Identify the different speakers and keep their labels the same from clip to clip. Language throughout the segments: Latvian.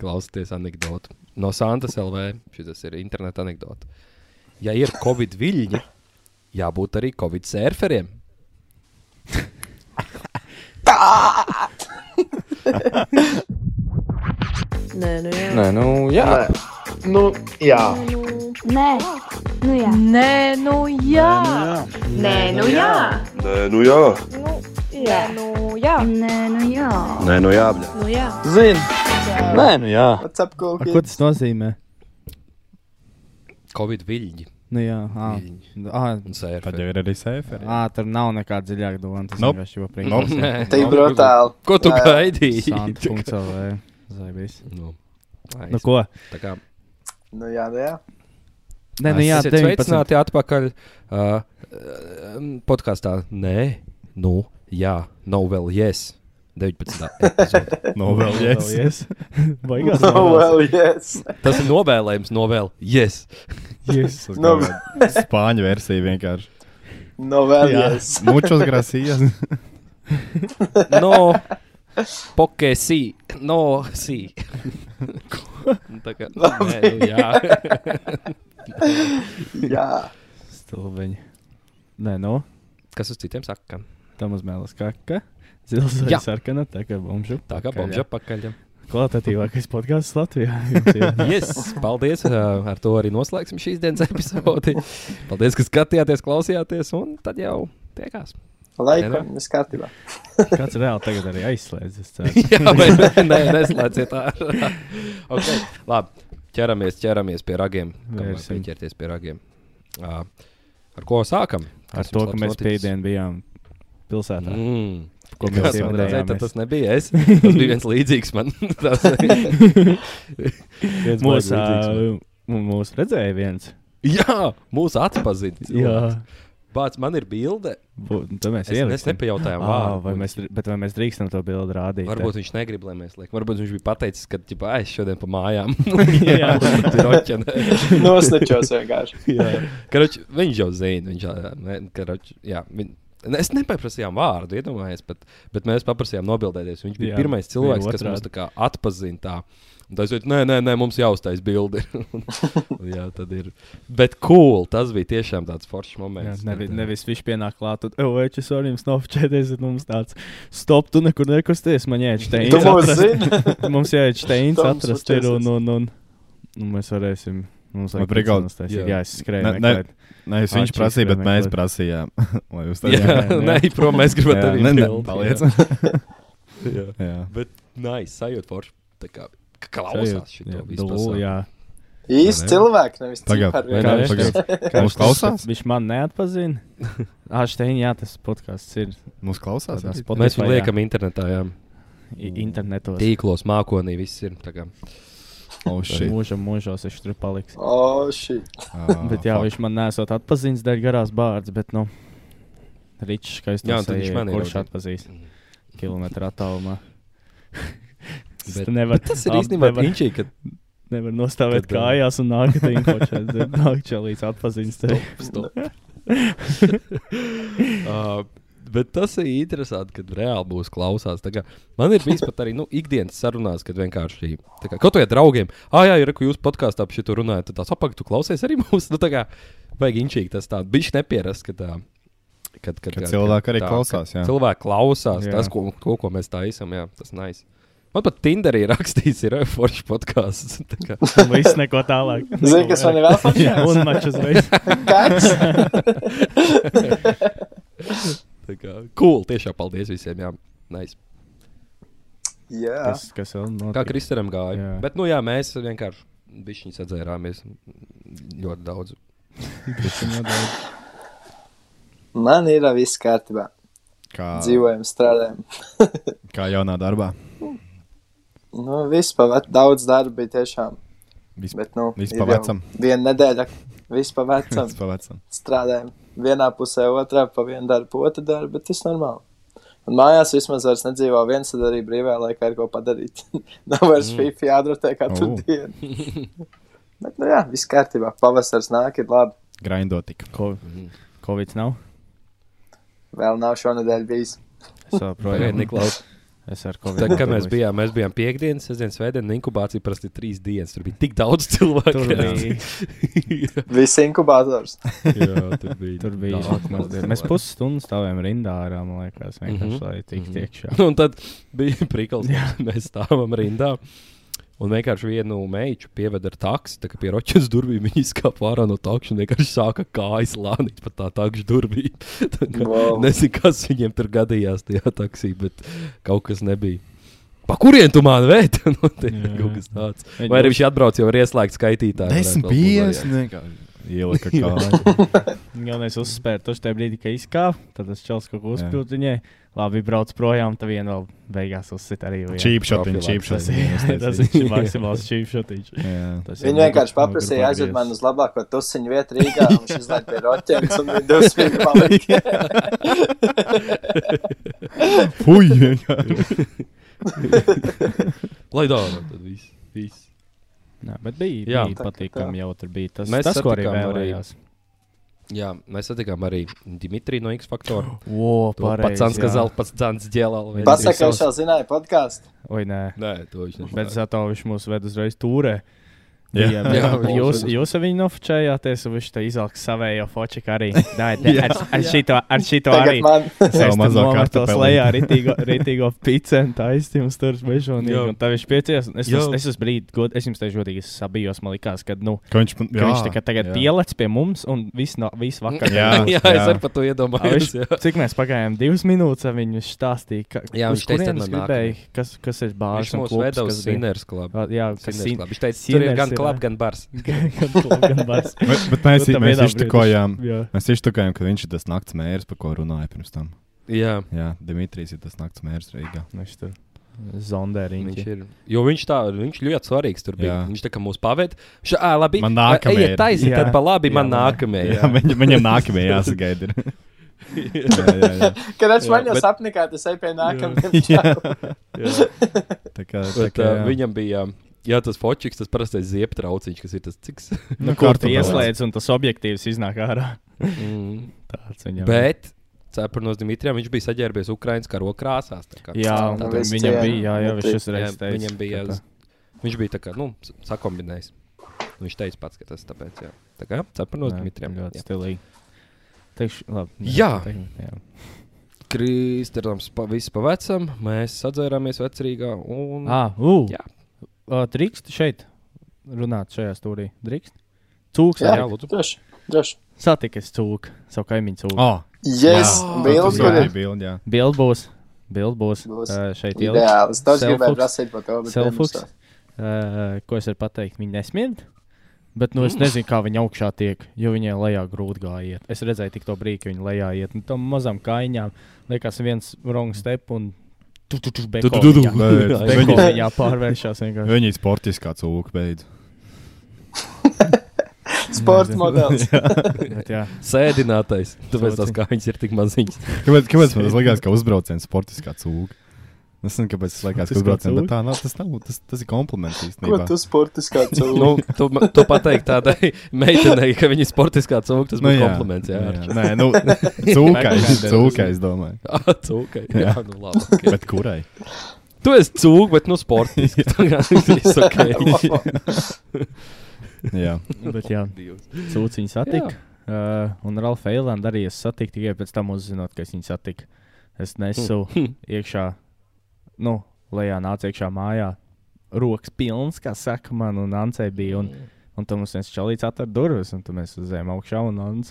Speaker 1: klausāties anekdotu. No Santas LV, šis ir interneta anekdote. Ja ir covid viļņi, jābūt arī covid surferiem.
Speaker 2: Nē, nu jā.
Speaker 3: Nē, nu, jā.
Speaker 4: Nu, jā.
Speaker 5: Nē, nu jā.
Speaker 2: Nē, nu jā.
Speaker 6: Nē, nu jā.
Speaker 7: Nē, nu jā.
Speaker 2: Nē, nu jā.
Speaker 5: Nē, nu jā.
Speaker 7: Nē, nu jā. bļa.
Speaker 2: Nu jā.
Speaker 3: Zini, nē, nu jā.
Speaker 4: What's up,
Speaker 8: A, ko tas nozīmē?
Speaker 1: Covid viļņi
Speaker 8: Nu, jā, ah, ah,
Speaker 1: un surferi.
Speaker 9: Tad jau ir arī sēferi.
Speaker 8: ah, tur nav nekāda dziļāka doma. Tas
Speaker 9: Nope.
Speaker 8: vienkārši jau
Speaker 1: Nope.
Speaker 8: priekšā.
Speaker 1: Nē,
Speaker 4: Tik
Speaker 1: nu,
Speaker 4: brutāli.
Speaker 1: Ko tu
Speaker 4: Nē.
Speaker 1: gaidīji?
Speaker 8: Santa.cl.
Speaker 1: Nu, aiz.
Speaker 8: Nu, ko?
Speaker 1: Tā kā
Speaker 4: Nu, jā, nu, jā.
Speaker 8: Nē, nu jā,
Speaker 1: Esiet
Speaker 8: 19.
Speaker 1: Sveicināti atpakaļ uh, um, podkāstā. Nē, nu, jā, nav vēl yes. 19. epizode.
Speaker 9: Novēlies. Baigās.
Speaker 4: No,
Speaker 1: Oh,
Speaker 4: well, yes.
Speaker 1: Tas ir novēlējums, novēl. Yes.
Speaker 9: Jēzus,
Speaker 4: No-
Speaker 9: kā Spāņu versija vienkārši.
Speaker 4: No, well, yes.
Speaker 9: mučos grasījās.
Speaker 1: No, pokē, sī, no, sī. Nu, Tā kā nē, nu, jā.
Speaker 4: jā.
Speaker 8: stulbiņa. Nē, nu,
Speaker 1: Kas uz citiem saka?
Speaker 8: tam uz mēlas kaka. Zils vai
Speaker 1: Jā.
Speaker 8: sarkana, tā kā bumžu.
Speaker 1: Tā kā
Speaker 8: pakaļ,
Speaker 1: bombža
Speaker 8: jā.
Speaker 1: pakaļ. jā.
Speaker 8: Kvalitatīvākais podkāsts Latvijā. Jums ir.
Speaker 1: Yes, paldies. Uh, ar to arī noslēgsim šīs dienas epizodi. Paldies, ka skatījāties, klausījāties un tad jau tiekās.
Speaker 4: Laikam, viss kārtībā.
Speaker 8: Kāds reāli tagad arī aizslēdzas. ceru.
Speaker 1: Jā, vai nē, neslēdziet ārā. okay, labi, ķeramies, ķeramies pie ragiem. Kamēr
Speaker 8: Vērsim.
Speaker 1: pieķerties pie ragiem. Uh, ar ko sākam?
Speaker 8: Ar
Speaker 1: Kas jums
Speaker 8: to, ka
Speaker 1: labs
Speaker 8: mēs
Speaker 1: noticis?
Speaker 8: pēdējiem bijām pilsētā.
Speaker 1: Mm.
Speaker 8: Ko
Speaker 1: Kā
Speaker 8: mēs
Speaker 1: tu
Speaker 8: jau
Speaker 1: redzēji,
Speaker 8: redzējām?
Speaker 1: tad Tas nebija es. Tas bija viens līdzīgs man. Tas viens
Speaker 8: Mūsu,
Speaker 1: baigi līdzīgs man.
Speaker 8: ā, mūsu redzēja viens.
Speaker 1: Jā, mūsu atpazīst.
Speaker 8: Jā,
Speaker 1: Bāc, man ir bilde.
Speaker 8: tā mēs
Speaker 1: Es, mēs
Speaker 8: ieliksim.
Speaker 1: nepajautājām,
Speaker 8: Ah,
Speaker 1: vārdu.
Speaker 8: vai mēs, bet vai mēs drīkstam to bildi rādīt?
Speaker 1: Varbūt viņš negrib, lai mēs liekam. Varbūt viņš bija pateicis, ka ģipā, "Ai, es šodien pa mājām.
Speaker 8: Jā.
Speaker 1: roķene.
Speaker 4: Nosnačos vienkārši.
Speaker 1: Karoč, viņš jau zina, viņš jau zina. Es nepaprasījām vārdu, iedomājieties, bet, bet mēs paprasījām nobildēties. Viņš bija jā,
Speaker 8: Jā,
Speaker 1: pirmais cilvēks,
Speaker 8: bija
Speaker 1: kas
Speaker 8: otrādi.
Speaker 1: mums tā kā atpazina. Tā. Un tas ir, nē, nē, nē, mums jāuztais bildi. Un- jā, tad ir. Bet cool, tas bija tiešām tāds foršs
Speaker 8: Jā,
Speaker 1: moments.
Speaker 8: nevi,
Speaker 1: kad, eh,
Speaker 8: nevis viņš pienāk klāt, tad, oh, ečis, arī jums nav čēties, un mums tāds, stop, tu nekur nekusties, man jāiet
Speaker 4: Tu
Speaker 8: šteins.
Speaker 4: mums
Speaker 8: atrast."
Speaker 4: zini?
Speaker 8: Mums jāiet šteins
Speaker 4: Tu mums
Speaker 8: atrast, ir, un,
Speaker 4: uzķersies.
Speaker 8: un, un, un mēs varēsim, mums
Speaker 9: Man
Speaker 8: vajag
Speaker 9: brigāde-
Speaker 8: brigādes taisīt.
Speaker 1: jā.
Speaker 8: Jā, es skrēju.
Speaker 9: Ne- ne-
Speaker 8: meklēt.
Speaker 9: Nē, es viņš
Speaker 8: Āķis
Speaker 9: prasīja, bet mēs
Speaker 8: vienmēr.
Speaker 9: prasījām. Lai jūs
Speaker 1: Jā, jā, nē, prom mēs gribam
Speaker 9: Jā,
Speaker 1: tevi
Speaker 9: nē, nē,
Speaker 1: bildi,
Speaker 9: paliec.
Speaker 1: jā. Jā.
Speaker 9: Jā.
Speaker 1: Bet, nē, nice, sajūta forši. Tā kā k-
Speaker 8: Sajūt,
Speaker 1: klausās
Speaker 8: jā,
Speaker 1: šito visu.
Speaker 8: dūlu,
Speaker 1: pasauli.
Speaker 8: jā.
Speaker 4: Īsti cilvēki, nevis
Speaker 9: Tagad,
Speaker 4: cipari.
Speaker 1: Vai
Speaker 8: Kā
Speaker 1: ne?
Speaker 8: viņš
Speaker 9: pagaid.
Speaker 8: Kā
Speaker 9: Mums
Speaker 8: viņš-
Speaker 9: klausās?
Speaker 8: Viņš man neatpazina. Ah, šteini, jā, tas podkāsts ir.
Speaker 9: Mums klausās.
Speaker 8: tādā
Speaker 9: jā?
Speaker 8: Spotify,
Speaker 1: Mēs viņu
Speaker 8: jā,
Speaker 1: liekam internetā, jā.
Speaker 8: i- internetos.
Speaker 1: Tīklos, mākonī, viss ir. tā kā.
Speaker 9: Oh, shit.
Speaker 8: Mūžam, mūžos viņš tur paliks.
Speaker 4: O, šī.
Speaker 9: Ah,
Speaker 8: Bet jā,
Speaker 9: fuck.
Speaker 8: viņš man nesot atpazīstams dēļ garās bārdas, bet, nu, Ričs, kā es
Speaker 1: Jā,
Speaker 8: to
Speaker 1: un tad viņš mani Mm.
Speaker 8: kurš
Speaker 1: ieraudzīja.
Speaker 8: atpazīst kilometru attālumā. Es
Speaker 1: Bet-
Speaker 8: te nevaru-
Speaker 1: Bet tas ir
Speaker 8: ab-
Speaker 1: īstenībā
Speaker 8: nevaru-
Speaker 1: viņš, kad
Speaker 8: Nevar nostāvēt
Speaker 1: Tad, uh,
Speaker 8: kājās un nākt īņķoties. Nākt šeit līdz atpazīstamam.
Speaker 1: Stop. uh, bet tas ir interesanti, kad reāli būs klausās. Tā Kā, man ir bijis pat arī nu, ikdienas sarunās, kad vienkārši tā kā, kaut kādā draugiem, ah, jā, ir, ka jūs podkāstā par šo runājat, tad tās apakšā tu klausies arī mūsu. Nu, tā kā vajag inčīgi tas tāds, bijis neparasts. Kad, tā- kad, kad,
Speaker 9: Kad cilvēki arī klausās, jā.
Speaker 1: Kad cilvēki klausās
Speaker 8: Jā.
Speaker 1: jā. tas, ko, ko, ko mēs taisām, jā, tas nice. Man pat Tinderī rakstīts, ir foršs podkāsts. Tā kā-
Speaker 8: Viss neko tālāk.
Speaker 4: Zini, kas man ir vēl foršāk?
Speaker 8: Un mačs uzreiz.
Speaker 4: Kāds?
Speaker 1: tā kā cool, tiešām paldies visiem, jā, nice.
Speaker 4: Jā.
Speaker 8: Kas, kas vēl notiek?
Speaker 1: Kā Kristēnam gāja. Jā.
Speaker 8: Jā.
Speaker 1: Bet, nu, jā, mēs vienkārši bišķiņi sadzērāmies ļoti daudz.
Speaker 4: Man ir viss kārtībā.
Speaker 9: Kā,
Speaker 4: Dzīvojam, strādājam.
Speaker 9: kā jaunā darbā.
Speaker 4: Nu, viss pavērt. Daudz darba bija tiešām.
Speaker 9: Vis-
Speaker 4: Bet, nu,
Speaker 9: viss
Speaker 4: ir
Speaker 9: pa
Speaker 4: jau
Speaker 9: vecam.
Speaker 4: Viena nedēļa. Viss pa vecam.
Speaker 9: Tas pavecam.
Speaker 4: strādājam vienā pusē, otrā pa vienu darbu, otru darbu, bet tas ir normāli. Un mājās vismaz vairs nedzīvo viens, tad arī brīvajā laikā ir ko padarīt. Nav vairs mm. FIFA jādrotē katru
Speaker 9: Oh.
Speaker 4: oh. dienu. bet, nu jā, viss kārtībā. Pavasars nāk, ir labi.
Speaker 9: Grindot tik.
Speaker 8: Ko, Covid nav?
Speaker 4: Vēl nav šonadēļ bijis.
Speaker 8: Es
Speaker 1: Pagaidiet,
Speaker 8: joprojām.
Speaker 1: Niklaus.
Speaker 8: Es ar ko
Speaker 1: Tā, kad mēs bijām, mēs bijām piekdienas, sestdienas, svētdienas inkubācija, parasti ir trīs dienas. Tur bija tik daudz cilvēku.
Speaker 8: Tur bija.
Speaker 1: jā,
Speaker 4: Viss inkubātors.
Speaker 1: jā, tur bija.
Speaker 8: Tur bija
Speaker 1: daudz
Speaker 8: šokmaz diena. Mēs
Speaker 1: cilvēku.
Speaker 8: pusstundu stāvējām rindā ārā, man liekas, vienkārši,
Speaker 1: Mhm.
Speaker 8: lai tiktu
Speaker 1: Mhm.
Speaker 8: iekšā.
Speaker 1: Un tad bija prikals, ka mēs stāvam rindā. Un vienkārši vienu meitu pieveda ar taksi, tā kā pie roķas durvīm viņa izkāpa ārā no takša un vienkārši sāka kājas lānīt pa tā takša durvīm. Tā kā
Speaker 4: Wow.
Speaker 1: Nezinu, kas viņiem tur gadījās tajā taksī, bet kaut kas nebija. Pa kurien tu mani vēd? Nu, tie
Speaker 8: Jā.
Speaker 1: kaut kas tāds. Vai arī viņš atbrauc jau ar ieslēgtu skaitītāju? varētu
Speaker 9: Desmit
Speaker 1: vēl būt
Speaker 9: pieci.
Speaker 1: variants.
Speaker 9: vienkārši Ielika kā.
Speaker 8: Galvenais uzspērt, tas tajā brīdī, kad izkāpa, tad tas čels kaut ko
Speaker 9: Jā.
Speaker 8: uzpildīja viņai. Labi, brauc projām, tad vien vēl beigās uzsit arī vienu.
Speaker 9: Čīpšotiņa,
Speaker 8: Tas
Speaker 9: čīpšotiņa.
Speaker 8: ir- tas ir maksimāls čīpšotiņš.
Speaker 4: Viņa vienkārši paprasīja, aizved mani uz labāko tusiņu vietu Rīgā, un viņš izlaiž pie roķēnas, un viņš dusmīgi palika.
Speaker 9: Fuj, vienkārši.
Speaker 1: Lai dārā, tad viss. viss.
Speaker 8: Nē, bet bija,
Speaker 1: Jā.
Speaker 4: Tā
Speaker 8: bija
Speaker 4: kā tā.
Speaker 8: patīkami, jau tur bija tas,
Speaker 1: Mēs
Speaker 8: tas ko arī
Speaker 1: satikām arī-
Speaker 8: vēlējās.
Speaker 1: Jā, mēs satikām arī Dimitriju no X Factor.
Speaker 8: O,
Speaker 1: Pats Zants Kazals, pats Zants Džēlā.
Speaker 4: Pasaka, ka viņš jau zināja podkāstu.
Speaker 8: Oi, nē.
Speaker 1: Nē, to viņš nezināja.
Speaker 8: Bet Zato viņš mūs ved uzreiz tūrē.
Speaker 9: Jā.
Speaker 8: Jā, jā,
Speaker 1: Jā, viņš-
Speaker 8: jūs, jūs ar viņu nofočējāties, un viņš te izlaiž savējo fociku arī. Dai, dai, ar, ar šito, ar šito arī.
Speaker 4: Tagad man
Speaker 9: Savu
Speaker 8: Es tam
Speaker 9: mazo
Speaker 8: nometos
Speaker 9: kartupeli.
Speaker 8: lejā rītīgo, rītīgo picentu aiztījums tur bežonīgi,
Speaker 1: Jā.
Speaker 8: un tad viņš piecies. un Es,
Speaker 1: Jā.
Speaker 8: uz, es uz brīdi, god, es jums teikšu godīgi, es sabijos, man likās, ka, nu,
Speaker 9: Ka viņš, man-
Speaker 8: ka viņš tā kā tagad
Speaker 9: jā.
Speaker 8: pielec pie mums, un viss no, vis vakar.
Speaker 9: Jā.
Speaker 1: jā, es
Speaker 9: jā.
Speaker 1: arī par to
Speaker 8: A,
Speaker 1: iedomājos.
Speaker 8: Viņš,
Speaker 1: Jā.
Speaker 8: cik mēs pagājām, divas minūtes ar viņu stāstīja, ka,
Speaker 1: Jā,
Speaker 8: uz
Speaker 1: viņš teica,
Speaker 8: kurienes
Speaker 1: tad man
Speaker 8: gribēja, kas, kas ir bārs.
Speaker 1: Viņš mūs veda uz Sinners Club.
Speaker 8: Jā, kas
Speaker 1: Sinners
Speaker 8: ir
Speaker 1: Club. Viņš teica, tur ir
Speaker 8: Sinners
Speaker 1: gan
Speaker 8: ir, jā.
Speaker 1: klub, gan bars.
Speaker 8: bārs.
Speaker 9: Bet bet mēs
Speaker 8: Nu, tam
Speaker 9: mēs
Speaker 8: vienā
Speaker 9: iztukojām.
Speaker 8: brīdī. Jā.
Speaker 9: Mēs iztukojām, ka viņš ir tas nakts mērs, par ko runāja pirms tam.
Speaker 1: Jā,
Speaker 9: Jā, Dimitris ir tas nakts mērs Rīgā.
Speaker 8: Viņš tur zondē
Speaker 1: viņš
Speaker 8: riņķi.
Speaker 1: ir. Jo viņš tā, viņš ļoti svarīgs tur bija.
Speaker 9: Jā.
Speaker 1: Viņš tā kā mūs paved. Viņš, ā, labi,
Speaker 9: Man
Speaker 1: ā,
Speaker 9: nākamie
Speaker 1: Ejiet
Speaker 9: ir."
Speaker 1: taisni,
Speaker 8: Jā.
Speaker 1: tad pa labi,
Speaker 8: Jā,
Speaker 1: man
Speaker 8: man-
Speaker 1: nākamajā.
Speaker 9: Jā, viņ, viņam nākamajā jāsagaida. ir. jā, jā, jā.
Speaker 4: Karāčs man jau
Speaker 1: bet-
Speaker 4: sapnī, kā tas ej pie nākamajiem.
Speaker 9: Tā kā, tā
Speaker 1: Bet,
Speaker 9: kā,
Speaker 1: ā, Viņam bija. ā, Jā, tas fočiks, tas parastais zieptrauciņš, kas ir tas ciks.
Speaker 8: Nu,
Speaker 9: Nu,
Speaker 8: kur tu
Speaker 9: kartupeli.
Speaker 8: ieslēdz, un tas objektīvs iznāk ārā.
Speaker 1: Mm.
Speaker 8: Tāds viņam.
Speaker 1: Bet, cepurnos Dimitrijam, viņš bija saģērbies Ukraiņas karo krāsās. tā kā.
Speaker 8: Jā,
Speaker 1: Tā-
Speaker 8: un
Speaker 4: viss
Speaker 8: viņam
Speaker 4: tie-
Speaker 8: bija, jā, jā, viņš
Speaker 4: tie-
Speaker 8: uzreiz
Speaker 1: Jā,
Speaker 8: teica.
Speaker 1: viņam bija.
Speaker 8: ka tā-
Speaker 1: Viņš bija tā kā, nu, s- sakombinējis. Un Viņš teica pats, ka tas tāpēc, jā. Tā kā, cepurnos
Speaker 8: Jā,
Speaker 1: Dimitrijam.
Speaker 8: Ļoti
Speaker 1: jā.
Speaker 8: stilīgi. Teikšu, labi.
Speaker 1: Jā.
Speaker 8: teikšu, jā.
Speaker 1: Kristēns pa, viss pa vecam, mēs sadzērāmies vecrīgā. Un...
Speaker 8: Ah,
Speaker 1: Nu,
Speaker 8: uh.
Speaker 1: Jā.
Speaker 8: Uh, drīkst šeit runāt šajā stūrī. Drīkst? Cūks.
Speaker 1: jā,
Speaker 8: Jā.
Speaker 1: jā, lūdzu.
Speaker 4: Droši, droši.
Speaker 8: Satikas cūku, savu kaimiņu
Speaker 1: Ah.
Speaker 8: cūku. Oh.
Speaker 9: Oh,
Speaker 4: Yes,
Speaker 1: Jā. Jā.
Speaker 4: Bills, kur ir
Speaker 9: bildi, jā.
Speaker 8: Bilbos. Bilbos.
Speaker 4: Būs.
Speaker 8: Uh, šeit ielikt.
Speaker 4: ideāls. Tas gribēja
Speaker 8: Selfuks.
Speaker 4: prasīt par to, bet nemusā.
Speaker 8: Selfuks. Uh, ko es varu pateikt? Viņa nesmird. Bet
Speaker 9: Mm.
Speaker 8: nu, es nezinu, kā viņa augšā tiek, jo viņai lejā grūti gājiet. Es redzēju, tik to brīdi, ka viņa lejā iet. Nu, tam mazam kājām liekas, viens wrong step un tu tu tu beko
Speaker 9: tu, tu.
Speaker 8: viņā.
Speaker 9: Beidz.
Speaker 8: Beko
Speaker 9: Viņi-
Speaker 8: viņā pārvēršas vienkārši.
Speaker 9: Viņa ir sportiskā cūka beidz.
Speaker 4: Sports modelis.
Speaker 8: Bet, jā,
Speaker 1: Sēdinātais. Tāpēc
Speaker 8: Sūci.
Speaker 1: tas kā viņš ir tik maziņš.
Speaker 9: Kāpēc, kāpēc man tas likās, ka uzbrauciens sportiskā cūka? Es nezinu, kāpēc tas likās, ka
Speaker 8: Sportiskā
Speaker 9: uzbrauciens,
Speaker 8: cūka?
Speaker 9: bet tā nav, tas, nav, tas, tas ir kompliments
Speaker 4: Ko
Speaker 9: īstenībā.
Speaker 4: tu sportiskā cilvēka?
Speaker 1: nu, tu, ma- tu pateiksi tādai meitenei, ka viņa ir sportiskā cūka. Tas bija nu, kompliments. Jā,
Speaker 9: jā. Nē, nu, cūkai, cūkai, es domāju.
Speaker 1: Ah, cūka. Jā,
Speaker 9: Jā.
Speaker 1: nu labi. Okay.
Speaker 9: Bet kurai?
Speaker 1: Tu esi cūka, bet nu sportiski. Tā kā viss ok.
Speaker 9: Jā,
Speaker 8: Nu, bet, jā. Sūciņu satika. Uh, un Ralfa Eilanda arī es satiku tikai pēc tam uzzinot, ka es viņu satiku. Es nesu iekšā, nu, lejā nāca iekšā mājā. Rokas pilnas, kā saka man, un Ancei bija. Un, un tam mums viens čalīts atver durvis, un tad mēs uzzējām augšā, un Ants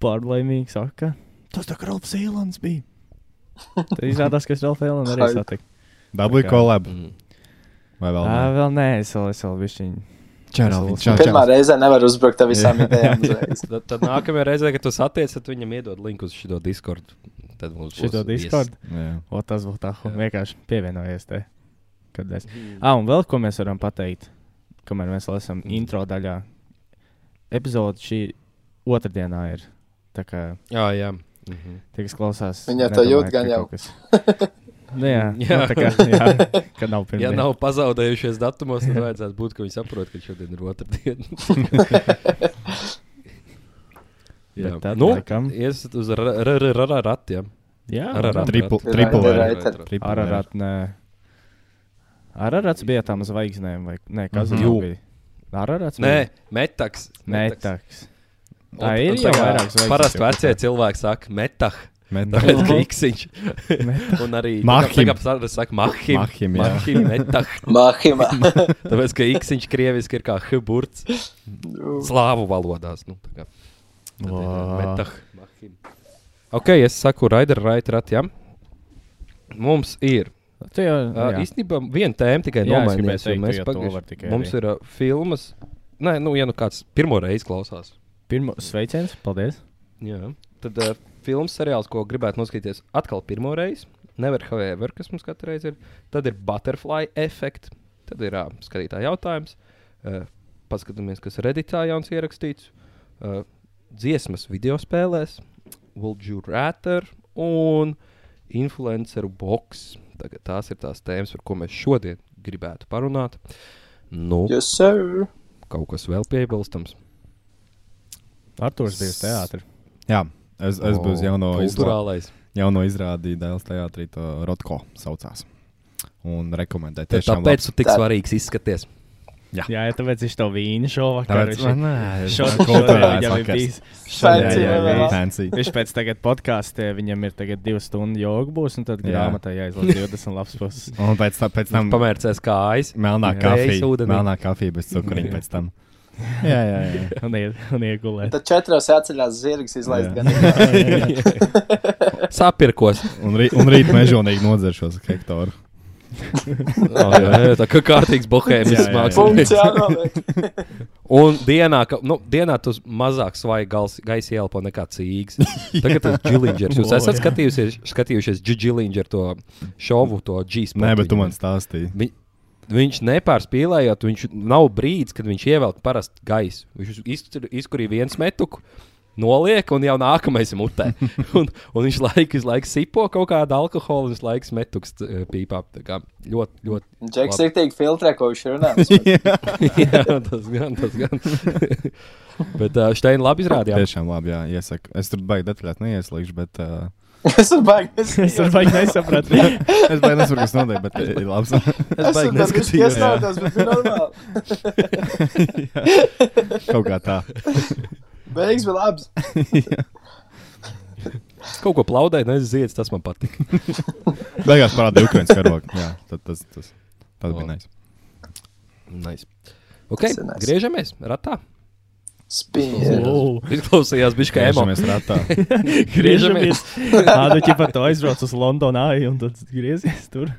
Speaker 8: pārlaimīgi saka, tas tā kā Ralfs Eilands bija. Tad izrādās, ka es Ralfa Eilandu arī
Speaker 4: Hype.
Speaker 8: satiku. Tā
Speaker 9: dabūj
Speaker 8: kā-
Speaker 9: kolab.
Speaker 1: Mm.
Speaker 9: Vai vēl?
Speaker 8: Uh,
Speaker 9: nē?
Speaker 8: vēl nē, es vēl, es vēl višķiņu.
Speaker 9: Čerali, čau,
Speaker 4: Pirmā
Speaker 9: čau.
Speaker 4: reize nevar uzbrukt tev visām idejām. uzreiz.
Speaker 1: Tad, tad nākamajā reizē, kad tu satiecies, tad viņam iedod linku uz šo Discord. Tad mums būs
Speaker 8: Šito
Speaker 1: viesis.
Speaker 8: Discord.
Speaker 9: Jā.
Speaker 8: O, tas būtu tā,
Speaker 1: Jā.
Speaker 8: un vienkārši pievienojies te. Kad es. Ah, un vēl ko mēs varam pateikt, kamēr mēs lasām
Speaker 1: Mhm.
Speaker 8: intro daļā. Epizode šī otrdienā ir. Tā kā
Speaker 1: Jā, jā. Mhm.
Speaker 8: tie, kas klausās,
Speaker 4: Viņa to jūt gan jau.
Speaker 8: jau. nu, jā, jā.
Speaker 1: Jā.
Speaker 8: Nu, tā kā, jā, ka nav pirmā.
Speaker 1: Ja nav pazaudējušies datumos, tad vajadzētu būt, ka viņi saprot, ka šodien ir otrdiena.
Speaker 8: Bet tad
Speaker 1: nu,
Speaker 8: laikam.
Speaker 1: iesiet uz ratiem.
Speaker 8: Jā, nu,
Speaker 1: Ar ar
Speaker 9: Triple-
Speaker 4: Ir-
Speaker 9: triple
Speaker 4: ir-
Speaker 9: vai-
Speaker 4: ir- ir-
Speaker 9: Triple vai-
Speaker 8: Ararat, nē. Ararats bija tam zvaigznēm, vai ne? Kas
Speaker 1: Mhm.
Speaker 8: mm
Speaker 1: Jū.
Speaker 8: -hmm. bija? Ararats?
Speaker 1: Nē,
Speaker 8: bija?
Speaker 1: metaks.
Speaker 8: Metaks.
Speaker 1: Un-
Speaker 8: Tā ir
Speaker 1: un
Speaker 8: jau
Speaker 1: tā kā
Speaker 8: vairāk zvaigznes.
Speaker 1: Parasti vecie cilvēki saka metah,
Speaker 9: Metā.
Speaker 1: tāpēc ka iksiņš. Un arī
Speaker 9: Mahim.
Speaker 1: Tagad parasti saka mahim.
Speaker 9: Mahim, jā.
Speaker 1: Mahim, metah.
Speaker 4: Mahima.
Speaker 1: Tāpēc, ka iksiņš krieviski ir kā hburts slāvu valodās. Nu, tā kā. Tad ir, uh,
Speaker 8: Metaks.
Speaker 1: Metah. Mahim. Ok, es saku Raider Raitratjam. Mums ir
Speaker 8: Tu jau.
Speaker 1: Uh,
Speaker 8: Nu, jā.
Speaker 1: īstenībā viena tēma tikai
Speaker 8: Jā, es gribēju
Speaker 1: nomainījās. jo
Speaker 8: teikt,
Speaker 1: mēs
Speaker 8: tu jau to
Speaker 1: pagaiž-
Speaker 8: var tikai
Speaker 1: Mums
Speaker 8: arī.
Speaker 1: ir uh, filmas, nē, nu, ja nu kāds pirmo reizi klausās.
Speaker 8: Pirmo sveiciens, paldies.
Speaker 1: Jā. Tad uh, filmas seriāls, ko gribētu noskatīties atkal pirmo reizi, Never Have Ever, kas mums katru reizi ir. Tad ir Butterfly Effect, tad ir uh, skatītāja jautājums. Uh, paskatāmies, kas Redditā jauns ierakstīts. Uh, dziesmas video spēlēs, Would You Rather un Influenceru Box. Tagad tās ir tās tēmas, par ko mēs šodien gribētu parunāt. Nu,
Speaker 4: Yes, sir.
Speaker 1: kaut kas vēl piebilstams.
Speaker 8: Arthurs bija uz teātra.
Speaker 9: Jā, es, es biju uz jauno izrādi.
Speaker 1: izturālais.
Speaker 9: jauno izrādīju Dēls teātrī, to Rotko saucās. Un rekomendēju tiešām.
Speaker 1: Tāpēc tu tik
Speaker 4: Tā-
Speaker 1: svarīgs izskaties.
Speaker 8: Jā, ja tāpēc viņš to vīnu šovakar.
Speaker 9: Tāpēc
Speaker 8: viņš- Šodien šodien viņam ir bijis. šodien
Speaker 9: Šodien
Speaker 4: Fancy
Speaker 8: viņam ir
Speaker 4: vēl.
Speaker 8: bijis-
Speaker 9: fancy.
Speaker 8: Viņš pēc tagad podkāstē, viņam ir tagad divas stundas joga būs, un tad
Speaker 9: Jā.
Speaker 8: grāmatā jāizlasa 20 lapas puses.
Speaker 9: Un pēc, tā, pēc tam
Speaker 1: Pamērcēs kājas.
Speaker 9: melnā
Speaker 1: Jā. Tējas
Speaker 9: kafija.
Speaker 1: ūdenī.
Speaker 9: Melnā kafija bez cukuriņa pēc tam. Jā, jā, jā.
Speaker 8: Un, ie, un iegulēt.
Speaker 4: Tad četros jāceļās zirgs izlaist
Speaker 9: Jā.
Speaker 4: gan.
Speaker 1: Sapirkos.
Speaker 9: Un, rī, un rīt mežonīgi nodzeršos ar hektāru.
Speaker 1: oh, jā, jā, tā kā kārtīgs bohēmijas
Speaker 9: Jā, jā, jā.
Speaker 1: mākslinieks.
Speaker 4: Punkts jānoliek.
Speaker 1: Un dienā, ka, nu, dienā tu mazāk svaigi gals- gaisa ielpo nekā cīgs. Tagad tas ir Džilingers. Jūs
Speaker 8: O,
Speaker 1: esat
Speaker 8: jā.
Speaker 1: skatījusies, skatījušies Džilingeru to šovu, to G-spēku.
Speaker 9: Nē, bet tu man stāstīji.
Speaker 1: Vi, viņš nepārspīlējot, viņš nav brīdis, kad viņš ievelk parastu gaisu. Viņš iztur- izkurīja viens metuku. Noliek, un jau nākamais ir mutē. un, un viņš laiku uz laiku sipo kaut kādu alkoholu, un viņš laiku metuks eh, pīpā. Tā kā ļoti, ļoti.
Speaker 4: Džeks
Speaker 1: labi.
Speaker 4: ir tik filtrē, ko viņš runā.
Speaker 1: Jā, tas gan, tas gan. bet uh, Steina labi izrādījās.
Speaker 9: Tiešām labi, jā, iesaku. Es tur baigi detaļās neieslīgšu, bet uh,
Speaker 4: Es esmu baigts.
Speaker 8: Es varu baigi nesapratu.
Speaker 9: es baigi nesaprotu, kas notiek, bet ir labi.
Speaker 4: Es esmu neskatījis.
Speaker 9: neskatījos. Jā.
Speaker 4: Es esmu normāli.
Speaker 9: Kaut kā tā.
Speaker 4: Beigas bija labs.
Speaker 1: Es kaut ko plaudēju, nezinu, ziedus, tas man patīk.
Speaker 9: Beigās parādīja Ukraiņas karogu. Jā, tad tas, tas, tas bija
Speaker 1: Labi.
Speaker 9: nice.
Speaker 1: Nice. Okay,
Speaker 4: Tas ir nice.
Speaker 1: griežamies ratā.
Speaker 4: Spīni.
Speaker 1: Izklausījās, bija kā emo.
Speaker 9: Griežamies ratā.
Speaker 1: Griežamies.
Speaker 8: Griežamies. Tāda ķipa to aizbrauc uz Londonu, āju, un tad griezies tur.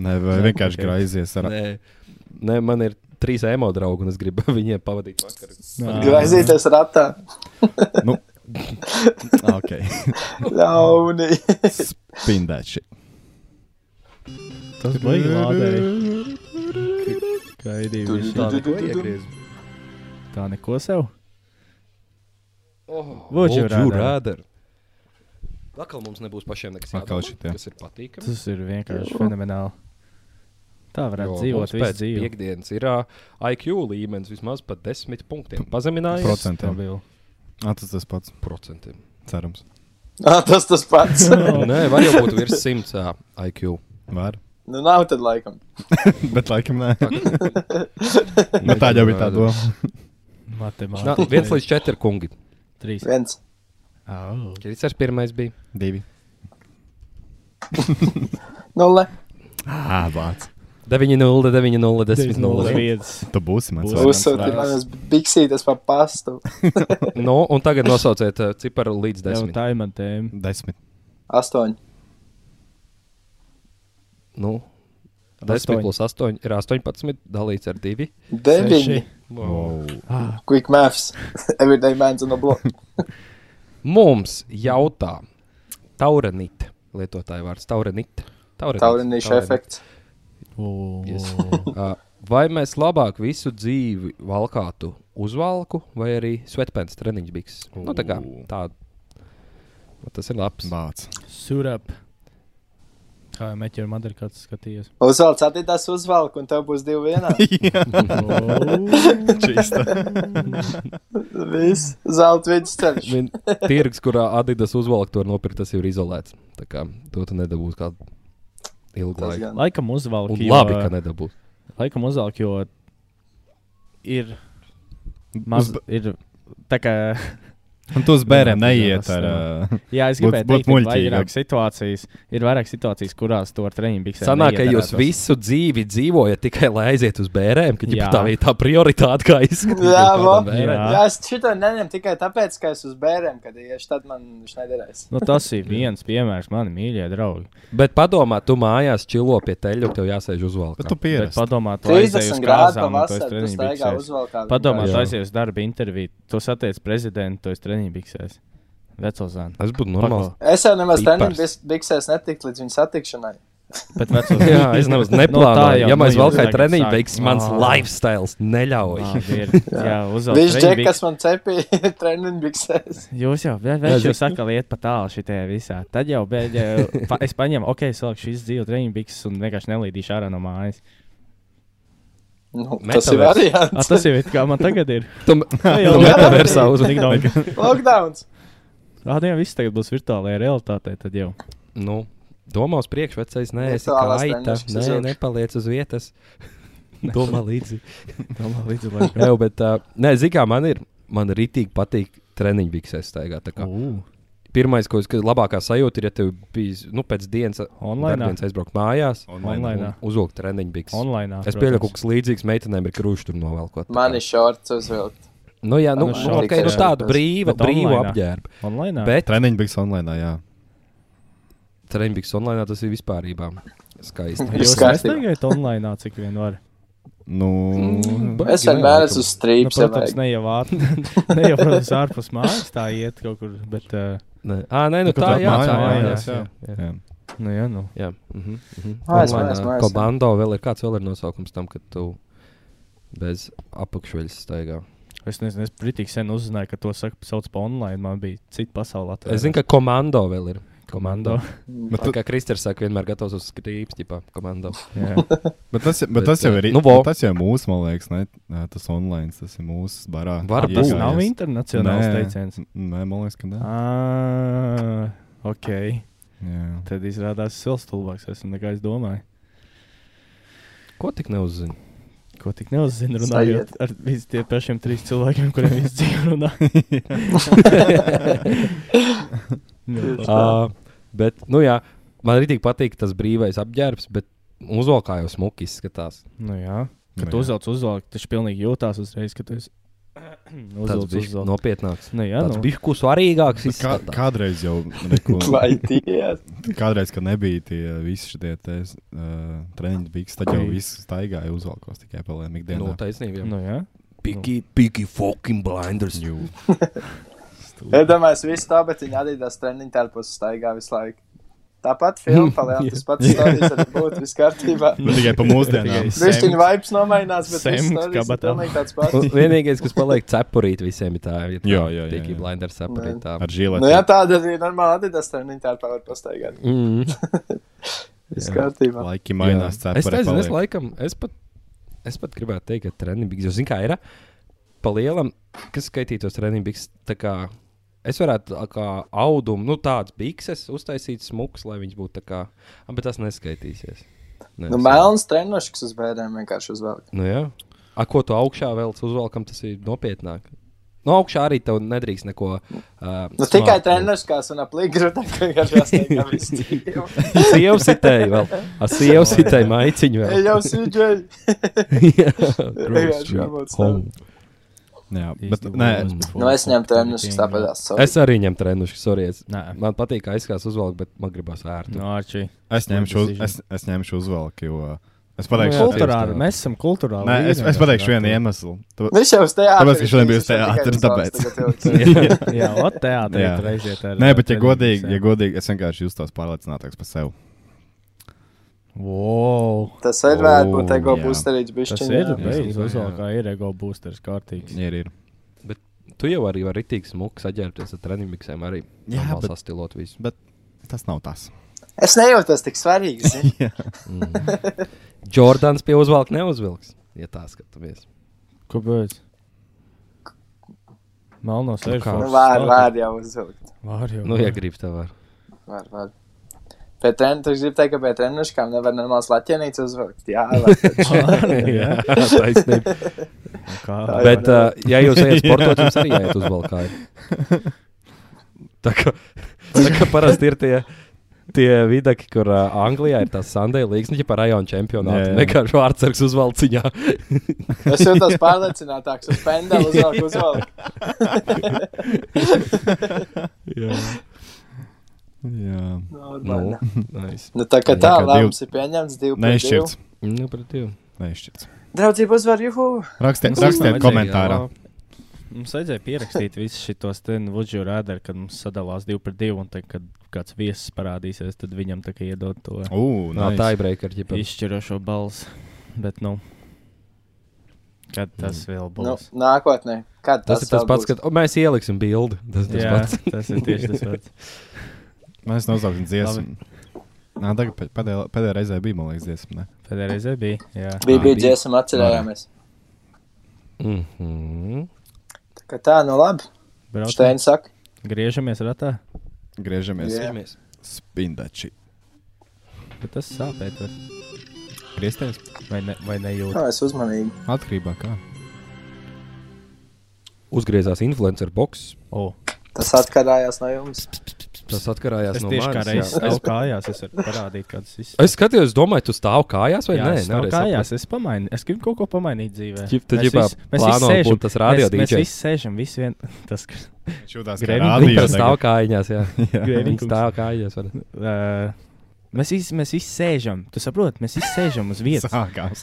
Speaker 9: Nē, vai vienkārši graizies ar
Speaker 1: Nē. Nē, man ir trīs emo draugi, un es gribu viņiem pavadīt vakaru.
Speaker 4: Graizīties ratā.
Speaker 9: Nu, ok.
Speaker 4: Ļauni.
Speaker 9: Spindēši.
Speaker 8: Tas bija lādēji. Gaidīju
Speaker 4: Tu-
Speaker 8: viņš
Speaker 4: tu- tu-
Speaker 8: tā.
Speaker 4: tu- tu-
Speaker 8: Tā neko sev.
Speaker 1: Would
Speaker 8: Would
Speaker 1: you
Speaker 8: you
Speaker 1: rather? Vakar mums nebūs pašiem nekas
Speaker 9: Atkal
Speaker 1: jādomā,
Speaker 9: šitie.
Speaker 1: kas ir patīkami.
Speaker 8: Tas ir vienkārši fenomenāli. Tā varētu dzīvot visu
Speaker 1: pēc
Speaker 8: dzīvi.
Speaker 1: piekdienas ir uh, IQ līmenis vismaz par desmit punktiem. Pazeminājies
Speaker 9: Procentiem.
Speaker 8: Stabilu.
Speaker 9: Ah, tas tas pats.
Speaker 1: procentiem.
Speaker 9: Cerams.
Speaker 4: Ā, Ah, Tas tas pats.
Speaker 1: Nē, var jau būt virs simts uh, IQ.
Speaker 9: Var.
Speaker 4: Nu nav tad laikam.
Speaker 9: Bet laikam nē. nu, tā jau bija tā doma.
Speaker 1: Nā,
Speaker 8: Matemātikā.
Speaker 1: viens līdz četri kungi.
Speaker 8: trīs.
Speaker 4: Viens.
Speaker 8: Au.
Speaker 1: Krits ar pirmais bija.
Speaker 9: Divi.
Speaker 4: Nulle.
Speaker 9: Ah, vāc.
Speaker 1: 9, 0, 9, 0, 10, 0.
Speaker 8: Viens.
Speaker 9: Tu būsi mans.
Speaker 8: Būs.
Speaker 9: variants.
Speaker 4: Uzsūtīt manas biksītes pa pastu.
Speaker 1: Nu, un tagad nosauciet uh, ciparu līdz
Speaker 8: Jau
Speaker 1: desmit.
Speaker 8: tā ir man tēma.
Speaker 9: Desmit.
Speaker 4: Astoņi.
Speaker 1: Nu, 10
Speaker 8: Astoņi.
Speaker 1: plus 8 ir 18, dalīts ar 2.
Speaker 4: Deviņi.
Speaker 8: Seši.
Speaker 9: Wow.
Speaker 4: Quick maths. Everyday man's on the block.
Speaker 1: Mums jautā, Tauranīte, lietotāja vārds Tauranīte.
Speaker 4: Taurinīša efekts.
Speaker 8: Ū.
Speaker 1: Yes. Uh, Vai mēs labāk visu dzīvi valkātu uz valku vai arī svetpēns treniņš biks? Nu, tā kā tā. Nu, Tas ir labs.
Speaker 9: Vāc.
Speaker 8: Surap. Kā jau meķi ar madari kāds skatījies.
Speaker 4: Uzvelc, attīstās uzvelk, un tev būs divi vienā.
Speaker 8: Ū.
Speaker 9: Čista.
Speaker 4: Viss zelta vidusceļš.
Speaker 1: Vien tirgs, kurā Adidas uzvalktu var nopirkt, tas jau ir izolēts. Tā kā to tu nedabūsi kādu ilgu
Speaker 4: Tas
Speaker 1: laiku.
Speaker 4: gan.
Speaker 8: Laikam uzvalk,
Speaker 1: Un
Speaker 8: jo,
Speaker 1: labi, ka nedabūsi.
Speaker 8: laikam uzvalk, jo ir maz, ir tā kā,
Speaker 9: Un tu uz bērniem
Speaker 8: Nē,
Speaker 9: neiet
Speaker 8: tas
Speaker 9: ar.
Speaker 8: nav.
Speaker 9: ā,
Speaker 8: jā, es
Speaker 9: Būt-
Speaker 8: gribēju
Speaker 9: būt
Speaker 8: teikt, ka ir
Speaker 9: muļķīgam.
Speaker 8: vairāk situācijas, ir vairāk situācijas, kurās to ar treniņu biksēm
Speaker 1: Sanāk, ka jūs
Speaker 8: neiederētos.
Speaker 1: visu dzīvi dzīvojat tikai lai aizietu uz bērniem, ka ģip,
Speaker 8: Jā.
Speaker 1: tā ir tā prioritāte, kā izskatās.
Speaker 4: Jā, vo.
Speaker 8: Jā.
Speaker 4: Jā, es šito neņemu tikai tāpēc, ka es uz bērniem, kad iešu, tad man viņš nederēs.
Speaker 8: Nu, tas ir viens piemērs, mani mīļie draugi.
Speaker 1: Bet padomā, tu mājās čilo pie teļa, tev jāsēž uz
Speaker 9: Bet
Speaker 1: valka.
Speaker 9: tu
Speaker 8: Bet
Speaker 9: pieredzi.
Speaker 8: padomā, tu aizēji uz
Speaker 4: 30 grādu
Speaker 8: kāzām un tu
Speaker 4: pavasarī,
Speaker 8: esi
Speaker 4: tas
Speaker 8: treniņbiksēs.
Speaker 4: taigā uzvalkā.
Speaker 8: Padomā,
Speaker 1: Jā.
Speaker 8: tu aizies uz darba interviju, tu satiec prezidentu, tu esi treniņbiksēs. Veco zāni.
Speaker 1: Tas būtu normāli.
Speaker 4: Es jau nemaz
Speaker 1: Pipars.
Speaker 4: treniņu biksēs netiktu līdz viņa satikšanai.
Speaker 8: Bet veco zāni.
Speaker 1: Jā, es nemaz
Speaker 8: tā
Speaker 1: neplānoju.
Speaker 8: jau,
Speaker 1: Ja mēs
Speaker 8: nu, jau
Speaker 1: valkai
Speaker 8: tagad
Speaker 1: treniņu
Speaker 8: sāk.
Speaker 1: veiks, mans
Speaker 8: Ā.
Speaker 1: lifestyles neļauj.
Speaker 8: Labi ir. Ah, Jā, uzvelk
Speaker 4: Viņš džek,
Speaker 8: treniņbiks-
Speaker 4: kas man cepīja treniņu biksēs.
Speaker 8: Jūs jau, bet
Speaker 1: Jā,
Speaker 8: viņš jau
Speaker 1: zini.
Speaker 8: saka, liet pa tālu šitajā visā. Tad jau, bet pa, es paņemu, ok, es saku šīs dzīves treniņbikses un vienkārši nelīdīšu ārā no mājas.
Speaker 4: Nu, tas
Speaker 1: Metaverse.
Speaker 4: ir
Speaker 8: A,
Speaker 4: variants.
Speaker 8: Ah, tas jau ir, kā man tagad ir.
Speaker 1: Tu
Speaker 8: jau
Speaker 1: metaversā uzmanīgi.
Speaker 8: Ā,
Speaker 4: Lockdowns.
Speaker 8: nu jau viss tagad būs virtuālajā realitātē, tad jau.
Speaker 1: Nu, domā uz priekšu, vecais, nē, es kā
Speaker 4: Virtuālās
Speaker 1: aita.
Speaker 4: treniņš uz
Speaker 1: Nē,
Speaker 4: augšu.
Speaker 1: nepaliec uz vietas. Domā līdzi.
Speaker 8: Domā, līdz laikam.
Speaker 1: Jā, jau, bet, uh, nē, zikā, man ir, man rītīgi patīk treniņu biksēs staigāt. tā kā.
Speaker 8: Ū,
Speaker 1: Pirmais, ko es, ka labākā sajūta ir, ja tev bija, nu, pēc dienas
Speaker 8: Onlainā?
Speaker 1: darbdienas aizbraukt mājās un
Speaker 8: Onlainā.
Speaker 1: uzvilkt treniņu bikses.
Speaker 8: Onlainā.
Speaker 1: Es pieļauju, ka kaut kas līdzīgs meitenēm ir krūšs tur novelkot. tā kā.
Speaker 4: Mani šorts uzvilkt.
Speaker 1: Nu, jā, nu,
Speaker 8: Nu,
Speaker 1: nu,
Speaker 8: šorts,
Speaker 1: okay, nu
Speaker 8: jā.
Speaker 1: tādu brīvu,
Speaker 8: Bet
Speaker 1: brīvu
Speaker 8: onlainā?
Speaker 1: apģērbu.
Speaker 8: Online.
Speaker 1: Bet
Speaker 9: Treniņš bija online, jā.
Speaker 1: treniņbiks online tas ir vispār skaisti.
Speaker 4: Viss
Speaker 8: Jūs
Speaker 4: kārtībā.
Speaker 8: nestaigājat online, cik vien var.
Speaker 9: Nu,
Speaker 1: Mm,
Speaker 4: Es vienmēr esmu uz
Speaker 8: Nu,
Speaker 4: strīpes.
Speaker 8: protams, ne jau, ār... ne jau protams, ārpus mājas tā iet kaut kur, bet, uh,
Speaker 1: Nē, Ā, nē, nu
Speaker 9: Nu,
Speaker 1: tā
Speaker 9: kaut
Speaker 1: jā,
Speaker 9: kā
Speaker 1: tā jā,
Speaker 9: mājās,
Speaker 1: jā. jā.
Speaker 9: jā.
Speaker 8: nu, jā, nu.
Speaker 1: Jā, mhm, mhm.
Speaker 4: Mājas,
Speaker 1: Online,
Speaker 4: mājas,
Speaker 1: ā,
Speaker 4: mājas, jā.
Speaker 1: Komando vēl ir kāds vēl ir nosaukums tam, ka tu bez apakšveļas staigā.
Speaker 8: Es nezinu, es pritīgi sen uzzināju, ka to saka, sauc par online, man bija cita pasaulē.
Speaker 1: Es zinu, ka komando vēl ir. Komando.
Speaker 9: Bet
Speaker 1: Bet
Speaker 9: tu-
Speaker 1: kā Kristers saka, vienmēr gatavs uz skrīpstu, tipā komando.
Speaker 8: Jā,
Speaker 9: Bet tas, bet
Speaker 1: Bet,
Speaker 9: bet, tas jau
Speaker 1: eh,
Speaker 9: ir
Speaker 1: nu,
Speaker 9: nu,
Speaker 1: vo.
Speaker 9: tas jau mūsu, man liekas, ne? Nē, tas online, tas ir mūsu barā.
Speaker 1: Var
Speaker 9: Jā,
Speaker 1: būt.
Speaker 8: tas
Speaker 9: jā,
Speaker 8: nav
Speaker 9: jā.
Speaker 8: internacionāls
Speaker 9: Nē.
Speaker 8: teiciens.
Speaker 9: Nē, man liekas, ka nē.
Speaker 8: Ah, ok,
Speaker 9: Jā.
Speaker 8: tad izrādās silts tulbāks, esmu nekā es domāju.
Speaker 1: Ko tik neuzzini?
Speaker 8: Ko tik neuzzinu, runājot ar visiem tiem pašiem trīs cilvēkiem, kuriem viss dzīvo runā. Nu,
Speaker 1: Uh, bet, nu jā, man arī tik patīk tas brīvais apģērbs, bet uzvalkā jau smuki izskatās.
Speaker 8: Nu, jā.
Speaker 9: Nu,
Speaker 8: Kad
Speaker 9: jā.
Speaker 8: tu uzvelc uzvalku, tas pilnīgi jūtās uzreiz, kad tu esi
Speaker 1: Tas
Speaker 8: uzvelc
Speaker 1: bija
Speaker 8: uzvalku.
Speaker 1: nopietnāks.
Speaker 8: Nu, jā,
Speaker 1: Tāds
Speaker 8: nu.
Speaker 1: bija kaut kas svarīgāks.
Speaker 9: Bet Kā,
Speaker 1: izskatās.
Speaker 9: kādreiz jau neko,
Speaker 4: Vai tie?
Speaker 9: kādreiz, kad nebija tie visi šie uh, treniņi, bija tas, tad jau viss staigāja uzvalkos tikai pelēm
Speaker 1: Nu,
Speaker 9: ikdienā.
Speaker 1: taisnība. jā.
Speaker 8: Nu, jā.
Speaker 1: Piki, piki, fucking blinders.
Speaker 9: Jū.
Speaker 4: Es domāju, viss tā, bet viņa arī tās treniņu telpos staigā visu laikku. Tāpat filmā palēnām tas pats stāstījis, arī būtu viss kārtībā.
Speaker 9: Nu, tikai pa mūsdienām.
Speaker 4: Višķiņa vibes nomainās, bet
Speaker 8: Semt
Speaker 4: viss stāstījis ir
Speaker 8: kabatā.
Speaker 4: pilnīgi tāds pats.
Speaker 1: Un Vienīgais, kas paliek cepurīt visiem, ir tā, ja tā
Speaker 9: Jā, jā, jā,
Speaker 1: Piki,
Speaker 9: jā.
Speaker 1: blinders cepurīt. tā.
Speaker 9: Ar žilēm.
Speaker 4: Nu, jā, tāda arī normāla Adidas treniņu telpā var pastaigāt.
Speaker 1: Mm.
Speaker 4: Viss
Speaker 1: Jā.
Speaker 4: kārtībā.
Speaker 9: Laiki mainās,
Speaker 1: Jā.
Speaker 9: cepure
Speaker 1: Es nezinu, es
Speaker 9: paliek.
Speaker 1: laikam, es pat, es pat gribētu teikt, ka treniņš, jo, zināmā mērā, ir pa lielam, kas skaitītos treniņš, tā kā es varētu tā kā audumu, nu tāds bikses uztaisīt smuks, lai viņš būtu tā kā, ah, bet tas neskaitīsies. Nē,
Speaker 4: Nu,
Speaker 1: es-
Speaker 4: melns treniņš uz bērniem vienkārši uzvelk.
Speaker 1: Nu, jā. A, ko tu augšā vēl uzvelkam, tas ir nopietnāk. No augšā arī tev nedrīkst neko. Uh,
Speaker 4: Nu, tikai treniņš, kas un aplīgi grūtāk vienkārši jāstaigā visu dzīvi.
Speaker 1: Sievsitēji vēl. Ar sievsitēji maiciņu
Speaker 4: Ej,
Speaker 1: vēl.
Speaker 4: jau sīdžēji.
Speaker 1: Jā,
Speaker 4: Vienkārši
Speaker 1: gross, jā.
Speaker 4: jābūt
Speaker 1: Home.
Speaker 9: Jā,
Speaker 8: He's
Speaker 9: bet
Speaker 8: the
Speaker 9: nē,
Speaker 8: worst before
Speaker 4: Nu, es ņemu
Speaker 8: fucking
Speaker 4: treniņš, kas
Speaker 8: everything, jā.
Speaker 4: tāpēc.
Speaker 1: Es arī ņemu treniņu, sorry. Es,
Speaker 8: Nē,
Speaker 1: man patīk, ka aizskās uzvalkt, bet man gribas ērti.
Speaker 9: Nu.
Speaker 8: no Arčī.
Speaker 9: es ņemšu, uz,
Speaker 8: decision.
Speaker 9: es, es ņemšu uzvalku, jo es
Speaker 1: Nu,
Speaker 9: pateikšu,
Speaker 1: jā,
Speaker 8: Kulturāli,
Speaker 1: tā.
Speaker 8: mēs esam kulturāli.
Speaker 9: nē, es, es pateikšu vienu iemeslu. Tu,
Speaker 4: Viņš jau uz teātri.
Speaker 9: Tāpēc, ka šodien bija uz teātri,
Speaker 4: teātri.
Speaker 8: iemeslu. Jā, ot, teātrī
Speaker 9: Jā.
Speaker 8: tur aiziet ar.
Speaker 9: Nē, bet, ja godīgi, ja godīgi, es vienkārši jūtos pārliecinātāks par sevi.
Speaker 8: Wow,
Speaker 4: Tas ir vērts,
Speaker 9: O,
Speaker 4: būt ego
Speaker 9: Oh, jā.
Speaker 4: boosterīts
Speaker 8: tas
Speaker 4: bišķiņ.
Speaker 8: ir
Speaker 4: jā.
Speaker 8: beigas
Speaker 1: jā.
Speaker 8: uzvalkā, ir ego boosters kārtīgs.
Speaker 9: Ir, ir.
Speaker 1: Tu jau arī vari tik smuki saģērbties ar treniņiem, arī
Speaker 9: Jā,
Speaker 1: normāli
Speaker 9: bet-
Speaker 1: sastilot visu.
Speaker 9: Tas nav tas.
Speaker 4: Es nejūtos tik svarīgi. zini.
Speaker 1: Jordans pie uzvalka neuzvilks, ja tā skatāmies.
Speaker 8: Kāpēc? Melno
Speaker 1: kā?
Speaker 8: sēžamā.
Speaker 4: Nu, var, var jau uzvilkt.
Speaker 8: Var jau.
Speaker 1: Nu, ja grib, tev var.
Speaker 4: Var, var. Pēc treniņa, tu gribi teikt, ka pēc treniņa nevar normāls laķenīts uzvilkt. Jā, var.
Speaker 8: jā.
Speaker 1: Taisnība.
Speaker 8: Nu, Kā?
Speaker 4: Tā
Speaker 1: Bet, uh, ja jūs ejat sportot, jums arī jāiet uz Balkāju. Tā kā, tā kā parasti ir tie, tie vidaki, kur uh, Anglijā ir tas Sunday League, ne par rajonu čempionātu.
Speaker 9: Jā, jā.
Speaker 1: Vienkārši vārdsargs uz valciņā.
Speaker 4: Es jūtos pārliecinātāks, uz pendeli uzvilku, uzvilku.
Speaker 9: Jā,
Speaker 4: Normāli.
Speaker 1: nice.
Speaker 4: Nu, tā kā
Speaker 9: Tā
Speaker 4: tā,
Speaker 9: kā
Speaker 4: lēmums ir pieņemts divi pret divu.
Speaker 9: neizšķirts.
Speaker 1: Nu, pret tevi.
Speaker 9: Neizšķirts.
Speaker 4: Draudzību uzvar, juhu!
Speaker 9: Rakstiet,
Speaker 8: Mums
Speaker 9: rakstiet
Speaker 8: vajadzēja,
Speaker 9: komentārā.
Speaker 8: Mums vajadzēja pierakstīt visus nu, šos vuģu rādītājus, kad mums sadalās divi pret divu, un tad, kad kāds viesis parādīsies, tad viņam tā kā iedod to
Speaker 9: Ugh,
Speaker 1: Nav tā breaker, ja pēc
Speaker 8: izšķirošo balsi. Bet, nu, kad tas
Speaker 1: Mm.
Speaker 8: vēl
Speaker 4: Nu,
Speaker 8: būs?
Speaker 4: nākotnē. Kad
Speaker 1: Tas, tas ir tas
Speaker 4: vēl
Speaker 1: pats,
Speaker 4: būs?
Speaker 1: kad o, mēs ieliksim bildi. Tas tas
Speaker 8: Jā,
Speaker 1: pats.
Speaker 8: tas ir tieši tas pats.
Speaker 9: Mēs nosauksim dziesmu. Nā, tagad pē- pēdējā, pēdējā reizē bija, man liekas, dziesma. ne?
Speaker 8: Pēdējā reizē bija. Jā,
Speaker 4: bija
Speaker 9: bija.
Speaker 4: bija dziesma, atcerējāmies.
Speaker 1: Mm
Speaker 4: Mhm.
Speaker 1: -hmm.
Speaker 4: Tā kā tā, nu labi.
Speaker 8: braucam.
Speaker 4: Steini saka,
Speaker 8: Griežamies ratā,
Speaker 9: Griežamies.
Speaker 4: Jā.
Speaker 9: Spindači.
Speaker 8: bet tas sāpēs. Vai,
Speaker 9: Griezties?
Speaker 8: vai, ne, vai nejūt?
Speaker 4: nu, es uzmanīgi.
Speaker 9: Atkarībā kā.
Speaker 1: Uzgriezās influencer box.
Speaker 8: Oh,
Speaker 4: Tas atkarājās no jums.
Speaker 1: Tas atkarājās
Speaker 8: es
Speaker 1: no
Speaker 8: tieši kā
Speaker 1: manis,
Speaker 8: reizes
Speaker 1: jā.
Speaker 8: stāvu kājās, es varu parādīt, kādas izsmeļas.
Speaker 1: Es skatījos, domāju, tu stāv kājās vai
Speaker 8: Jā,
Speaker 1: nē?
Speaker 8: es stāvu kājās, es pamainu. Es gribu kaut ko pamainīt dzīvē.
Speaker 1: Ķip- tu
Speaker 8: Mēs
Speaker 1: ģipā
Speaker 8: visi- mēs
Speaker 1: plāno
Speaker 8: visi
Speaker 1: būt tas radio
Speaker 8: Mēs, mēs
Speaker 1: DJs.
Speaker 8: visi sēžam, visi vien. Tas, ka-
Speaker 9: Šūtās kā
Speaker 8: Gremlin-
Speaker 9: rādio.
Speaker 1: Viņš stāv kājās, jā. Viņš
Speaker 8: Grēviņkungs.
Speaker 1: stāv kājās. var-
Speaker 8: Ā, Mēs visi, mēs visi sēžam. Tu saproti, mēs visi sēžam uz
Speaker 9: tagad.
Speaker 8: vietas.
Speaker 9: Sākās.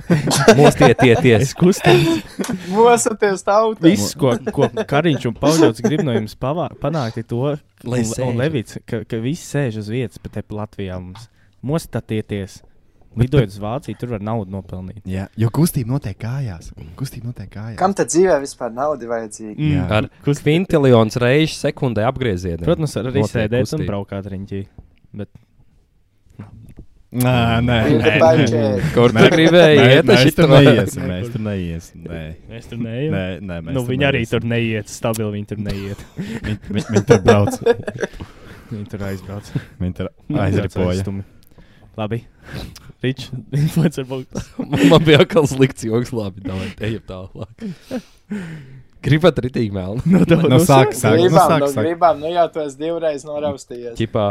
Speaker 1: Mostieties,
Speaker 8: Kustības.
Speaker 4: Mosaties tauta!
Speaker 8: Viss, ko, ko Kariņš un Pauļots grib no jums pavā- panākt, ir to,
Speaker 1: Lai
Speaker 8: un-
Speaker 1: sēžam.
Speaker 8: un Levits, ka, ka visi sēž uz vietas, bet te Latvijā mums mostatieties.
Speaker 1: Bet-
Speaker 8: Lidojot uz Vāciju, tur var naudu nopelnīt.
Speaker 9: Jā, jo kustība notiek kājās. Kustība notiek kājās.
Speaker 4: Kam tad dzīvē vispār nauda vajadzīga?
Speaker 8: Mm.
Speaker 9: Jā.
Speaker 1: ar kvintilions reizes sekundē apgriezienā.
Speaker 8: Protams, var arī
Speaker 1: Notiek
Speaker 8: sēdēt un
Speaker 1: kustība.
Speaker 8: braukāt riņķī.
Speaker 9: Nē, nē,
Speaker 4: Ir
Speaker 9: nē.
Speaker 4: baļķēji.
Speaker 1: Kur tu gribēji
Speaker 9: Nē,
Speaker 1: iet?
Speaker 9: mēs
Speaker 1: Es
Speaker 9: tur
Speaker 1: šito-
Speaker 9: neiesim, mēs tur neiesim. Nē,
Speaker 8: Mēs tur neejam.
Speaker 9: nē, nē mēs
Speaker 8: Nu, viņi arī
Speaker 9: neiesim.
Speaker 8: tur neiet, stabili viņi tur neiet.
Speaker 9: Viņi viņi- viņi tur brauc.
Speaker 8: viņi tur aizbrauc.
Speaker 9: Viņi tur
Speaker 8: Aizbrauc
Speaker 9: aizripoja.
Speaker 8: aizstumi. Labi. Rič, influencer būtu.
Speaker 1: Man bija atkal slikts joks, labi, davai, ejam tālāk. Gribat ritīgi melnu?
Speaker 8: No, tā,
Speaker 9: Nu, sāk, sāk, nu,
Speaker 4: Gribām,
Speaker 9: sāk,
Speaker 4: nu,
Speaker 9: sāk.
Speaker 4: gribām, nu jau tu esi divreiz noraustījies.
Speaker 1: Čipā,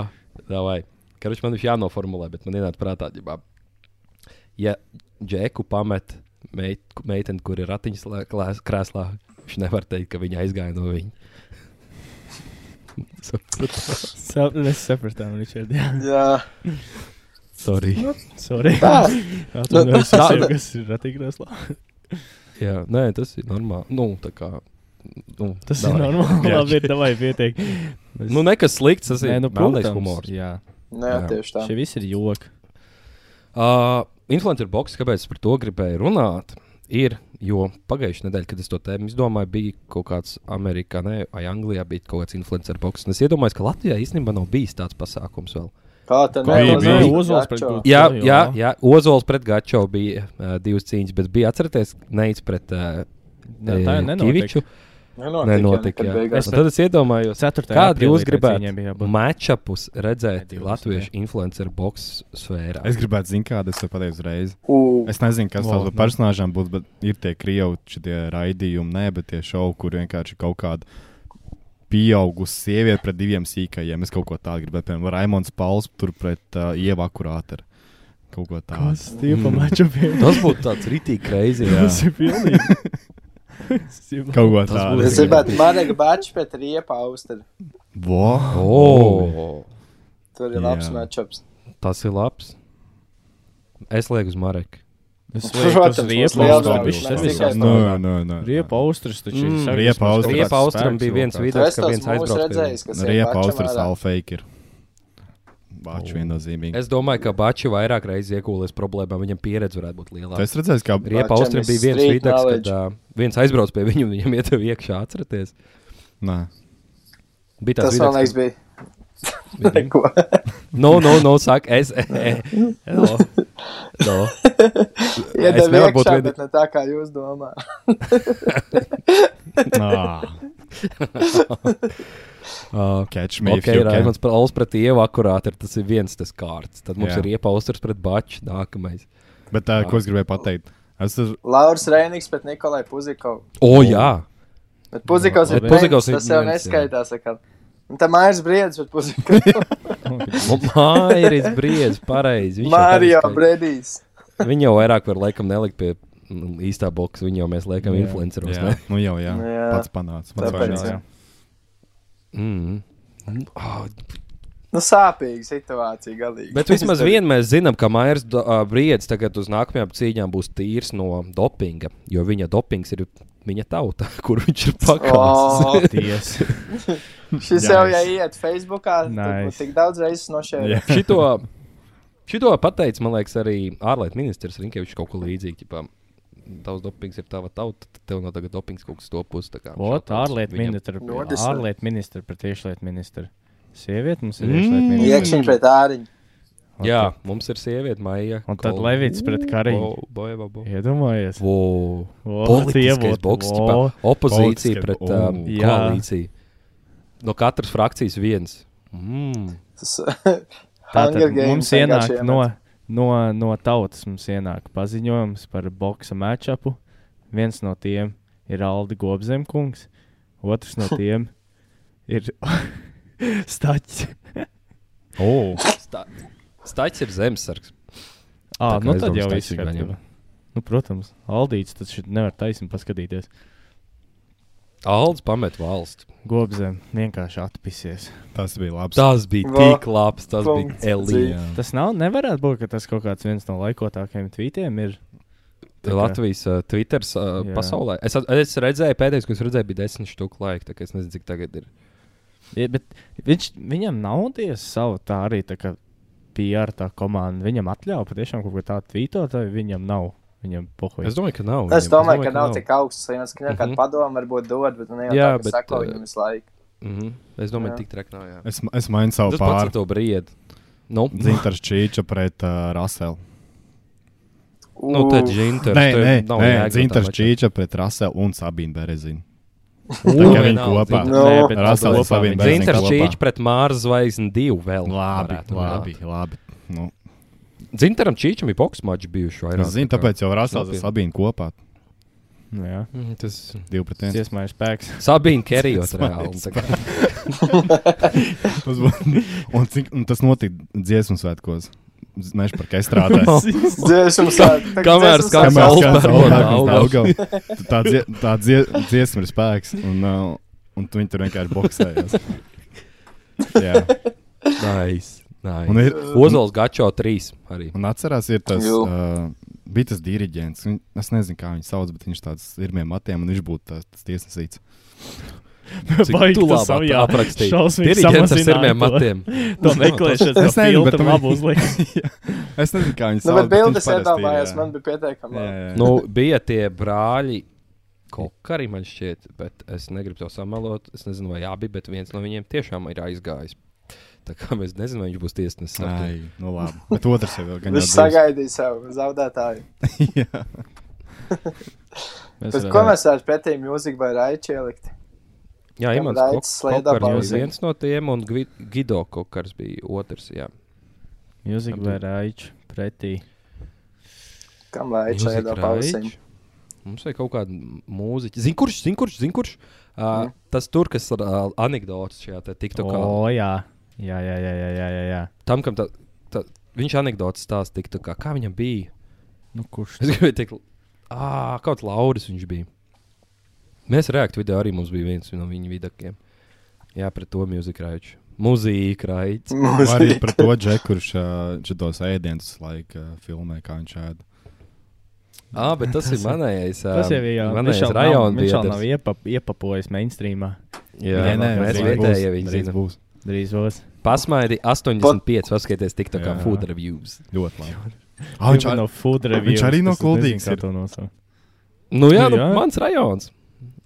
Speaker 1: davai. Karš man ir jānoformulē, bet man ienāca prātā, ģibā. ja džeku pamet meit, meiteni, kur ir ratiņas lē- klēs- krēslā, viņš nevar teikt, ka viņa aizgāja no viņa.
Speaker 8: Sap, mēs sapratām, Ričard. Jā,
Speaker 4: Jā,
Speaker 1: Sorry.
Speaker 8: sorry.
Speaker 4: tā.
Speaker 8: Atvainojos
Speaker 1: Nu, tā-
Speaker 8: visiem, kas ir ratīkrēslā.
Speaker 1: Jā, nē, tas ir normāli. Nu, tā kā. Nu,
Speaker 8: Tas
Speaker 1: davai.
Speaker 8: ir normāli.
Speaker 9: Jā.
Speaker 8: Labi, ir tavai pietiek. Mēs-
Speaker 1: Nu, nekas slikts, tas ir
Speaker 8: Nē, nu,
Speaker 1: melnais
Speaker 8: protams,
Speaker 1: humors.
Speaker 8: Jā,
Speaker 4: Nē,
Speaker 1: Jā.
Speaker 4: nu, tieši tā.
Speaker 8: šie visi ir joki.
Speaker 1: Uh, Influencer box, kāpēc es par to gribēju runāt, ir, jo pagājušajā nedēļā, kad es to tēmu izdomāju, bija kaut kāds Amerikā, ne, vai Anglijā bija kaut kāds influencer box. Un es iedomājos, ka Latvijā īstenībā nav bijis tāds pasākums vēl.
Speaker 4: Kā tad
Speaker 9: Kā bija, bija?
Speaker 8: Ozols pret Gulbi.
Speaker 1: Jā,
Speaker 8: Jā,
Speaker 1: jā,
Speaker 8: jā.
Speaker 1: jā Ozols pret Gačo bija uh, divas cīņas, bet bija atcerieties, neic pret uh,
Speaker 8: Jā, tā ir nenotiek.
Speaker 1: Kiviču. Nenotika. jā.
Speaker 4: Nenotika.
Speaker 1: Un Tad es iedomājos,
Speaker 8: Ceturtajā
Speaker 1: kādu
Speaker 8: aprīlī
Speaker 1: jūs
Speaker 8: pret cīņām bija
Speaker 1: gribētu Mm.
Speaker 8: jābūt.
Speaker 1: matčupus redzēt
Speaker 8: Ne, 20,
Speaker 1: latviešu influencer box sfērā?
Speaker 9: Es gribētu zināt, kāda ir pateicis reizē.
Speaker 4: Ugh,
Speaker 9: Es nezinu, kas
Speaker 8: Vau,
Speaker 9: tas par
Speaker 8: nu.
Speaker 9: personāžām būtu, bet ir tie krievišķi, tie raidījumi, nē, bet tie šovi, kur vienkārši kaut kāda pieaugusi sieviete pret diviem sīkajiem. Es kaut ko tādu gribētu, piemēram, Raimons Pauls tur pret uh, ievakurātu. Kaut ko tādu.
Speaker 8: Kas tīpa maču bija?
Speaker 1: Tas būtu tāds rītīgi kreizīgi.
Speaker 8: Tas ir pilnīgi. Tas ir
Speaker 9: Kaut ko
Speaker 1: Tas
Speaker 9: tādu.
Speaker 1: būs-
Speaker 4: Es gribētu Marega Bačs pēc riepa austeri.
Speaker 9: Wow.
Speaker 1: Oh,
Speaker 4: Tur ir labs
Speaker 9: Jā.
Speaker 4: matchups.
Speaker 1: tas ir labs. Es lieku uz Mareka.
Speaker 8: Es
Speaker 4: Protams,
Speaker 8: domāju, ka
Speaker 4: mums
Speaker 8: riepa
Speaker 4: Nu, liels
Speaker 8: austras
Speaker 4: draugs.
Speaker 8: bija
Speaker 4: Mēs
Speaker 8: sevi
Speaker 4: tikai
Speaker 8: sastāvā.
Speaker 9: Nē, nē, nē.
Speaker 8: Riepa austras taču ir
Speaker 1: Mm.
Speaker 8: sagatavots
Speaker 9: Riepa
Speaker 8: kaut
Speaker 9: austras.
Speaker 8: kāds
Speaker 1: Riepa austram
Speaker 8: spēks
Speaker 1: bija
Speaker 8: vēl
Speaker 1: viens
Speaker 8: kāds.
Speaker 1: video,
Speaker 4: Es
Speaker 1: ka
Speaker 4: tos
Speaker 1: viens
Speaker 4: mūsu
Speaker 1: aizbrauc. pie
Speaker 4: redzējis, kas ir
Speaker 9: Riepa
Speaker 4: Bačam
Speaker 9: austras
Speaker 4: ārā.
Speaker 9: alfeiki ir. Bāķis viennozīmīgi.
Speaker 1: viņa. Es domāju, ka Bačs vairāk reizes iekūlies problēmā, viņam pieredze varētu būt
Speaker 9: Tu
Speaker 1: lielāka.
Speaker 9: esi redzējis, kā
Speaker 1: Riepa
Speaker 4: Bačam
Speaker 1: Austram
Speaker 4: ir
Speaker 1: bija viens
Speaker 4: street
Speaker 1: video, kad
Speaker 4: knowledge.
Speaker 1: uh, viens aizbrauc pie viņa un viņam ietver iekšā, atcerieties.
Speaker 9: Nē.
Speaker 1: Bija tāds
Speaker 4: Tas man liekas
Speaker 1: videks,
Speaker 4: bija. Neko.
Speaker 1: ka no, no, no, saka, es. e, no, no.
Speaker 4: Iedeva
Speaker 1: nevaru būt
Speaker 4: iekšā,
Speaker 1: vien-
Speaker 4: bet ne tā kā jūs domājat.
Speaker 9: Nā.
Speaker 1: Uh,
Speaker 9: Catch me. if
Speaker 1: Okay,
Speaker 9: you can.
Speaker 1: Raimans Pauls pret Ievu akurāti ir tas ir viens tas kārts. Tad mums
Speaker 9: Jā.
Speaker 1: yeah. ir iepausters pret Baču nākamais.
Speaker 9: Bet tā, ko es gribēju pateikt? Es tur
Speaker 4: Lauris Reinīgs pret Nikolai Puzikovs.
Speaker 1: O, oh, jā!
Speaker 4: Bet Puzikovs ir
Speaker 1: bet Puzikovs
Speaker 4: Puzikovs.
Speaker 1: ir
Speaker 4: Tas jau
Speaker 1: viens, jā.
Speaker 4: neskaitās. tā kā. Un tā mājas briedis, bet Puzikovs.
Speaker 1: Mārcis Nu, Briedis, pareizi. Viņš jau
Speaker 4: Mārijā
Speaker 1: pareizi
Speaker 4: briedīs.
Speaker 1: teica. Viņu jau vairāk var laikam nelikt pie mm, īstā boxa, viņu jau mēs liekam
Speaker 8: Jā.
Speaker 1: influenceros.
Speaker 9: jā,
Speaker 1: ne?
Speaker 9: nu jau jā.
Speaker 4: Jā.
Speaker 9: pats panāca. Pats
Speaker 4: Tāpēc.
Speaker 9: vainīgs.
Speaker 4: jā.
Speaker 1: Mm. Oh,
Speaker 4: Nu, sāpīga situācija galīgi.
Speaker 1: bet vismaz vienu mēs zinām, ka Maijas Briedis tagad uz nākamajām cīņām būs tīrs no dopinga, jo viņa dopings ir viņa tauta, kur viņš ir pakāpis.
Speaker 4: Oh,
Speaker 8: Tiesa.
Speaker 4: šis
Speaker 9: Nice.
Speaker 4: jau ja iet Facebookā, tad
Speaker 8: Nice.
Speaker 4: būs tik daudz reizes no šeit.
Speaker 9: Jā.
Speaker 1: Šito, šito pateica, man liekas, arī ārlietu ministrs Rinkevičs kaut ko līdzīgu. Ķipā. Tavs dopings ir tava tauta, tad tev no tagad dopings kaut kas topus.
Speaker 8: Ot, ārlietu ministra,
Speaker 4: Nodis-
Speaker 8: ārlietu ministra pret iekšlietu ministru. Sieviete mums ir
Speaker 1: Mm.
Speaker 8: iekšlietu ministra.
Speaker 4: Iekšķi pret āriņu.
Speaker 1: Jā, mums ir sieviete, Maija.
Speaker 8: Un tad Levits pret Kariņu.
Speaker 1: Kariņu.
Speaker 8: Iedomājies. Vo,
Speaker 1: Politiskais
Speaker 8: ievot,
Speaker 1: boks,
Speaker 8: vo.
Speaker 1: ķipā, opozīcija
Speaker 9: Politiskais-
Speaker 1: pret
Speaker 9: o.
Speaker 1: um,
Speaker 8: Jā.
Speaker 1: koalīciju. No katras frakcijas viens. Mm.
Speaker 4: Hunger
Speaker 8: Tātad
Speaker 4: Games
Speaker 8: mums
Speaker 4: vienkārši
Speaker 8: ienāk
Speaker 4: iemet.
Speaker 8: no, no, no tautas mums ienāk paziņojums par boxa matčupu. Viens no tiem ir Alde Gobzemkungs, otrs no tiem ir Staķis.
Speaker 9: O,
Speaker 1: Sta- Staķis ir zemesargs. Tā
Speaker 8: Ah,
Speaker 1: kā
Speaker 8: nu
Speaker 1: es
Speaker 8: tad
Speaker 1: domāju,
Speaker 8: jau
Speaker 1: Staķis
Speaker 8: viss ir
Speaker 1: ir
Speaker 8: kārtībā.
Speaker 1: gaņem.
Speaker 8: Nu, protams, Aldīts tas šeit nevar taisni paskatīties.
Speaker 1: Aldis pamet valsts.
Speaker 8: Gobzem vienkārši atpisies.
Speaker 9: tas bija labs.
Speaker 1: Tas bija
Speaker 4: Va-
Speaker 1: tik labs, tas bija
Speaker 4: punkts.
Speaker 1: elīte.
Speaker 9: Jā.
Speaker 8: Tas nav, nevarētu būt, ka tas kaut kāds viens no laikotākajiem tvītiem ir. Tā kā-
Speaker 1: Latvijas uh, Twitter uh,
Speaker 8: Jā.
Speaker 1: pasaulē. Es, at- es redzēju, pēdējais, ko es redzēju, bija desmit stūku laika. Tā kā es nezinu, cik tagad ir.
Speaker 8: Ja, bet viņš, viņam nav tiesa savu tā arī tā kā PR tā komanda. Viņam atļauj patiešām kaut ko tādu tvītotāju, viņam nav. Viņam pohoja.
Speaker 1: Es domāju, ka nav.
Speaker 4: Es domāju, ka nav tik augsts līmenis, ka
Speaker 1: Mhm.
Speaker 4: nekāda padoma varbūt dod, bet nu, ne jau
Speaker 1: Jā,
Speaker 4: tā,
Speaker 1: bet,
Speaker 4: ka
Speaker 1: eh,
Speaker 4: sako viņam visu laiku.
Speaker 1: Mm -hmm. Es domāju,
Speaker 4: Jā.
Speaker 1: tik traki nav. Jā.
Speaker 9: Es, es mainu savu
Speaker 1: Tas pats ar
Speaker 9: pāri.
Speaker 1: to brīdi. Nu,
Speaker 9: Zintars Čīča pret uh, Raselu.
Speaker 1: nu tad
Speaker 4: Ū,
Speaker 1: Zintars.
Speaker 9: Nē, nē, nē Zintars Čīča pret Raselu un Sabīnu Berezinu. Tā kā viņi kopā.
Speaker 4: Zintars- Nē, bet
Speaker 9: Rasels saviem bērniem
Speaker 1: Zintars
Speaker 9: kopā.
Speaker 1: Čīčs pret Mārs Zvaigzni divu vēl.
Speaker 9: Labi,
Speaker 1: varētu
Speaker 9: labi,
Speaker 1: runāt.
Speaker 9: labi. Nu,
Speaker 1: Zintaram Čīčam bija boks mačs bijuši vairāk.
Speaker 9: es zinu, tāpēc jau Rasels
Speaker 1: Nopietni.
Speaker 9: un Sabīna kopā.
Speaker 8: nu Jā,
Speaker 1: Mm, Tas
Speaker 9: 2 pret
Speaker 8: tas
Speaker 9: 1.
Speaker 8: ir iesmaiņas spēks.
Speaker 1: Sabīna Kerijot reāli. tā kā.
Speaker 9: Tas bū- un, cik, un tas notika dziesmu svētkos. Z- Mēs par kestrādājām.
Speaker 4: Dziesmu sāk. Tā kā
Speaker 1: Kamēr
Speaker 4: dziesmu
Speaker 1: skan
Speaker 4: sāk- Nu,
Speaker 1: saule.
Speaker 9: Tā, dzie, tā dzie, dziesma ir spēks, un, uh, un tu viņi tur vienkārši boxējās. Jā,
Speaker 1: Nice,
Speaker 9: un,
Speaker 1: nice.
Speaker 9: ir,
Speaker 1: Ozols Gačo 3 arī.
Speaker 9: un atcerās, ir tas,
Speaker 4: Jū.
Speaker 9: uh, bija tas diriģents. Viņ, es nezinu, kā viņu sauc, bet viņš tāds ir miem matiem, un viņš būtu tā- tas tiesnesīts.
Speaker 1: Cik tu labi ap- aprakstīji? Diriģents ar sirmiem matiem. Nu,
Speaker 8: To meklēšanu,
Speaker 9: Es
Speaker 8: tas
Speaker 9: nezinu, bet
Speaker 8: ir
Speaker 9: tu man-
Speaker 8: labi uzlikt.
Speaker 9: Es nezinu, kā viņu
Speaker 4: Nu,
Speaker 9: sauc.
Speaker 4: bet bildes
Speaker 9: viņš parasti ir,
Speaker 4: iedomājās,
Speaker 9: jā.
Speaker 4: man bija pietiekami.
Speaker 9: Jā,
Speaker 4: labi.
Speaker 9: jā, jā.
Speaker 1: Nu, bija tie brāļi. Kokari man šķiet, bet es negribu to samalot. Es nezinu, vai abi, bet viens no viņiem tiešām ir aizgājis. Tā kā mēs nezinām, vai viņš būs tiesnesis. Ar
Speaker 9: Ai, nu labi. Bet otrs jau gan
Speaker 4: Viņš sagaidīja savu zaudētāju.
Speaker 9: sagaidīja.
Speaker 8: Mēs
Speaker 4: Bet ko mēs varam pretī mūziku vai raiču ielikt?
Speaker 1: to- Jā,
Speaker 4: Tam
Speaker 1: Imants
Speaker 4: Raicis
Speaker 1: Kok-
Speaker 4: slēdā
Speaker 1: Kokars bija
Speaker 4: balsi.
Speaker 1: viens no tiem, un Gvi- Gido Kokars bija otrs. Jā,
Speaker 8: Mūzika vai raiču pretī.
Speaker 4: Kam raiču
Speaker 1: Music
Speaker 4: iedo
Speaker 1: Raič.
Speaker 4: pausiņu?
Speaker 1: Mums vajag kaut kādu mūziķu. Zini, kurš, zini, kurš, zini, kurš? Uh, tas tur, kas ir uh, anekdots šajā te tiktokā.
Speaker 8: O, jā. Jā, jā, jā, jā, jā, jā, jā.
Speaker 1: Tam, kam tā, tā, viņš anekdots stāsta tiktokā, kā viņam bija.
Speaker 8: Nu, kurš?
Speaker 1: Es gribēju teikt, ah, kaut kāds Lauris viņš bija. Mēs reaktu video arī mums bija viens no viņa vidakiem. Jā, pret to mūziku raiču. Mūzika raiču.
Speaker 9: Vai arī par to džeku, kurš šitos ēdienus laika filmē, kā viņš ēda.
Speaker 1: Ah, bet tas ir manējais.
Speaker 8: Tas jau ir jau
Speaker 1: manējais
Speaker 8: Mišel nav-
Speaker 1: rajona
Speaker 8: Mišel nav
Speaker 1: biedrs.
Speaker 8: iepa, iepapojis mainstreamā.
Speaker 1: Jā,
Speaker 9: Nē, nē,
Speaker 1: mēs
Speaker 9: drīz būs,
Speaker 1: vietējie viņi
Speaker 9: drīz
Speaker 1: zinām.
Speaker 9: būs.
Speaker 8: Drīz būs.
Speaker 1: Pasmaidi 85, paskatieties tiktokā
Speaker 9: Jā.
Speaker 1: food reviews.
Speaker 9: Ļoti labi. Ah, viņš
Speaker 8: Viena
Speaker 9: arī
Speaker 8: no food
Speaker 9: viņš
Speaker 8: reviews.
Speaker 9: arī no
Speaker 8: kas es nezinu,
Speaker 9: Kuldīgas
Speaker 8: kā
Speaker 9: ir.
Speaker 8: to nosaukt.
Speaker 1: Nu jā, nu,
Speaker 8: Nu jā.
Speaker 1: mans rajons.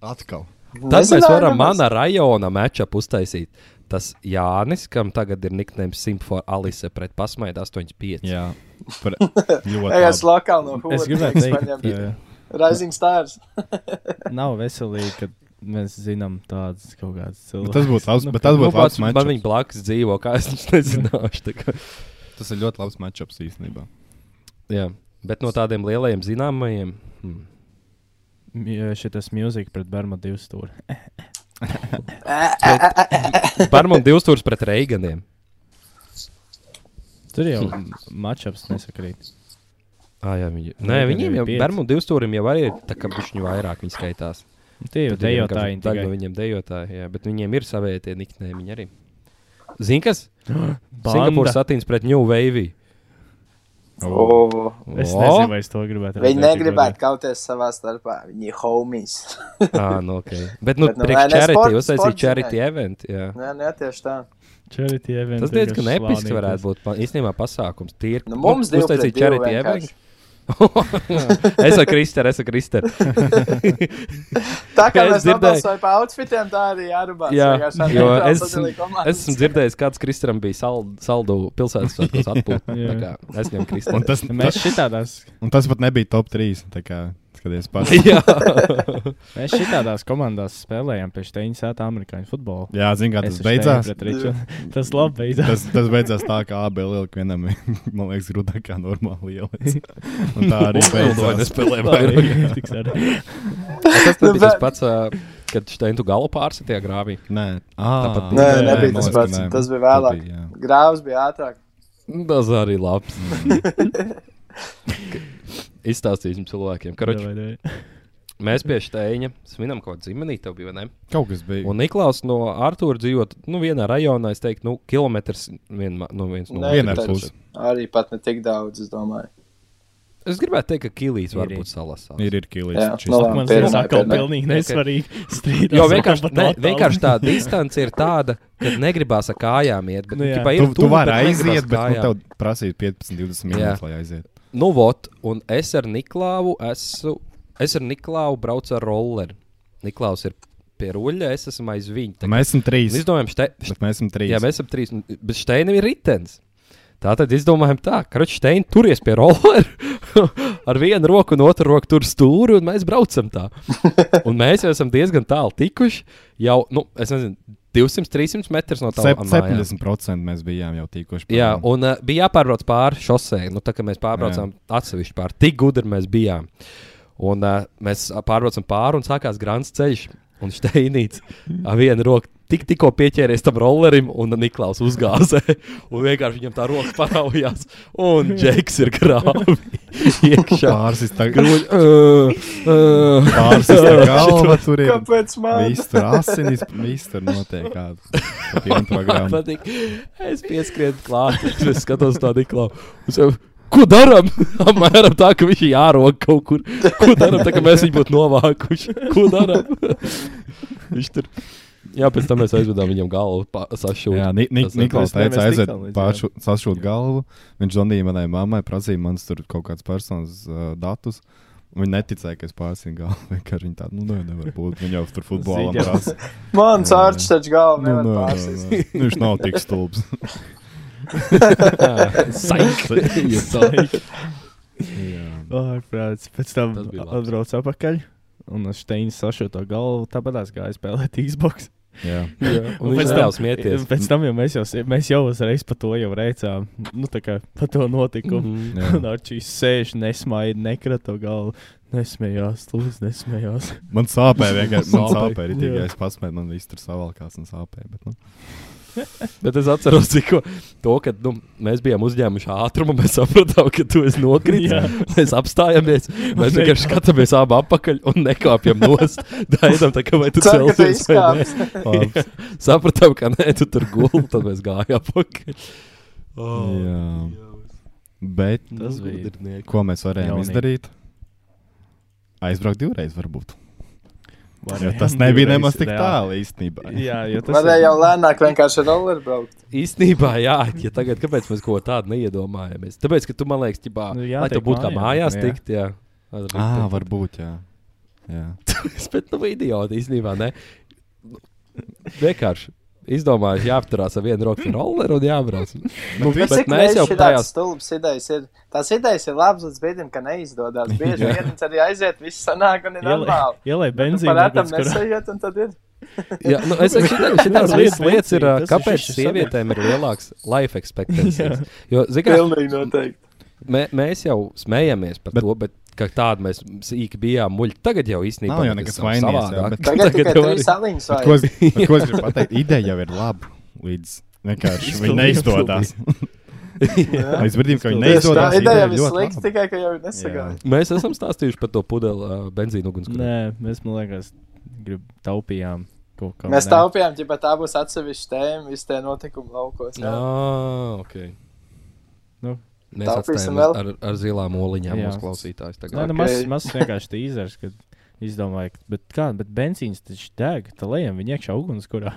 Speaker 9: atkal.
Speaker 1: Tad mēs varam mana rajona matču uztaisīt. Tas Jānis, kam tagad ir niknēms Simfor Alise pret pasmaidi 85.
Speaker 9: Jā, par,
Speaker 4: Ej, es
Speaker 9: ļoti labi.
Speaker 4: lokāli no
Speaker 8: Es
Speaker 4: Hoover.
Speaker 8: gribēju teikt,
Speaker 4: Rising Stars.
Speaker 8: ka nav eh, veselīgi, ka mēs zinām tādas kaut kādas
Speaker 9: Nu,
Speaker 8: cilvēkus.
Speaker 9: Tas būtu labs, bet tas
Speaker 1: Nu,
Speaker 9: būtu labs
Speaker 1: pats man viņa
Speaker 9: matčups.
Speaker 1: blakus dzīvo, kā es viņš nezināšu. tā kā.
Speaker 9: Tas ir ļoti labs matčups īstenībā.
Speaker 1: Jā. Bet no tādiem lielajiem zināmajiem. Hmm.
Speaker 8: eh, Šitas mūzika pret Bermu divu stūri.
Speaker 1: Par mums divus stūrus pret Reiganiem.
Speaker 8: Tur jau matčups nesakrīt.
Speaker 1: Ah, jā, viņi... Nē,
Speaker 8: Reiganiem
Speaker 1: viņiem
Speaker 8: ir
Speaker 1: jau
Speaker 8: pieci.
Speaker 1: par mums divus stūriem jau arī ir tā kā bišķiņu vairāk viņi skaitās.
Speaker 8: Tie jau
Speaker 1: Tad ir
Speaker 8: dejotāji
Speaker 1: vienkārši
Speaker 8: tikai.
Speaker 1: Daļa no viņiem dejotāji, jā, bet viņiem ir savie tie niknēmi arī. Zini, kas?
Speaker 8: Banda.
Speaker 1: Singapūras satīns pret New Wave.
Speaker 4: O,
Speaker 8: Es nezinu, vai es to gribētu.
Speaker 4: Viņi
Speaker 8: redzēt,
Speaker 4: negribētu kauties savā starpā. Viņi ir homies.
Speaker 1: Ah, nu, okay. Bet, nu,
Speaker 4: Bet, nu,
Speaker 1: priekš
Speaker 4: nē, nē,
Speaker 1: charity,
Speaker 4: sports-
Speaker 1: uztaisīja
Speaker 4: sports
Speaker 1: charity
Speaker 4: zinai.
Speaker 1: event. Jā.
Speaker 4: Nē, nē, tieši tā.
Speaker 8: Charity event.
Speaker 1: Tas diezgan episki varētu būt. pa- Īstenībā pasākums tīri.
Speaker 4: Nu, mums divi pret
Speaker 1: uztaisīt
Speaker 4: divu
Speaker 1: charity
Speaker 4: vienkārši.
Speaker 1: event. es esmu Kristers, es esmu Kristers.
Speaker 4: Tā kā
Speaker 1: Es
Speaker 4: mēs
Speaker 1: dzirdēju-
Speaker 4: nobalsojam par outfitiem, tā arī jārubā.
Speaker 1: Jā, jo es esmu, es esmu dzirdējis, kāds Kristram bija sal, saldu pilsētas svētkos atpūta. Tā kā Es ņemu
Speaker 9: Un
Speaker 4: Nu,
Speaker 1: Kristram.
Speaker 9: tas,
Speaker 8: Nu, Mēs šitādās,
Speaker 9: un tas pat nebija top 3. Tā kā skaties pats.
Speaker 1: Jā,
Speaker 8: mēs šitādās komandās spēlējām pie Steina sēta amerikāņu futbolu.
Speaker 9: Jā, zināmā
Speaker 8: Es
Speaker 9: mērā tas
Speaker 8: ar
Speaker 9: beidzās.
Speaker 8: Steinu pret Riču. tas labi beidzās.
Speaker 9: Tas, tas beidzās tā, ka abi lielākie vienam ir, man liekas, grūtāk kā normāli lielais. Un tā arī beidzās.
Speaker 1: spēlēju
Speaker 8: Tiks arī.
Speaker 1: Tas
Speaker 4: Nu,
Speaker 1: nebija tas
Speaker 4: bet-
Speaker 1: pats, ā, kad Steintu galu pārsitie grāvī.
Speaker 9: Nē, ah,
Speaker 1: Tāpat-
Speaker 4: Nē,
Speaker 1: Nē,
Speaker 4: nebija
Speaker 1: man
Speaker 4: tas
Speaker 1: liekas,
Speaker 4: pats. Tas bija vēlāk. Grāvs bija ātrāk.
Speaker 1: Tas arī labs. Izstāstīsim cilvēkiem. Karoči, mēs pie Steina svinam kaut kādu dzimtenī, tev bija vai ne?
Speaker 9: Kaut kas bija.
Speaker 1: Un Niklaus no Artūra dzīvot nu, vienā rajonā, es teiktu, nu, kilometrs vien, no viens no
Speaker 4: Nē,
Speaker 9: Vienā
Speaker 1: otras.
Speaker 4: tāpēc-
Speaker 9: pusē
Speaker 4: Arī pat ne tik daudz, es domāju.
Speaker 1: Es gribētu teikt, ka Kilijas var
Speaker 8: Ir.
Speaker 1: būt salasā.
Speaker 9: ir, ir kilīs.
Speaker 4: Jā,
Speaker 9: šis-
Speaker 4: nu labi.
Speaker 8: Man
Speaker 4: Pirmā,
Speaker 8: liekas, atkal
Speaker 4: pirmā.
Speaker 8: pilnīgi nesvarīgi strīdās.
Speaker 1: Jo vienkārši,
Speaker 8: pat
Speaker 1: ne,
Speaker 8: attālumā.
Speaker 1: vienkārši tā distance ir tāda, ka negribās ar kājām iet. Bet,
Speaker 8: Nu
Speaker 1: nu,
Speaker 8: jā.
Speaker 1: jā,
Speaker 9: Tu, tu vari aiziet, bet nu, tev prasīja 15,
Speaker 1: Jā.
Speaker 9: 20 minūtes, lai aizietu.
Speaker 1: Nu, vot, un es ar Niklāvu esmu. Es ar Niklāvu braucu ar rolleri. Niklaus ir pie ruļļa, es esmu aiz viņa. Tā kā-
Speaker 9: Mēs esam trīs.
Speaker 1: Un Izdomājam, šte...
Speaker 9: Bet mēs esam trīs.
Speaker 1: Jā, mēs esam trīs. un- Bet Steinam ir ritenis. Tā tad izdomājam, tā, ka Steina turies pie rollera ar vienu roku un otru roku tur stūri, un mēs braucam tā. Un mēs jau esam diezgan tālu tikuši. Jau, nu, es nezinu, 200, 300 metrus no tā
Speaker 9: Sep-
Speaker 1: mājām.
Speaker 9: 70% mēs bijām jau tīkoši.
Speaker 1: Jā, un uh, bija jāpārbrauc pāri šosei. Nu, tā kā mēs pārbraucām atsevišķi pāri, tik gudri mēs bijām. Un uh, mēs ā, pārbraucām pāri un sākās grāmatas ceļš. Un Steinīts ar vienu roku tik, tikko pieķēries tam rollerim, un Niklaus uzgāzē. Un vienkārši viņam tā roka paraujās. Un Džeks ir grāmatā. iekšā.
Speaker 9: pāris tā
Speaker 1: Gruņ, uh, uh.
Speaker 9: Pāris tā galva tur ir.
Speaker 4: Kāpēc man?
Speaker 9: Viss tur asinis, viss tur notiek kāda. Pienu
Speaker 1: Man
Speaker 9: programmu.
Speaker 1: patīk. Es pieskrienu klāt, es skatos tādu iklāpu. Ko darām? Apmēram tā, ka viņš ir jārok kaut kur. Ko darām? Tā kā mēs viņu būtu novākuši. Ko darām? viņš tur. Jā, pēc tam mēs aizvedām viņam galvu pa- sašūt.
Speaker 9: Jā, nu, Ni- Ni-
Speaker 1: Tas ir-
Speaker 9: Niklaus
Speaker 8: mēs-
Speaker 9: teica,
Speaker 8: mēs
Speaker 9: aiziet
Speaker 8: tikām līdz, jā.
Speaker 9: pašu sašūt galvu. Viņš zvanīja manai mammai, prasīja manas tur kaut kādas personas uh, datus. Un Viņa neticēja, ka es pārsinu galvu. Vienkārši viņa tāda, nu, nē, nevar būt. Viņa jau tur futbolā
Speaker 8: Zīģelis.
Speaker 9: prasa.
Speaker 4: Mans
Speaker 9: Jā.
Speaker 4: ārsts taču galvu
Speaker 9: Nu,
Speaker 4: nevar
Speaker 9: nē,
Speaker 4: pārsist.
Speaker 9: nē, nē. Viņš nav tik stulbs.
Speaker 1: Saik.
Speaker 8: Ārprāts. Pēc tam
Speaker 1: Tas bija labs.
Speaker 8: atbraucu atpakaļ. Un es Steinu sašuto galvu, tāpat es gāju spēlēt Xbox.
Speaker 9: Jā.
Speaker 1: Jā, un
Speaker 8: Un
Speaker 1: viņš
Speaker 8: pēc
Speaker 1: nevēlas
Speaker 8: tam-
Speaker 1: smieties.
Speaker 8: Pēc tam jau mēs jau, s- mēs jau uzreiz par to jau rēcām. Nu, tā kā par to notikumu.
Speaker 1: Mhm.
Speaker 9: Jā.
Speaker 8: Un Arčīs sēž, nesmaida, nekrata galvu. Nesmējās, lūdzu, nesmējās.
Speaker 9: Man sāpēja vienkārši. Man
Speaker 8: Sāpēja,
Speaker 9: sāpēja arī.
Speaker 8: jā.
Speaker 9: Es pasmēju, man viss tur savalkās un sāpēja. Bet, nu.
Speaker 1: Bet es atceros, tikko to, ka nu, mēs bijām uzņēmuši ātrumu, mēs sapratām, ka tu esi nokritis. Mēs apstājamies, mēs vienkārši skatāmies abi apakaļ un nekāpjam nost. Daidam, tā kā vai tu
Speaker 4: Ceru, ka tu
Speaker 1: celsies vai nē.
Speaker 4: izkāpsi.
Speaker 9: Labs.
Speaker 1: Jā. Sapratām, ka nē, tu tur gulēji, tad mēs gājām apakaļ.
Speaker 9: Jā. Bet
Speaker 8: Tas
Speaker 1: Nu,
Speaker 8: bija.
Speaker 1: gudrnieks.
Speaker 9: ko mēs varējām
Speaker 8: Jaunība.
Speaker 9: izdarīt? Aizbraukt divreiz, varbūt. Jo
Speaker 8: Varējām
Speaker 9: tas nebija
Speaker 8: divreiz,
Speaker 9: nemaz tik
Speaker 8: jā.
Speaker 9: tālu īstenībā.
Speaker 8: Jā, jo tas
Speaker 4: Varēja
Speaker 8: ir-
Speaker 4: jau lēnāk vienkārši ar rolleri braukt.
Speaker 1: Īstenībā, jā, ja tagad kāpēc mēs ko tādu neiedomājamies? Tāpēc, ka tu man liekas, ķibā,
Speaker 8: Nu,
Speaker 1: nu,
Speaker 8: jā,
Speaker 1: lai tev
Speaker 8: tiek
Speaker 1: būtu kā mājās
Speaker 8: mājās, jā.
Speaker 1: tikt, jā.
Speaker 9: Ah, varbūt, jā. jā.
Speaker 1: Es pat nav idioti īstenībā. Ne? Nu, Vienkārši. izdomājuši, jāapturās ar vienu roku rolleru un jābrauc. nu,
Speaker 9: Bet
Speaker 1: bet mēs jau
Speaker 4: tādas
Speaker 1: tajās.
Speaker 4: stulbas idejas ir. Tās idejas ir labas līdz brīdim, ka neizdodas. Bieži vien tas arī aiziet, viss sanāk un ir normāli.
Speaker 8: Ielai benzīnu.
Speaker 4: Parātam
Speaker 8: nedaudz, kurā-
Speaker 4: nesajūt, un tad ir.
Speaker 1: Jā, nu, es domāju, ka šīs lietas,
Speaker 8: Jā, līdz
Speaker 1: lietas ir,
Speaker 8: līdzīgi,
Speaker 1: ā,
Speaker 8: tas ir
Speaker 1: kāpēc
Speaker 8: šis
Speaker 1: sievietēm ir lielāks life expectancy. Jo, zinām,
Speaker 4: Pilnīgi noteikti.
Speaker 1: mē, mēs jau smējamies par
Speaker 9: Bet-
Speaker 1: bet, to, bet kā tāda mēs sīki bijām muļķi. Tagad jau īstenībā
Speaker 9: Nav jau
Speaker 1: tas
Speaker 9: nekas
Speaker 1: nav
Speaker 9: vainīgs, jā,
Speaker 1: savādāk.
Speaker 9: bet-
Speaker 4: Tagad tikai
Speaker 1: jau
Speaker 4: trīs aliņas
Speaker 9: Bet Ko
Speaker 4: vajag.
Speaker 9: es, bet ko es gribu pateikt? Ideja jau ir laba. Līdz vienkārši viņa neizdodas. Līdz brīdim, kad viņa
Speaker 4: Tieši Tā
Speaker 9: neizdodas,
Speaker 4: ideja
Speaker 9: ideja
Speaker 4: jau ir
Speaker 9: ļoti
Speaker 4: slikta,
Speaker 9: laba.
Speaker 4: tikai ka jau ir nesagājusi.
Speaker 1: Mēs esam stāstījuši par to pudeli uh, benzīnu ugunskura.
Speaker 8: Nē, mēs, man liekas, grib taupījām kaut kā.
Speaker 4: Mēs taupījām, ja tā būs atsevišķa tēma, visi tie notikumi laukos. jā.
Speaker 1: Ah, ok.
Speaker 8: Nu.
Speaker 1: Mēs
Speaker 4: Taupīsim
Speaker 1: atstājam
Speaker 4: vēl?
Speaker 1: ar, ar zilām oliņām
Speaker 8: Jā.
Speaker 1: mūsu klausītājus.
Speaker 8: Nē,
Speaker 1: tagad.
Speaker 8: nu,
Speaker 4: Ok.
Speaker 8: mazs, mazs vienkārši tīzers, kad izdomāju, ka- bet kā, bet benzīns taču deg, tā lejam viņa iekšā ugunskurā.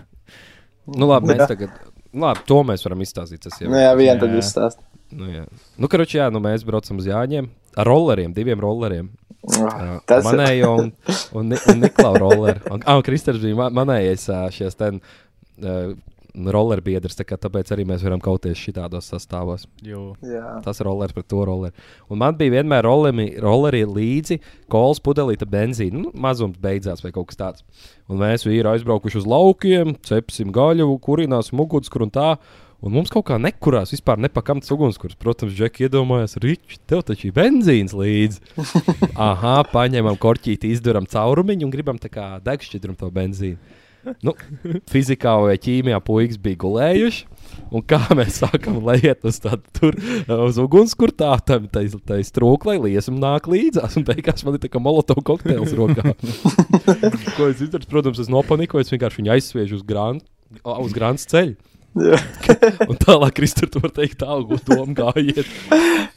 Speaker 1: Nu, labi,
Speaker 4: Jā.
Speaker 1: mēs tagad. Labi, to mēs varam izstāstīt. Tas jau
Speaker 4: Nu, jā, viena tad
Speaker 8: Jā.
Speaker 4: izstāsta.
Speaker 1: Nu, jā. Nu, karoči, jā, nu, mēs braucam uz Jāņiem ar rolleriem, diviem rolleriem.
Speaker 4: Ah,
Speaker 1: Tas
Speaker 4: tas ir-
Speaker 1: manējo un, un, Ni- un Niklaus rolleri. Un, ah, un Kristers bija ma- manējais ā, šies ten. ā, Roller biedrs, tā kā tāpēc arī mēs varam kauties šitādos sastāvos.
Speaker 8: Jo,
Speaker 4: Jā,
Speaker 1: Tas ir rollers pret to rolleri. Un man bija vienmēr rolemi- rolleri līdzi kolas pudelīte benzīna. Nu, mazums beidzās vai kaut kas tāds. Un mēs vīri aizbraukuši uz laukiem, cepsim gaļu, kurināsim ugunskura un tā. Un mums kaut kā nekurās vispār nepakamts ugunskurs. Protams, Džeki iedomājās, Ričs, tev taču ir benzīns līdzi. Aha, paņemam korķīti, izduram caurumiņu un gribam tā kā degšķidrumu to benzīnu. Nu, fizikā vai ķīmijā puikas bija gulējuši. Un kā mēs sākam lejiet uz eh, tādu ugunskura tā, tam tā strūklai, liesam nāk līdzās. Un beigās man ir tā kā molotovu kokteils rokā. Ko es izdarīju? Protams, es nopanikoju, es vienkārši viņu aizsviežu uz grāmatu. Uz grāmatas ceļa.
Speaker 4: jā.
Speaker 1: Un tālāk, Kristūra, tur var teikt, tā, ko domā gājiet.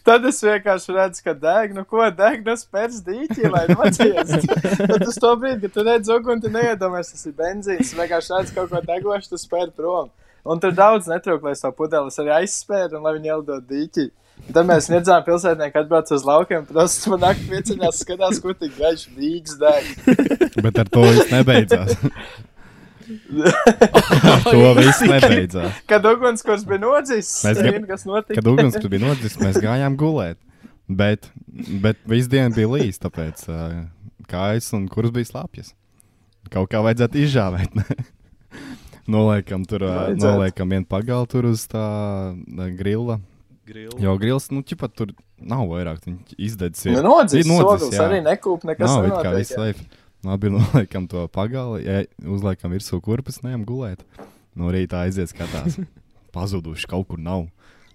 Speaker 4: Tad es vienkārši redzu, ka deg, nu ko deg, tas pēc dīķi, lai nociestu. Tad uz to brīdi, kad tu redz uguni, tu neiedomājies, tas ir benzīns. Vienkārši redz kaut ko degošu, tu spēr prom. Un tur daudz netrūk, lai savu pudeles arī aizspēr un lai viņi ieldo dīķi. Un Tad mēs redzam, pilsētnieki atbrauc uz laukiem, protams, man naktī pieciņās skatās, kur tik gaišs dīķis deg.
Speaker 9: Bet ar to viss nebeidzās. ar to viss nebeidzās.
Speaker 4: Kad ugunskurs bija nodzis,
Speaker 9: Mēs
Speaker 4: mēs
Speaker 9: grib-
Speaker 4: zinām, kas notika.
Speaker 9: Kad uguns bija nodzis, mēs gājām gulēt. Bet, bet visu dienu bija līdzi, tāpēc ā, kājas un kuras bija slāpjas. Kaut kā vajadzētu izžāvēt. Ne? Noliekam, tur, ā,
Speaker 4: Vajadzētu.
Speaker 9: noliekam vienu pagalu tur uz tā ā, grilla. Jo grils, nu, ķipat tur nav vairāk. Viņš izdedzis.
Speaker 4: Nu, nodzis, nodzis
Speaker 9: jā.
Speaker 4: arī nekūp, nekas
Speaker 9: Nav it kā
Speaker 4: nenotiek.
Speaker 9: viss laif. Labi, noliekam to pagāli, ja uzliekam virsū kurpes, neejam gulēt. No rīta aiziet skatās. Pazuduši kaut kur nav.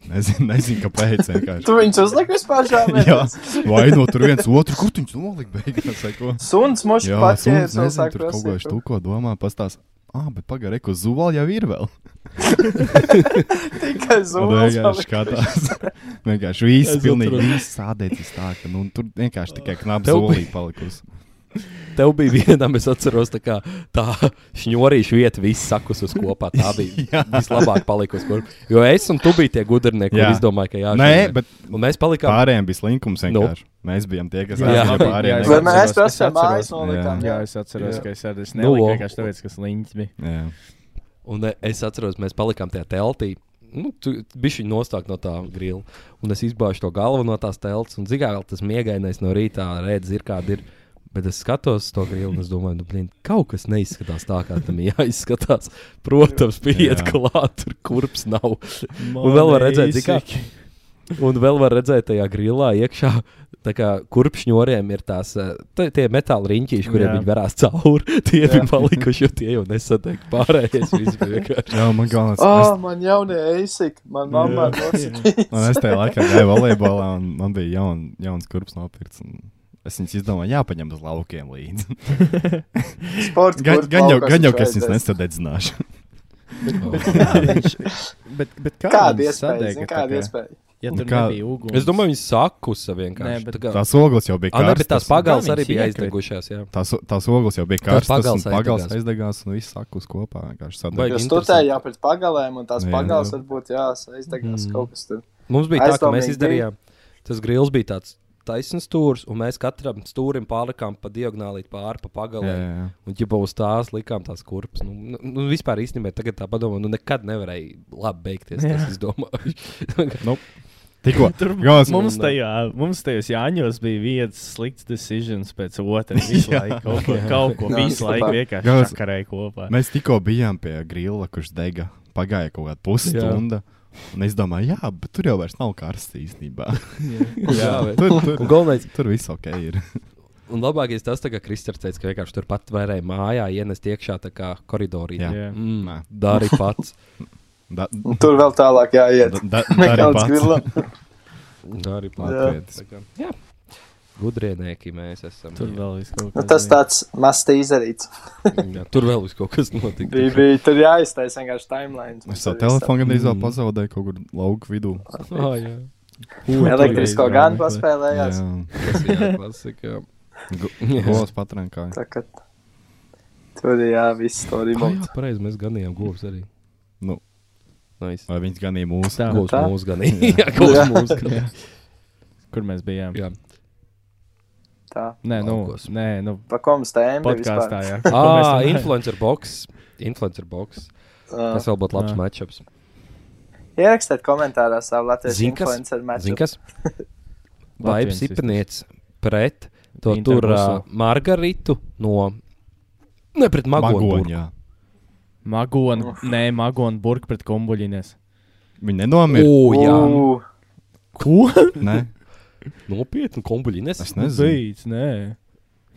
Speaker 9: Nezinu, nezinu kāpēc. vienkārši.
Speaker 4: Tu viņus uzliki vispār šādi?
Speaker 9: Jā, vai no tur viens otru, kur viņš nolika beigās? vai ko?
Speaker 4: Suns mums
Speaker 9: Jā,
Speaker 4: pats ir
Speaker 9: suns, nezinu, tur kaut ko štuko domā, pastāst. Ah, bet pagāri, ko zuvāli jau ir vēl.
Speaker 4: Tikai
Speaker 9: Un
Speaker 4: zūlis.
Speaker 9: Vienkārši skatās. vienkārši viss,
Speaker 1: Es
Speaker 9: pilnīgi
Speaker 1: atradu.
Speaker 9: viss sādēts tā, ka nu, tur vienkārši tikai knapi
Speaker 1: Tev
Speaker 9: zuvāli palikusi.
Speaker 1: Tev bija viena, es atceros, tā kā tā šņurīša vieta, viss sakus uz kopā. Tā bija
Speaker 9: Jā.
Speaker 1: vislabāk palikusi. kur- Jo es un tu biji tie gudrnieki,
Speaker 9: Jā.
Speaker 1: kuriem izdomāja, ka jā,
Speaker 9: Nē, bet
Speaker 1: Un mēs palikām.
Speaker 9: Pārējiem bija slinkums
Speaker 1: Nu.
Speaker 9: vienkārši. Nu. Mēs bijām tie, kas
Speaker 1: Jā,
Speaker 9: aizgāja
Speaker 1: bija,
Speaker 9: pārējiem.
Speaker 4: Vai
Speaker 9: nekā-
Speaker 4: mēs
Speaker 8: atceros, es
Speaker 4: prasām mājas
Speaker 8: atceros.
Speaker 4: nolikām?
Speaker 8: jā, es atceros,
Speaker 4: Jā.
Speaker 8: ka es arī
Speaker 1: Nu,
Speaker 8: neliku
Speaker 1: o.
Speaker 8: vienkārši tāpēc, ka sliņķis bija.
Speaker 9: Jā.
Speaker 1: Un e, es atceros, mēs palikām tajā teltī. Nu, tu biji nostākt no tā grila. Un es izbāžu to galvu no tās telts. Un zigā, vēl tas miegainais no rīta redzes ir kāda ir. Bet es skatos uz to grilu un es domāju, nu, blin, kaut kas neizskatās tā, kā tam jāizskatās. Protams, pieiet
Speaker 9: Jā.
Speaker 1: klāt, tur kurps nav. Un vēl var redzēt, cik tā. Un vēl var redzēt, tajā grilā iekšā, tā kā kurpšņoriem ir tās eh, t- tie metāla riņķīši, kuriem
Speaker 8: Jā.
Speaker 1: viņi varās cauri. Tie jā. bija palikuši, jo tie jau nesatiek pārējais. visi bija vienkārši.
Speaker 9: Jā, man galvenais.
Speaker 4: Ah,
Speaker 9: Oh.
Speaker 4: man jaunie eisik, man mamma nosaka.
Speaker 9: Es tajā laikā gāju volejbolā, un man bija jaun, jauns kurps nopirkts. un Es viņus izdomāju, jāpaņem uz laukiem līdzi.
Speaker 4: Sports.
Speaker 9: Gan, gan, jau, gan jau, ka es viņus nesadedzināšu.
Speaker 8: Oh. Bet, bet kā
Speaker 4: Kāda
Speaker 8: viņš
Speaker 4: iespēja?
Speaker 8: sadega
Speaker 4: zini,
Speaker 8: tā kā-
Speaker 4: Kāda iespēja?
Speaker 8: Ja
Speaker 9: Nu,
Speaker 8: tur
Speaker 9: kā-
Speaker 8: nebija uguns.
Speaker 1: Es domāju, viņi sakusa vienkārši.
Speaker 8: Nē, bet-
Speaker 1: tā kā,
Speaker 9: Tās ogles jau bija
Speaker 1: Ah, nē, bet tās
Speaker 9: karstas.
Speaker 1: pagals
Speaker 8: Kā
Speaker 1: arī
Speaker 8: viņas
Speaker 1: bija
Speaker 8: iekrita?
Speaker 1: aizdegušās. jā.
Speaker 9: Tās, tās ogles jau bija karstas, un
Speaker 1: pagals
Speaker 9: pagals
Speaker 1: aizdegās.
Speaker 9: aizdegās, un viss sakus kopā. vienkārši
Speaker 1: Vai-
Speaker 9: sadeg-
Speaker 4: Jo
Speaker 1: Interesanti.
Speaker 4: stūtēji jau pēc pagalēm, un tās
Speaker 9: Jā. Mm.
Speaker 4: pagals varbūt jāsaizdegās kaut kas tur.
Speaker 1: Mums bija tā, ka mēs
Speaker 4: Aizdomīgi
Speaker 1: izdarījām. Tas grils bija tāds taisns stūris, un mēs katram stūrim pārlikām pa diagonāli pāri pa pagalē.
Speaker 9: Jā, jā, jā.
Speaker 1: Un jau uz tās likām tās kurpes. Nu, nu, nu, vispār īstenībā tagad tā padomā, nu nekad nevarēja labi beigties. Tas, es domāju,
Speaker 9: Nu, tikko.
Speaker 8: Tur
Speaker 9: Galvenais-
Speaker 8: mums tajā, mums tajos Jāņos bija viens slikts decisions pēc otra. Visu laiku kaut ko, kaut ko
Speaker 4: Jā,
Speaker 8: visu laiku
Speaker 9: Galvenais-
Speaker 8: vienkārši sakarēja kopā.
Speaker 9: Mēs tikko bijām pie grila, kurš dega. Pagāja kaut kāda pusstunda. Un es domāju, jā, bet tur jau vairs nav karsts īstenībā.
Speaker 1: jā, bet.
Speaker 9: tur,
Speaker 1: Un
Speaker 9: tur,
Speaker 1: galvenais,
Speaker 9: tur viss ok ir.
Speaker 1: un labākais tas, tā kā Kristers teica, ka vienkārši tur pat varēja mājā ienest iekšā tā kā koridorī.
Speaker 9: Jā.
Speaker 8: Jā.
Speaker 1: Mm,
Speaker 9: Nē.
Speaker 1: Dari pats.
Speaker 9: Da,
Speaker 4: Un tur vēl tālāk jāiet.
Speaker 9: da, da,
Speaker 4: Nekā
Speaker 9: dari
Speaker 4: uz
Speaker 9: pats.
Speaker 4: grila.
Speaker 1: Dari pats.
Speaker 9: Latvietis.
Speaker 1: Tā kā, Jā. Gudrienieki mēs esam.
Speaker 8: Tur vēl viss kaut
Speaker 4: Nu,
Speaker 8: kas.
Speaker 4: tas tāds mazs tīzerīts.
Speaker 1: jā, tur vēl viss kaut kas
Speaker 4: Bija,
Speaker 1: notika.
Speaker 4: bija tur jāiztaisa vienkārši timeline.
Speaker 9: Es savu telefonu gandrīz
Speaker 1: Mm.
Speaker 9: vēl pazaudēju kaut kur lauku vidū.
Speaker 1: Ah, jā,
Speaker 4: Elektrisko
Speaker 8: Jā,
Speaker 4: gan
Speaker 8: jā.
Speaker 4: paspēlējās.
Speaker 1: tas ir jā, klasika.
Speaker 9: Golas patrankāja.
Speaker 4: Tā kā tur ir jā, viss
Speaker 1: Ah,
Speaker 4: to
Speaker 1: jā,
Speaker 4: remote.
Speaker 1: pareizi, mēs ganījām govs arī.
Speaker 9: Nu.
Speaker 1: Nice.
Speaker 9: Vai viņš ganīja mūsu?
Speaker 8: Tā.
Speaker 1: Govs
Speaker 4: tā?
Speaker 1: mūs ganīja. Jā, govs
Speaker 4: Jā.
Speaker 1: mūs ganīja.
Speaker 8: Kur mēs bijām?
Speaker 1: Jā.
Speaker 4: Tā.
Speaker 8: Nē, nu,
Speaker 1: Laukos.
Speaker 8: nē, nu,
Speaker 4: Pa ko mums tēma bija
Speaker 8: podkāstā.
Speaker 4: vispār?
Speaker 8: Jā,
Speaker 1: Ah, influencer box. Influencer box.
Speaker 4: Uh,
Speaker 1: Tas vēl būtu labs
Speaker 8: Jā.
Speaker 1: matčups.
Speaker 4: Ierakstiet komentārā savu latviešu
Speaker 1: Zini, kas-
Speaker 4: influenceru
Speaker 1: Zini,
Speaker 4: maču.
Speaker 1: kas? Vai
Speaker 8: Latvijas
Speaker 1: psihopēts pret to
Speaker 8: Inter
Speaker 1: tur uh,
Speaker 8: Kosovo.
Speaker 1: margaritu no. Ne pret magoni.
Speaker 9: Magoņā.
Speaker 8: Magona, nē, Magona burka pret kombuļinies.
Speaker 9: Viņa nenomira.
Speaker 1: O, jā,
Speaker 4: Ū,
Speaker 8: Ko?
Speaker 9: Nē,
Speaker 1: nopietni, kombuļinies.
Speaker 9: es nezinu.
Speaker 8: Nezinu. Nē.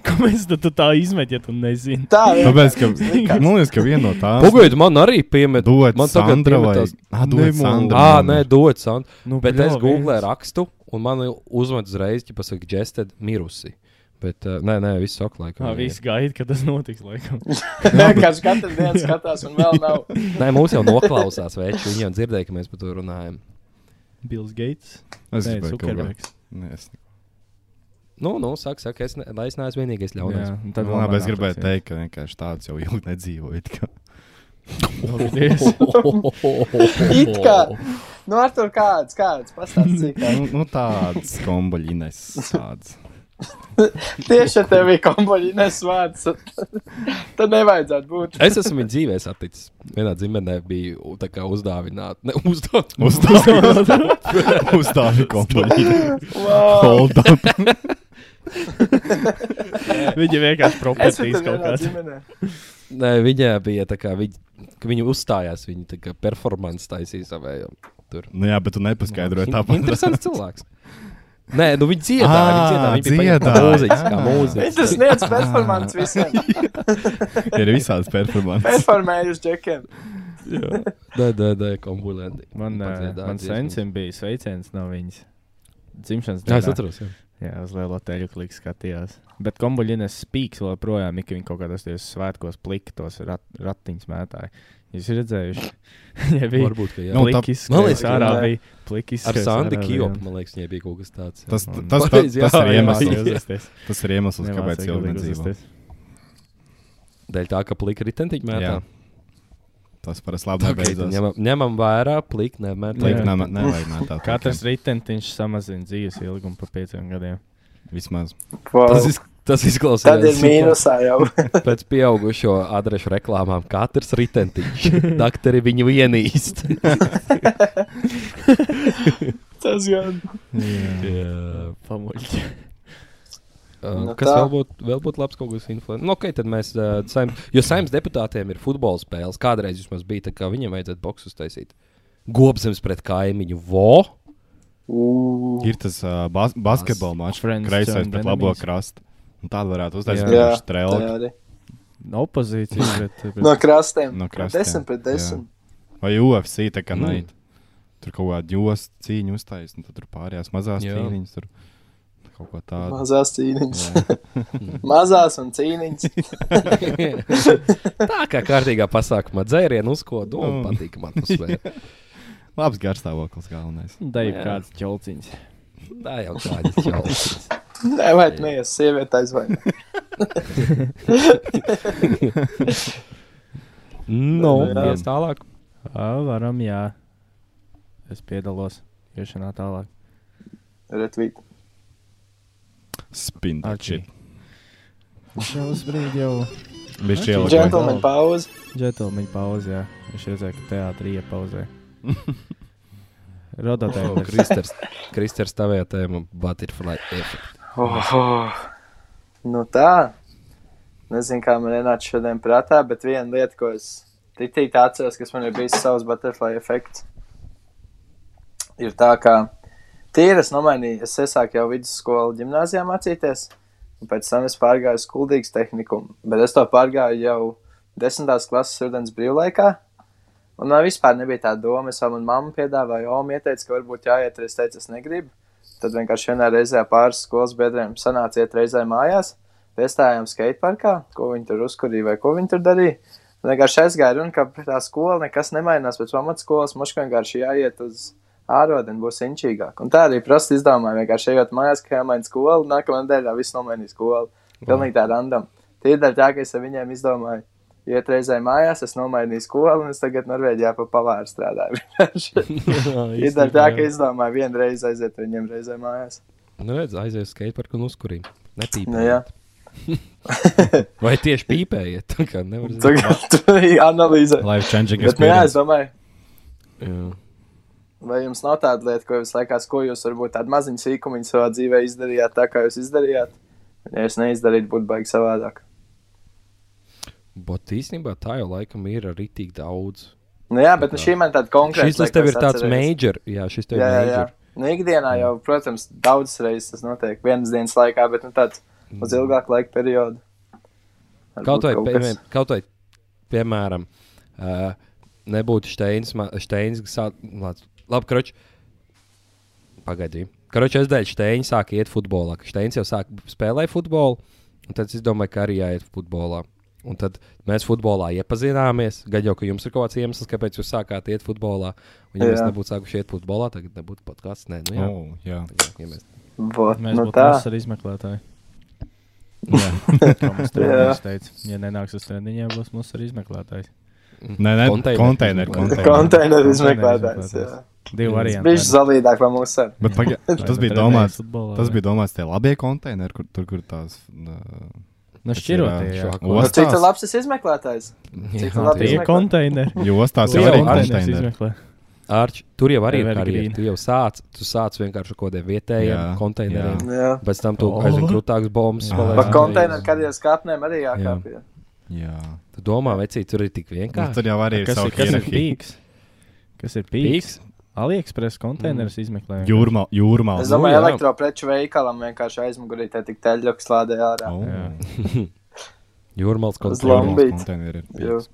Speaker 8: Kāpēc tad tu tā izmeti, ja tu nezini?
Speaker 4: Tā ir.
Speaker 9: Tāpēc, ka man liekas, ka viena no tām
Speaker 1: Pagaidiet, man arī piemēra.
Speaker 9: dod
Speaker 1: man tagad
Speaker 9: Sandra vai
Speaker 1: piemetās-
Speaker 9: Ah, dod
Speaker 8: Nemo.
Speaker 9: Sandra
Speaker 1: Ah, nē,
Speaker 9: numuru.
Speaker 1: dod Sandra.
Speaker 8: Nu,
Speaker 1: Bet
Speaker 8: bļo,
Speaker 1: es googlēju
Speaker 8: viens.
Speaker 1: rakstu, un man uzmet uzreiz, ja pasaka, gested mirusi. Bet, uh, nē, nē, viss ok, laikam.
Speaker 8: Ah, visi gaida, kad tas notiks, laikam.
Speaker 4: Vienkārši katru dienu skatās, un vēl nav.
Speaker 1: Nē, mums jau noklausās, vai viņš jau dzirdēja, ka mēs par to runājam.
Speaker 8: Bills Gates.
Speaker 9: Es
Speaker 8: Nē,
Speaker 9: gribēju kaut ko.
Speaker 8: Zuckerbergs.
Speaker 9: Nē, es-
Speaker 1: Nu, nu, saka, saka, es, ne, lai es neesmu vienīgais ļaunais.
Speaker 8: Jā, un
Speaker 9: Nu,
Speaker 8: tad vēl
Speaker 9: Labi, es
Speaker 8: nāk
Speaker 9: gribēju
Speaker 8: tāds, jā.
Speaker 9: teikt, ka vienkārši tāds jau ilgi nedzīvoju. it kā.
Speaker 8: Paldies.
Speaker 4: It kā. Nu, ar tur kāds, kāds pastāstīt.
Speaker 9: Nu, nu, tāds kombuļīnes. Tāds.
Speaker 4: Tieši ar tevi komboļi nesvārds. Tad nevajadzētu būt.
Speaker 1: Es esmu viņu dzīvē saticis. Vienā dzimtenē bija u- tā kā uzdāvināta. Ne, uzdāvināta.
Speaker 9: Uzstāvi kombuļīnes. Hold up.
Speaker 8: Viņa vienkārši
Speaker 4: Es biju
Speaker 8: propētīs
Speaker 4: tur
Speaker 8: kaut
Speaker 4: vienā
Speaker 8: kādā.
Speaker 4: ģimenē.
Speaker 1: Nē, viņa bija tā kā viņa, ka viņa uzstājās, viņa tā kā performance taisīja savējo.
Speaker 9: Nu jā, bet tu nepaskaidroji
Speaker 1: In-
Speaker 9: tāpat.
Speaker 1: Interesants cilvēks. Nē, nu viņa dziedā,
Speaker 8: Ah,
Speaker 9: Ā,
Speaker 1: viņa dziedā, viņa bija
Speaker 9: dziedā,
Speaker 1: paņemta mūziķis, kā
Speaker 9: jā.
Speaker 1: mūziķis.
Speaker 4: Viņš sniedz performances visiem.
Speaker 9: Ir visādas performances.
Speaker 4: Performējuši džekiem.
Speaker 1: Nē, nē, nē, kombuļēni.
Speaker 8: Man, ā,
Speaker 1: Padziedā
Speaker 8: man
Speaker 1: dziesmas.
Speaker 8: sencim bija sveiciens no viņas. Dzimšanas
Speaker 1: Jā, es
Speaker 8: dienā.
Speaker 1: atceros. jā.
Speaker 8: Jā, uz lielo teļu kliku skatījās. Bet kombuļģīnes spīks vēl projām, ja viņi kaut kādos tajos svētkos plika tos rat, ratiņus mētāji. Jūs redzējuši? Jā, bija
Speaker 1: Varbūt, ka jā.
Speaker 9: Nu, tā-
Speaker 8: plikis,
Speaker 1: Man
Speaker 8: man
Speaker 1: liekas,
Speaker 8: liekas,
Speaker 1: ka
Speaker 8: ārā
Speaker 1: jā.
Speaker 8: bija plikis.
Speaker 1: Ar Sandu Kjopu, man liekas, viņai bija kaut kas tāds. jā.
Speaker 9: Tas, tas,
Speaker 8: Un-
Speaker 9: tas, tas,
Speaker 1: Pareizi, jā,
Speaker 9: tas ir
Speaker 1: jā,
Speaker 9: iemesls,
Speaker 1: jā.
Speaker 9: tas ir iemesls kāpēc jau nedzīvo.
Speaker 1: Dēļ tā, ka plika ritentiņa
Speaker 9: Jā.
Speaker 1: mētā.
Speaker 9: Tas parasti labi
Speaker 1: Tāpēc
Speaker 9: beidzās.
Speaker 1: ņemam- Ņemam vērā, plika
Speaker 8: Plika
Speaker 1: nemētā.
Speaker 8: Jā.
Speaker 9: Likt, nav- nevajag nē, tā.
Speaker 8: Katrs ritenis samazina dzīves ilgumu par pieciem gadiem.
Speaker 9: Vismaz.
Speaker 1: Tas,
Speaker 4: Wow.
Speaker 1: iz, tas izklausās.
Speaker 4: Tad ir mīnusā jau.
Speaker 1: Pēc pieaugušo adrešu reklāmām katrs ritentiņš. Daktori viņu vienīst.
Speaker 4: Tas gan.
Speaker 1: Jā.
Speaker 8: Pamuļķi.
Speaker 1: Uh,
Speaker 4: Nu
Speaker 1: kas
Speaker 4: tā.
Speaker 1: vēl būtu vēl būt labs, kaut kas influence? Nu, okay, tad mēs, uh, saim, jo saimnes deputātiem ir futbola spēles. Kādreiz vismaz bija tā, ka viņiem vajadzētu boksus taisīt. Gobzems pret kaimiņu. Vo!
Speaker 9: Ir tas uh, bas basketbola mačs,
Speaker 8: Friends
Speaker 9: kreisais
Speaker 8: turned
Speaker 9: pret labo
Speaker 8: enemies.
Speaker 9: krastu. Un tādu varētu uztaisīt
Speaker 1: Jā.
Speaker 9: vienkārši strēlku.
Speaker 4: teorija.
Speaker 8: Opozīcija. Bet, bet...
Speaker 4: No krastiem.
Speaker 9: No krastiem,
Speaker 4: 10 pret
Speaker 9: jā.
Speaker 4: 10.
Speaker 9: Vai UFC tā kā
Speaker 1: Mm.
Speaker 9: mm. nē, tur kaut kāda josta cīņa uztaisīta, un tad tur pārējās mazās
Speaker 1: Jā.
Speaker 9: jā. cīņas. Tur kaut ko tādu.
Speaker 4: Mazās cīniņas. Mazās un cīniņas.
Speaker 1: tā kā kārtīgā pasākumā dzērienu uzkodu un
Speaker 9: Mm.
Speaker 1: patīkamā atmosfēra.
Speaker 9: Labs garstāvoklis galvenais.
Speaker 8: Daiv
Speaker 1: Jā.
Speaker 8: kāds ķelciņš.
Speaker 1: Tā jau kādas jaunas.
Speaker 4: Nē, vai tu neies, sieviete aizvaino.
Speaker 1: Nu,
Speaker 9: Jā.
Speaker 1: ies tālāk.
Speaker 8: Ā, Varam, jā. Es piedalos iešanā tālāk.
Speaker 4: Retvīt.
Speaker 9: Spindači.
Speaker 8: Archie. Viņš jau uz brīdi jau
Speaker 9: Viņš
Speaker 8: Archie.
Speaker 9: ielika.
Speaker 4: Džentlmeņa pauze.
Speaker 8: džentlmeņa pauzē. Viņš redzēja, ka teātrī iepauzē. Rodotēm
Speaker 1: Kristers, Kristers tavējā tēma Butterfly Effect.
Speaker 4: Oh, nu tā. Nezinu, kā man ienāca šodien prātā, bet viena lieta, ko es tik tik atceros, kas man ir bijis savs butterfly efekts, ir tā, ka tīri es nomainīju, es iesāku jau vidusskolu gimnāzijā mācīties, un pēc tam es pārgāju uz kuldīgas tehnikumu, bet es to pārgāju jau desmitās klases rudens brīvlaikā. Un man vispār nebija tā doma, es jau manā mamā piedāvāju, jau man ieteica, ka varbūt jāiet, es teicu, es negribu. Tad vienkārši vienā reizē pāris skolas biedriem sanāca iet reizē mājās, iestājām skateparkā, ko viņi tur uzkurīja vai ko viņi tur darīja. Un vienkārši aizgāja runa, ka tā skola nekas nemainās pēc pamatskolas, mums vienkārši jāiet uz ārodeni, būs inčīgāk. Un tā arī prasa izdomāja, vienkārši ejot mājās, ka jāmaina skola, nākamā nedēļā viss nomainīja skolu. Pilnīgi tā randam. Tīdēļ tā, ka es ar viņiem izdomāju, iet reizē mājās, es nomainīju skolu un es tagad Norvēģijā pa pavāru strādāju.
Speaker 1: Nu,
Speaker 4: Tīdēļ tā, ka izdomāju vienreiz aiziet viņiem reizē mājās.
Speaker 1: Nu, redz, aizies uz skateparku un uzkurīm.
Speaker 4: Nu, jā.
Speaker 1: Nepīpējiet. Vai tieši pīpējiet? Tā kā nevar zināt.
Speaker 4: Tagad analīzē.
Speaker 9: Life changing
Speaker 4: Bet, nu, jā, es
Speaker 9: experience.
Speaker 4: domāju,
Speaker 1: Jā.
Speaker 4: vai jums nav tāda lieta, ko jūs laikās, ko jūs varbūt tādu maziņu sīkumu savā dzīvē izdarījāt, tā kā jūs izdarījāt? Ja jūs neizdarītu, būtu baigi savādāk.
Speaker 1: Bet īstenībā tā jau laikam ir arī tik daudz.
Speaker 4: Nu, jā, bet nu, šī man tāda konkrēta.
Speaker 1: Šis tas tev ir tāds major. Jā, šis tev ir
Speaker 4: Jā, jā, jā.
Speaker 1: major.
Speaker 4: Nu, ikdienā jau, protams, daudzas reizes tas notiek vienas dienas laikā, bet nu, tāds uz ilgāku laiku periodu. Varbūt
Speaker 1: Mm. Kaut vai,
Speaker 4: kaut kas-
Speaker 1: piemēram, kaut vai, piemēram uh, nebūtu Steins, ma- Steins kas sāk, lāc- labi, kroč, pagaidīju. Kroč, es dēļ Steins sāk iet futbolā, ka Steins jau sāk spēlēt futbolu, un tad es domāju, ka arī jāiet futbolā. Un tad mēs futbolā iepazināmies. Gan jau, ka jums ir kaut kāds iemesls, kāpēc jūs sākāt iet futbolā. Un, ja mēs
Speaker 4: Jā.
Speaker 1: nebūtu sākuši iet futbolā, tagad nebūtu podkāsts. Nē, nu jā.
Speaker 9: Oh, jā.
Speaker 1: Ja mēs...
Speaker 4: Vot,
Speaker 8: mēs
Speaker 4: nu,
Speaker 8: būtu
Speaker 4: tā.
Speaker 8: tas arī izmeklētāji. Jā, kā mums treniņš teica, ja nenāks uz treniņiem, būs mūsu arī izmeklētājs.
Speaker 9: Nē, nē,
Speaker 1: Konteineru.
Speaker 9: konteineru. konteineru.
Speaker 4: Konteineru
Speaker 8: Konteineru
Speaker 4: izmeklētājs. jā.
Speaker 8: izmeklētājs.
Speaker 9: Mm.
Speaker 8: Divi varianti.
Speaker 4: Viņš zalīdāk par mums. ir.
Speaker 9: Bet paga, tas bija
Speaker 8: Vai
Speaker 9: domāts.
Speaker 8: futbolā,
Speaker 9: Tas
Speaker 8: vai?
Speaker 9: bija domāts tie labie konteineri, kur tur kur tās. nā,
Speaker 8: Nu, šķirotie, jā.
Speaker 1: švāk-
Speaker 4: Nu, Cik tas
Speaker 9: Ostās,
Speaker 4: labs tas izmeklētājs? Cik
Speaker 1: Jā, tie-
Speaker 4: labi
Speaker 8: Tie
Speaker 4: izmeklē.
Speaker 8: konteineri.
Speaker 9: jo ostās
Speaker 1: Tu
Speaker 9: jau
Speaker 1: jau
Speaker 9: arī
Speaker 1: ar-
Speaker 9: konteineri.
Speaker 1: Arč, tur jau arī ir
Speaker 8: Evergreen.
Speaker 1: karjeras. Tu jau sāc, tu sāc vienkārši ar kaut kādiem vietējiem
Speaker 9: Jā,
Speaker 1: konteineriem.
Speaker 9: jā.
Speaker 4: Jā.
Speaker 1: Pēc tam tu
Speaker 8: Oh.
Speaker 1: aizvien grūtākas bombas.
Speaker 4: Pa
Speaker 1: palaist.
Speaker 4: konteineru karjeras kāpnēm arī jākāpj.
Speaker 9: Jā.
Speaker 1: Tu domā, vecī, tur ir tik
Speaker 9: Nu,
Speaker 1: vienkārši.
Speaker 9: Tur jau arī ir
Speaker 8: Kas
Speaker 9: savu
Speaker 8: ir, kas ir
Speaker 9: hierarhiju.
Speaker 8: pīks? Kas ir pīks?
Speaker 1: Pīks.
Speaker 8: AliExpress konteineris izmeklējums.
Speaker 9: Jūrmā, jūrmā.
Speaker 4: Es
Speaker 1: Nu,
Speaker 4: domāju,
Speaker 1: jā.
Speaker 4: elektropreču veikalam vienkārši aizmugurī te tik teļļoks lādē ārā.
Speaker 9: Oh,
Speaker 8: Jā.
Speaker 1: Jūrmāls
Speaker 4: Uz
Speaker 1: konteineris.
Speaker 4: Lambīt.
Speaker 9: jūrmās konteineri ir
Speaker 4: Jū.
Speaker 9: pīks.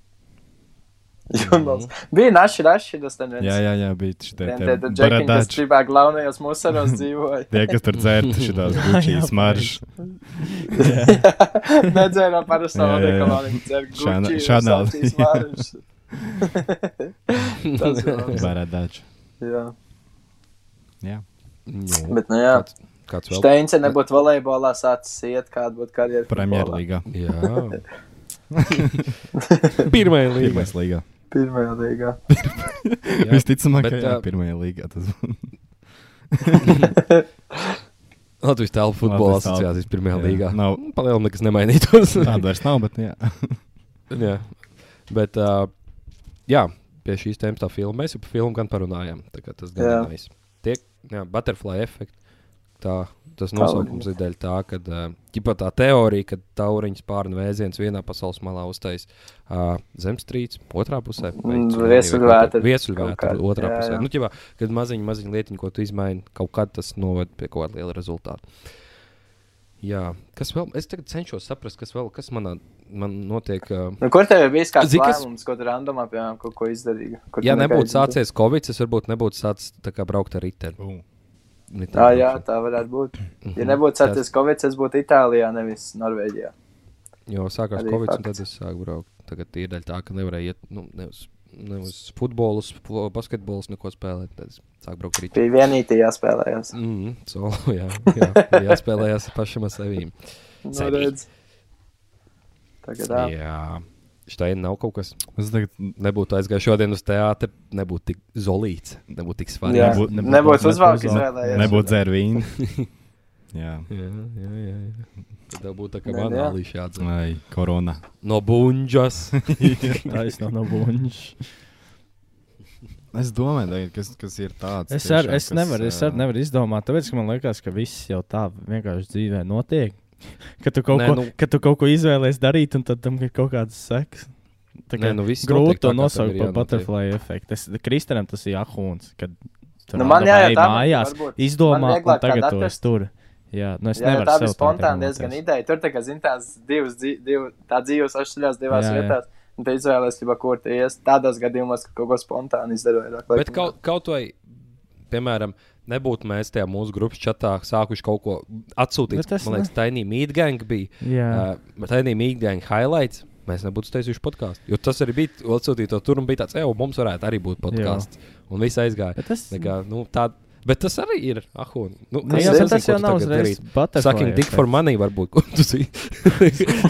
Speaker 4: Jūrmals. Bija naši raši, tas ten viens.
Speaker 9: Jā, jā, jā, bija šitie
Speaker 4: Vien
Speaker 9: tie
Speaker 4: tie tur džekiņi, kas
Speaker 9: baradači.
Speaker 4: tribā glaunajos musaros dzīvoja.
Speaker 9: Tie, kas tur dzērta šitās gučijas marš.
Speaker 4: Nedzēra parastā
Speaker 9: Jā, jā, jā.
Speaker 4: veikalā, viņi dzer
Speaker 9: Šāna-
Speaker 4: Gucci,
Speaker 9: šādā-
Speaker 4: Versace's vārus. Tas ir labs.
Speaker 9: Baradači.
Speaker 4: Jā.
Speaker 9: Jā.
Speaker 1: Nu,
Speaker 4: Bet, nu jā,
Speaker 1: Kāds- Kāds vēl?
Speaker 4: Steins, ja nebūtu volejbolā sācis iet, kāda būtu karjera. futbolā.
Speaker 9: Premjerlīgā.
Speaker 1: Jā. Pirmā līnija.
Speaker 9: Pirmais līgā.
Speaker 4: Pirmajā līgā.
Speaker 9: Visticamāk,
Speaker 1: Bet,
Speaker 9: ka jā,
Speaker 1: ā,
Speaker 9: pirmajā līgā tas būs.
Speaker 1: Latvijas telpu futbola
Speaker 9: Latvijas telpu.
Speaker 1: asociācijas pirmajā
Speaker 9: Jā.
Speaker 1: līgā.
Speaker 9: Nav.
Speaker 1: Palielam nekas nemainītos.
Speaker 9: Tāda vairs nav, bet jā.
Speaker 1: jā. Bet, uh, jā, pie šīs tēmas tā filma. Mēs jau par filmu gan parunājām. Tā kā tas
Speaker 4: Jā.
Speaker 1: gan ir. Tiek, jā, butterfly efekts. Tā, tas nosaukums ir dēļ tā, ka uh, tā teorija, ka tauriņš pārnu vēziens vienā pasaules malā uztais uh, zemstrīds, otrā pusē
Speaker 4: Mm,
Speaker 1: vai
Speaker 4: viesuļvētra kaut
Speaker 1: viesuļvētra
Speaker 4: kāda,
Speaker 1: otrā
Speaker 4: jā,
Speaker 1: pusē.
Speaker 4: jā.
Speaker 1: Nu, ķipā, kad maziņa, maziņa lietiņa, ko tu izmaini, kaut kad tas noved pie kaut kāda liela rezultāta. Jā, kas vēl? Es tagad cenšos saprast, kas vēl, kas manā man notiek. Uh,
Speaker 4: Nu, kur tev bija kāds
Speaker 1: Zini, kas-
Speaker 4: lēmums, ko tu randomā, piemēram, kaut ko izdarīji? Kur
Speaker 1: ja
Speaker 4: tu
Speaker 1: nebūtu
Speaker 4: negaidīji?
Speaker 1: sācies Covid, es varbūt nebūtu sācis tā kā braukt ar riteni.
Speaker 4: Tā, jā, tā varētu būt.
Speaker 1: Mhm.
Speaker 4: Ja nebūtu sācies Covid, es būtu Itālijā, nevis Norvēģijā.
Speaker 1: Jo sākās
Speaker 4: Arī
Speaker 1: Covid, un
Speaker 4: fakts.
Speaker 1: tad es sāku braukt. Tagad ir daļa tā, ka nevarēju iet nu, ne uz, ne uz futbolu, uz fo- basketbolu, neko spēlēt. Tad es sāku braukt arī.
Speaker 4: Bija vienīgā jāspēlējās.
Speaker 1: Mm, solo, jā, jā, jā, spēlējās pašam ar saviem.
Speaker 4: Nu,
Speaker 1: Cerīgi.
Speaker 4: redz. Tagad tā.
Speaker 1: Jā, štai nav kaut kas.
Speaker 9: Es tagad
Speaker 1: Nebūtu aizgājis šodien uz teātri, nebūtu tik zolīts, nebūtu tik svarīgi.
Speaker 4: Jā,
Speaker 9: Nebūtu-
Speaker 4: nebūtu
Speaker 8: nebūtu
Speaker 4: uzvalka
Speaker 8: uzvalka.
Speaker 4: izvēlējies.
Speaker 9: nebūtu dzērvīni. Jā,
Speaker 1: Jā, jā, jā. jā. Tad tev būtu tā kā
Speaker 4: Nē,
Speaker 1: man
Speaker 4: nu jā.
Speaker 1: analīze jāatzīst.
Speaker 9: Ai, korona.
Speaker 1: No bunģas.
Speaker 8: Tā es nav no buļbuļs.
Speaker 9: Es domāju, tagad, kas, kas ir tāds.
Speaker 8: Es, ar,
Speaker 9: tiešām,
Speaker 8: es
Speaker 9: kas,
Speaker 8: nevaru, es ar,
Speaker 9: ā,
Speaker 8: nevaru izdomāt, tāpēc, ka man liekas, ka viss jau tā vienkārši dzīvē notiek. Kad tu kaut,
Speaker 1: Nē,
Speaker 8: Nē, ko, nu...
Speaker 1: nu-
Speaker 8: kad tu kaut ko izvēlējies darīt, un tad tam ir kaut kāds seks. Tā
Speaker 1: Nē, nu viss notiek tā,
Speaker 8: grūti to
Speaker 1: kā tam
Speaker 8: nosaukt
Speaker 1: ir
Speaker 8: par
Speaker 1: jānotiek.
Speaker 8: butterfly efektu. Es Kristēnam tas ir ahūns, kad tur
Speaker 4: Nu, man jāiet
Speaker 8: ej
Speaker 4: tam,
Speaker 8: mājās,
Speaker 4: varbūt.
Speaker 8: izdomā,
Speaker 4: Man
Speaker 8: un
Speaker 4: vieglāk
Speaker 8: tagad
Speaker 4: tādu
Speaker 8: to es
Speaker 4: atrast.
Speaker 8: tur. Jā, nu es
Speaker 4: Jā,
Speaker 8: nevaru
Speaker 4: tā
Speaker 8: sev
Speaker 4: bija spontāna
Speaker 8: iedomāties.
Speaker 4: diezgan ideja. Tur tā kā zina, tās divas, dzī- div, tā dzīves atšķirās divās
Speaker 8: Jā,
Speaker 4: jā,
Speaker 8: jā.
Speaker 4: vietās. Un te izvēlēsies, jau kur te ies. Tādos gadījumos, ka kaut ko spontāni izdara vairāk.
Speaker 1: Bet kaut, kaut vai, piemēram, nebūtu mēs tajā mūsu grupas čatā sākuši kaut ko atsūtīt.
Speaker 8: Bet tas
Speaker 1: Man liekas, Tainī Mītganga bija.
Speaker 8: Jā.
Speaker 1: Uh, Tainī Mītganga highlights. Mēs nebūtu taisījuši podkāstu. Jo tas arī bija. Atsūtīja to tur un bija tāds, ej, mums varētu arī būt podkāsts. Un viss aizgāja.
Speaker 8: Bet tas-
Speaker 1: Tā kā, nu, tā, bet tas arī ir. Ahūn. Nu,
Speaker 8: Nu,
Speaker 1: es
Speaker 8: jā,
Speaker 1: nezinu,
Speaker 8: tas
Speaker 1: ko
Speaker 8: jau
Speaker 1: tu
Speaker 8: nav
Speaker 1: tagad
Speaker 8: uzreiz
Speaker 1: darītu.
Speaker 8: butterfly
Speaker 1: Sakim, tik
Speaker 8: efekts.
Speaker 1: for money varbūt. ko tu zini.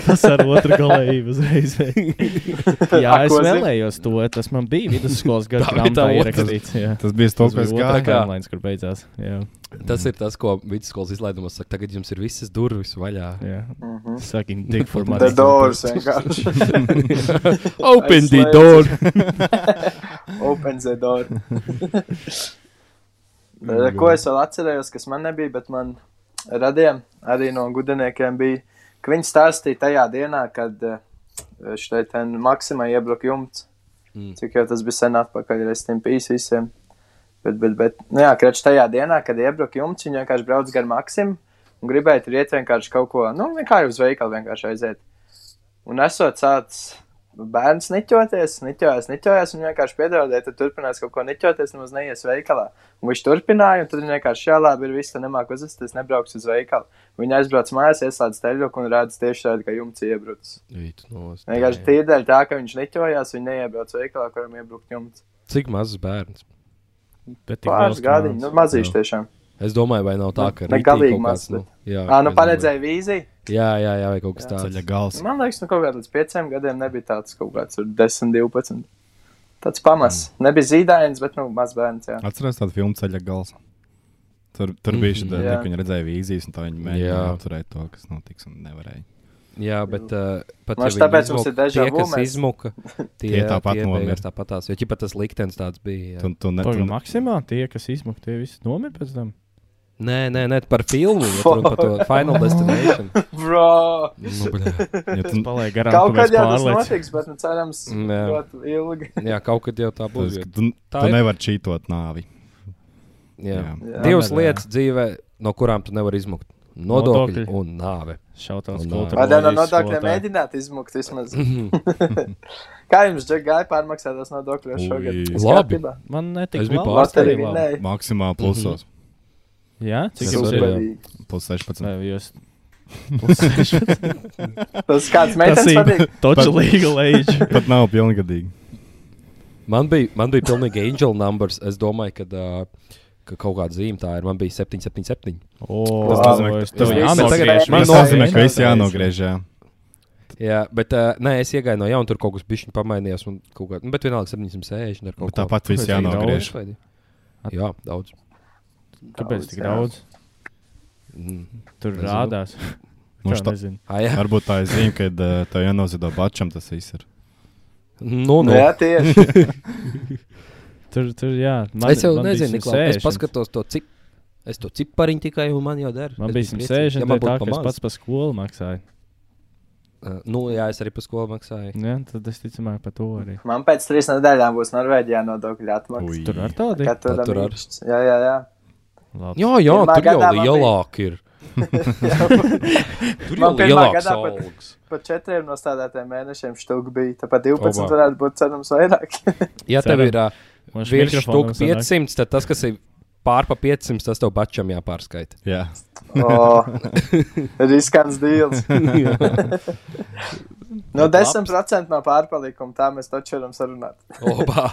Speaker 8: Tas ar otru galēju uzreiz. jā,
Speaker 4: Ak,
Speaker 8: es
Speaker 4: ko zini?
Speaker 8: vēlējos to. Tas man bija vidusskolas gada
Speaker 1: Tā bija tā
Speaker 8: grāmatā
Speaker 1: otra.
Speaker 8: ierakstīts. jā.
Speaker 9: Tas bija tas,
Speaker 8: Tas
Speaker 9: kas
Speaker 8: bija
Speaker 9: gāja.
Speaker 8: otrā
Speaker 1: gāja.
Speaker 8: timelines, kur beidzās. Jā,
Speaker 1: tas ir tas, ko vidusskolas izlaidumos saka. Tagad jums ir visas durvis vaļā.
Speaker 8: jā. Sakim,
Speaker 4: Mhm. The
Speaker 8: tik formāli.
Speaker 4: doors eh, vienkārši.
Speaker 1: Open the
Speaker 4: Aizslēdz.
Speaker 1: door!
Speaker 4: Open the door. Tad, Ko es vēl atcerējos, kas man nebija, bet man radīja arī no gudiniekiem, bija, ka viņi stāstīja tajā dienā, kad eh, šeit maksimā iebruka jumts.
Speaker 1: Mm.
Speaker 4: Cik jau tas bija sen atpakaļ, es tam pīsu visiem. Bet, bet, bet, nu jā, krāč tajā dienā, kad iebruka jumts, viņi vienkārši brauc gar maksimu un gribēja tur iet vienkārši kaut ko, nu, vienkārši uz veikalu vienkārši aiziet. Un esot sācis bērns niķoties, niķojās, niķojās, un vienkārši piedodiet, tad turpinās kaut ko niķoties, nemaz neies veikalā. Un viņš turpināja, un tad viņš vienkārši šā labi ir viss, ka nemāku uzvesties, nebrauks uz veikalu. Viņa aizbrauc mājās, ieslēdz teļoku un redz tieši tādu, ka jumts iebrucis.
Speaker 1: Īt, nost,
Speaker 4: Vienkārši
Speaker 1: jā.
Speaker 4: tīri dēļ tā, ka viņš niķojās, viņa neiebrauc veikalā, kuram iebrukt jumts.
Speaker 1: Cik mazs bērns?
Speaker 4: Pāris gadiņi, nu mazīši tiešām.
Speaker 1: Es domāju, vai nav tā, ka
Speaker 4: Ne
Speaker 1: rītī
Speaker 4: galīgi
Speaker 1: kaut
Speaker 4: mazs,
Speaker 1: kāds, nu, jā,
Speaker 4: Ā, nu
Speaker 1: es
Speaker 4: paredzēja vīziju.
Speaker 1: domāju. Jā, jā, jā, vai kaut kas tāds.
Speaker 9: Ceļa gals.
Speaker 4: Man liekas, nu kaut kādā līdz pieciem gadiem nebija tāds kaut kāds tur 10, 12. Tāds pamats.
Speaker 1: Mm.
Speaker 4: Nebija zīdains, bet nu maz bērns, jā.
Speaker 9: Atceros tādu filmu ceļa gals. Tur,
Speaker 8: Mhm.
Speaker 9: tur bija šī tā,
Speaker 4: Jā.
Speaker 9: ka viņi redzēja vīzijas, un tā viņi mēģināja
Speaker 1: Jā.
Speaker 9: apturēt to, kas notiks, un nevarēja.
Speaker 1: Jā, bet uh, pat ja
Speaker 4: Mums
Speaker 1: viņi
Speaker 4: Nu, tāpēc mums
Speaker 1: izmuka,
Speaker 4: ir deja
Speaker 1: tie,
Speaker 4: vu,
Speaker 1: kas
Speaker 4: mēs-
Speaker 1: izmuka, tie,
Speaker 9: Tie tāpat
Speaker 1: tie
Speaker 9: nomira.
Speaker 1: beigās tāpat tās. Jo ķipa tas liktenis tāds bija. Jā.
Speaker 9: Tu, tu ne, tu,
Speaker 8: Pagaidām, maksimā tie, kas izmuka, tie visi nomira pēc tam.
Speaker 1: Nē, nē, nē, par filmu, ja tu runa par to Final Destination.
Speaker 4: Bro!
Speaker 1: Nu, bļā.
Speaker 9: ja tu,
Speaker 8: Paliek garām.
Speaker 4: Kaut
Speaker 8: kāpēc
Speaker 4: kad jau tas
Speaker 8: pārlec.
Speaker 4: notiks, bet nu, cerams,
Speaker 1: Jā.
Speaker 4: ļoti ilgi.
Speaker 1: jā, kaut kad jau tā būs.
Speaker 9: tas,
Speaker 1: jo-
Speaker 9: ka tu,
Speaker 1: Tā ir-
Speaker 9: tu nevari čītot nāvi.
Speaker 1: Jā.
Speaker 9: Jā.
Speaker 1: Jā. Divas
Speaker 8: Jā.
Speaker 1: lietas dzīvē, no kurām tu nevari izmukt. Nodokļi
Speaker 8: Nodokļi.
Speaker 1: un nāve.
Speaker 8: Šautavs
Speaker 1: Un
Speaker 8: kultūra.
Speaker 4: Vai tā no nodokļiem mēģināt izmukt vismaz? Kā jums, Džek, gāja pārmaksātās nodokļos šogad?
Speaker 9: Ui.
Speaker 4: Viss
Speaker 1: Labi.
Speaker 4: kārtībā?
Speaker 8: Man netika.
Speaker 1: Es biju
Speaker 8: labi.
Speaker 1: pārsteigts.
Speaker 4: Loterija
Speaker 8: Arī labi.
Speaker 4: vinnēja.
Speaker 9: Maksimāli
Speaker 8: Mhm.
Speaker 9: plusos,
Speaker 8: Jā, cik
Speaker 1: Tas
Speaker 8: jums
Speaker 1: arī
Speaker 8: ir?
Speaker 1: labi.
Speaker 4: Superīgi.
Speaker 9: plus 16.
Speaker 8: Vai jūs?
Speaker 4: Tas kāds meitenes patīk.
Speaker 8: Toča legal age.
Speaker 9: Pat nav pilngadīgi.
Speaker 1: Man bija, man bija pilnīgi angel numbers. Es domāju, ka, uh, ka kaut kāda zīme tā ir. Man bija 777.
Speaker 8: O,
Speaker 9: Tas nozīmē,
Speaker 8: Oh, es-
Speaker 9: ka-
Speaker 8: tev
Speaker 9: tas
Speaker 8: jānogriež,
Speaker 4: tagad-
Speaker 8: man
Speaker 9: Tas
Speaker 4: nozīmē,
Speaker 9: nozīmē,
Speaker 8: jānogriež.
Speaker 9: ka viss jānogriež. Jā.
Speaker 1: Jā, bet uh, nē, es iegāju no jauna, tur kaut kas bija pamainījies. un kaut Kā, nu, bet vienalga 760 ar kaut
Speaker 9: Bet
Speaker 1: ko
Speaker 9: Tāpat viss
Speaker 8: Vajadzīgi
Speaker 9: jānogriež.
Speaker 1: Daudz. Jā, daudz.
Speaker 8: Kāpēc tik
Speaker 4: jā.
Speaker 8: daudz? Tur
Speaker 1: Nezinu.
Speaker 8: rādās.
Speaker 9: Nu,
Speaker 8: Tā
Speaker 9: šta-
Speaker 8: nezinu.
Speaker 1: Ah, Mm. jā,
Speaker 9: Varbūt tā ir zīme, ka uh, tev jānoziedo bačam tas viss ir.
Speaker 1: nu,
Speaker 4: Nu,
Speaker 1: nu.
Speaker 4: Jā, tieši.
Speaker 8: Tur, tur, jā. Man,
Speaker 1: es jau
Speaker 8: man bija
Speaker 1: nezinu, kā es
Speaker 8: 160.
Speaker 1: paskatos to cik. Es to cipariņu tikai, un man jau der.
Speaker 8: Man
Speaker 1: Es
Speaker 8: bija
Speaker 1: biju
Speaker 8: 160,
Speaker 1: priecīgs.
Speaker 8: ja
Speaker 1: Ja man
Speaker 8: tā,
Speaker 1: būtu
Speaker 8: ka es
Speaker 1: pamācis.
Speaker 8: pats par skolu maksāju.
Speaker 1: Uh, Nu, jā, es arī par skolu maksāju.
Speaker 8: Jā, tad es ticamāk par to arī.
Speaker 4: Man pēc trīs nedēļām būs Norvēģijā nodokļu atmaksa.
Speaker 9: Ui.
Speaker 8: Tur ar tādu
Speaker 4: Kā tur
Speaker 1: Tā tur ar-
Speaker 4: ir? Jā, jā, jā.
Speaker 8: labi.
Speaker 1: Jā, jā,
Speaker 4: Pirmā
Speaker 1: tur jau
Speaker 4: gadā man bija-
Speaker 1: lielāk ir. Tur jau
Speaker 4: Man pirmā
Speaker 1: lielāks
Speaker 4: gadā pat-
Speaker 1: algas.
Speaker 4: Par četriem no stādātiem mēnešiem štuk bija. Tāpat 12
Speaker 1: Obā.
Speaker 4: varētu būt cerams vairāk.
Speaker 1: Ja tev
Speaker 8: Ceram.
Speaker 1: ir uh,
Speaker 8: Man šis
Speaker 1: virs
Speaker 8: mikrofons
Speaker 1: stūka
Speaker 8: sanāk.
Speaker 1: 500, tad tas, kas ir pārpa 500, tas tev pašam jāpārskaita.
Speaker 9: Jā,
Speaker 4: O, riskants deals. no 10% Nu, no pārpalikuma tā mēs taču varam sarunāt.
Speaker 1: Obā.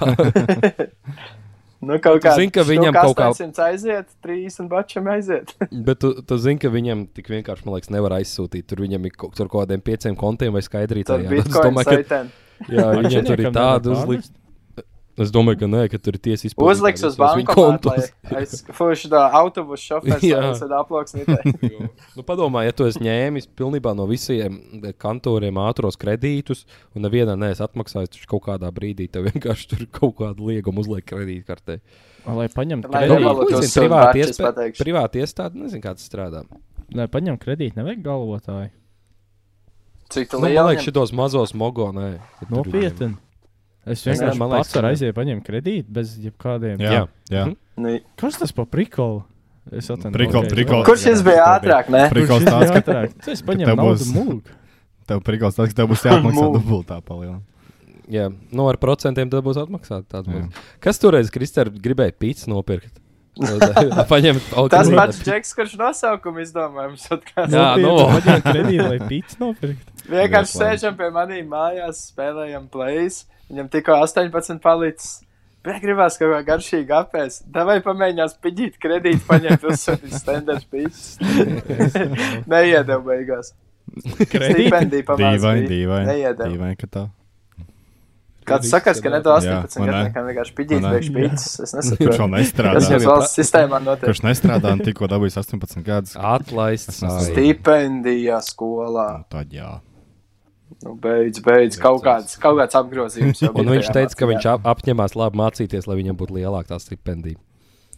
Speaker 4: Nu, kaut
Speaker 1: Tu
Speaker 4: kā
Speaker 1: zini, ka viņam kaut kā-
Speaker 4: 800 aiziet, 30 bačiem aiziet.
Speaker 1: Bet tu, tu zini, ka viņam tik vienkārši, man liekas, nevar aizsūtīt. Tur viņam ir kaut, tur kaut kādiem pieciem kontiem vai
Speaker 4: Tad
Speaker 1: skaidrītājiem. Es
Speaker 4: bitkoins
Speaker 1: domāju,
Speaker 4: aitēn.
Speaker 1: ka jā, viņam tur ir
Speaker 8: Akcionieriem
Speaker 1: tāda
Speaker 8: nevar
Speaker 1: uzlikta. Es domāju, ka nē, ka tur ir tiesa izpildījuma.
Speaker 4: Uzliks uz banku aizskaušu to autobusu šoferu,
Speaker 1: Jā.
Speaker 4: lai es tādu aploksnītu.
Speaker 1: Nu, padomā, ja tu esi ņēmis pilnībā no visiem eh, kantoriem ātros kredītus, un nevienā neesi atmaksājis, tad kaut kādā brīdī tev vienkārši tur kaut kāda lieguma uzliek kredītkartē. Nu,
Speaker 8: Lai paņemtu
Speaker 4: Lai
Speaker 1: Domā, ko
Speaker 4: nevalūtu
Speaker 8: kredītu.
Speaker 1: zini,
Speaker 4: uz savu
Speaker 1: privāta
Speaker 4: barču, es
Speaker 1: iespē-
Speaker 4: pateikšu.
Speaker 1: Privāta iestāde, nezinu, kā tas strādā.
Speaker 8: Lai paņemtu kredītu, nevajag galvotāju.
Speaker 1: Nu,
Speaker 4: Cik tā
Speaker 1: man liekas,
Speaker 4: liela?
Speaker 1: šitos mazos mogonē.
Speaker 8: Nopietni.
Speaker 1: Es
Speaker 8: Es
Speaker 1: man
Speaker 8: vienkārši man liekas,
Speaker 1: liekas,
Speaker 8: ka
Speaker 1: ka-
Speaker 8: aizēju paņemt kredītu bez jebkādiem.
Speaker 1: Jā.
Speaker 9: Jā, jā.
Speaker 1: Mhm.
Speaker 8: Kas tas par prikolu? Es atvainojos.
Speaker 9: Prikol,
Speaker 8: Ok,
Speaker 9: prikol.
Speaker 4: Kurš šis bija
Speaker 9: Jā,
Speaker 4: ātrāk? Ne?
Speaker 9: Prikals
Speaker 8: Kurš
Speaker 9: tāds,
Speaker 8: ir
Speaker 9: ka
Speaker 8: ātrāk? Es paņēmu
Speaker 9: tev
Speaker 8: naudu
Speaker 9: būs-
Speaker 8: mūgu.
Speaker 9: tev prikals tāds, ka tev būs jāmaksā
Speaker 4: Mū.
Speaker 9: dubultā palielā.
Speaker 1: Jā, nu ar procentiem tad būs atmaksāta. tāds būs. Kas toreiz Kristēns gribēja pīcis nopirkt? Paņemt
Speaker 4: Tas
Speaker 1: alkoholu.
Speaker 4: pats džeks, kurš nosaukumu izdomājums atkal.
Speaker 1: Jā, nu.
Speaker 8: Paņēmu kredītu, lai pīts nopirkt.
Speaker 4: Vienkārši
Speaker 9: Vieglāk.
Speaker 4: sēžam pie maniem mājās, spēlējam plays. Viņam tikko 18 palicis. Bet gribās kaut kā garšīgi apēst. Davai pamēģinās piģīt kredītu, paņemt uzsūtīt standarta pīcis. Neiedev beigās. Stipendiju
Speaker 9: Dīvaini,
Speaker 4: pamēģināt.
Speaker 9: dīvaini.
Speaker 4: Neiedeva.
Speaker 9: Dīvaini, ka tā.
Speaker 4: Kāds sakās, ka ne to
Speaker 9: Jā,
Speaker 4: 18
Speaker 9: vai ne?
Speaker 4: gadu, kā vienkārši piģīt
Speaker 9: Vai ne?
Speaker 4: priekš pīcis. Es
Speaker 9: Kurš vēl
Speaker 4: nesaprotu. Tas
Speaker 9: nestrādā?
Speaker 4: mums valsts sistēmā notiek.
Speaker 9: Kurš nestrādā un tikko dabūjis 18 gadus?
Speaker 1: Ah. Atlaists.
Speaker 9: Tas nav
Speaker 1: ārā.
Speaker 4: Stipendijā skolā.
Speaker 9: Nu, Tad jā.
Speaker 4: Nu, beidz, beidz, kaut kāds, kaut kāds apgrozījums. jau
Speaker 1: Un
Speaker 4: bija
Speaker 1: viņš
Speaker 4: tajā
Speaker 1: teica, ka
Speaker 4: mācībā.
Speaker 1: viņš ap, apņemās labi mācīties, lai viņam būtu lielāka tā stipendija,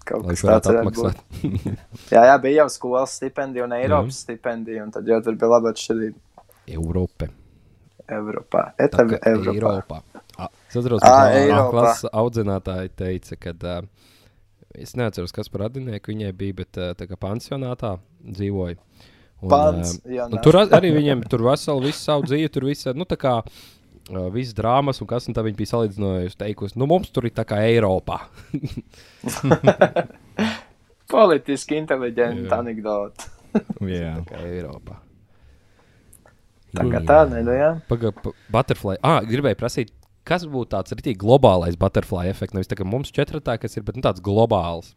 Speaker 4: kaut
Speaker 1: lai
Speaker 4: kas
Speaker 1: viņš varētu
Speaker 4: tāds varētu būt.
Speaker 1: atmaksāt.
Speaker 4: Jā, jā, bija jau skolas stipendija un Eiropas
Speaker 1: Mhm.
Speaker 4: mm. stipendija, un tad jau tur bija laba atšķirība.
Speaker 1: Eiropa.
Speaker 4: Eiropā. Eta bija Eiropā.
Speaker 1: Es atceros,
Speaker 4: Ā,
Speaker 1: ka tā
Speaker 4: Eiropā.
Speaker 1: klases audzinātāja teica, ka uh, es neatceros, kas par radinieku viņai bija, bet uh, tā kā pansionātā dzīvoja. Un,
Speaker 4: Pants,
Speaker 1: ā,
Speaker 4: jā,
Speaker 1: un
Speaker 4: nē.
Speaker 1: tur a- arī viņiem tur veseli visu savu dzīvi, tur viss, nu tā kā ā, visas drāmas un kas un tā viņi bija salīdzinājusi, teikusi, nu mums tur ir tā kā Eiropā.
Speaker 4: Politiski inteliģenta anekdote.
Speaker 9: Jā.
Speaker 1: Kā Eiropā.
Speaker 4: Tā kā tā, ne, nu jā.
Speaker 1: Pagaidā, butterfly. Ah, gribēju prasīt, kas būtu tāds rītīgi globālais butterfly efekts. Nevis tā, ka mums četratā, kas ir, bet nu, tāds globāls.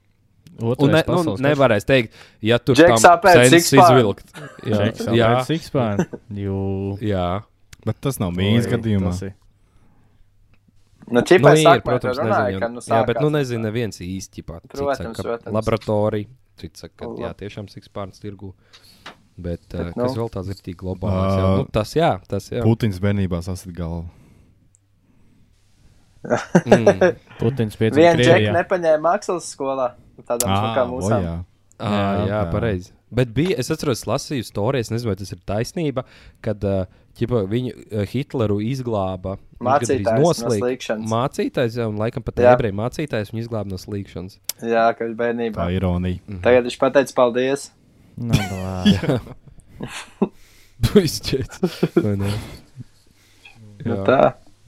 Speaker 1: Un ne, nu, nevarēs teikt, ja tur
Speaker 4: Džeks
Speaker 1: tam
Speaker 4: apēd
Speaker 1: sensus
Speaker 4: sixpack.
Speaker 1: izvilkt. Jā, jā,
Speaker 8: Sikspēn. Jū.
Speaker 1: jā.
Speaker 9: Bet tas nav mīnus gadījumā.
Speaker 8: Tas ir.
Speaker 4: Nu,
Speaker 1: Nu,
Speaker 4: čipā nu,
Speaker 1: ir,
Speaker 4: sākumā
Speaker 1: protams,
Speaker 4: protams, runāja, ka,
Speaker 1: nezinu.
Speaker 4: nu,
Speaker 1: Jā, bet nu
Speaker 4: sākās.
Speaker 1: nezinu, neviens īsti pat.
Speaker 4: Protams, protams.
Speaker 1: Laboratorija. Cits saka, ka
Speaker 4: Lab-
Speaker 1: jā, tiešām sikspārns tirgu. Bet, bet uh,
Speaker 4: nu.
Speaker 1: kas vēl tāds ir tik globāls? Uh, jā,
Speaker 9: Ā,
Speaker 1: nu, tas jā, tas jā.
Speaker 9: Putins bērnībā sasit galvu.
Speaker 8: Putins piedzima
Speaker 4: Vienu džeku
Speaker 8: Krievijā.
Speaker 4: nepaņēma mākslas skolā. Tādām ah, kā
Speaker 9: o,
Speaker 4: mūsu.
Speaker 9: jā.
Speaker 1: Ah,
Speaker 9: Jā,
Speaker 1: jā,
Speaker 9: jā.
Speaker 1: pareizi. Bet bija, es atceros, lasīju stāstu, es nezinu, vai tas ir taisnība, kad uh, ķipa, viņu uh, Hitleru izglāba nu,
Speaker 4: Mācītājs
Speaker 1: gandrīz
Speaker 4: no
Speaker 1: noslīk-
Speaker 4: slīkšanas.
Speaker 1: Mācītājs, jā, un laikam pat
Speaker 4: Jā.
Speaker 1: ebreju mācītājs viņu izglāba no slīkšanas.
Speaker 4: Jā, ka viņš bērnībā.
Speaker 9: Tā ir ironija.
Speaker 4: Tagad viņš pateica paldies.
Speaker 8: Nu, labi.
Speaker 1: Tu izšķiet. Vai ne?
Speaker 4: Nu,
Speaker 1: Jā.
Speaker 4: tā.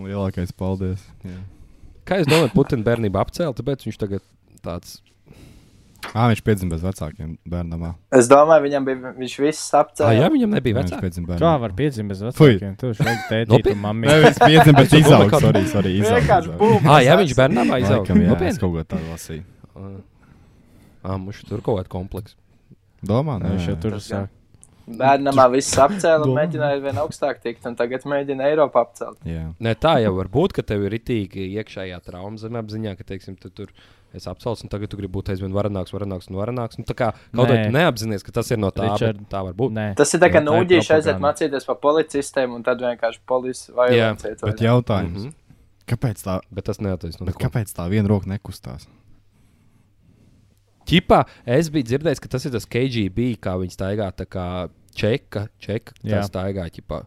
Speaker 9: Lielākais paldies. Jā.
Speaker 1: Kā jūs domājat, Putina bērnība apcēla, tāpēc viņš tagad tāds
Speaker 9: Ā, viņš piedzima bez vecākiem bērnamā.
Speaker 4: Es domāju, viņam bija viņš viss
Speaker 1: - ah, jā,
Speaker 4: apcēlies.
Speaker 1: viņam nebija
Speaker 9: Viņš
Speaker 1: vecāka.
Speaker 9: piedzima bērnamā.
Speaker 8: Kā var piedzimt bez
Speaker 9: Fui.
Speaker 8: vecākiem? Tur šeit
Speaker 1: Nopietni?
Speaker 8: tēti un mammi.
Speaker 9: Nē, viņš piedzima, bet
Speaker 1: domāju,
Speaker 9: izaugs.
Speaker 1: ka-
Speaker 9: Sorry, sorry, izaugs.
Speaker 4: Vienkārši bum.
Speaker 1: Ah, jā, viņš bērnam aizauga.
Speaker 9: Laikam, jā, es
Speaker 1: Nopietni.
Speaker 9: kaut ko tādu lasīju.
Speaker 1: Ah, mums tur kaut kāda kompleksa.
Speaker 9: Domā, nē,
Speaker 8: Viņš jau Nu, tur sāk.
Speaker 4: Bērnamā viss apcēla un
Speaker 9: Domā.
Speaker 4: mēģināja vien augstāk tikt, un tagad mēģina Eiropu apcelt.
Speaker 9: Jā.
Speaker 1: Ne, tā jau var būt, ka tev ir itīgi iekšējā trauma zemapziņā, ka, teiksim, tu tur es apsaucu, un tagad tu gribi būt aizvien varenāks, varenāks un varenāks. Nu, tā kā kaut
Speaker 8: Nē.
Speaker 1: kādā neapzinājies, ka tas ir no tā,
Speaker 8: Richard,
Speaker 1: Richard, tā var būt.
Speaker 8: Nē.
Speaker 4: Tas ir tā kā
Speaker 8: Jā, tā ir
Speaker 4: nūģīši aiziet
Speaker 8: propaganda.
Speaker 4: mācīties par policistiem un tad vienkārši policija vai
Speaker 1: Jā,
Speaker 9: Bet jautājums.
Speaker 1: Mhm.
Speaker 9: Kāpēc tā?
Speaker 1: Bet tas neataisno.
Speaker 9: Bet kāpēc tā viena roka nekustās?
Speaker 1: Čipā es biju dzirdējis, ka tas ir tas KGB, kā viņi staigā tā kā čeka, čeka tā
Speaker 8: Jā.
Speaker 1: staigā ķipā.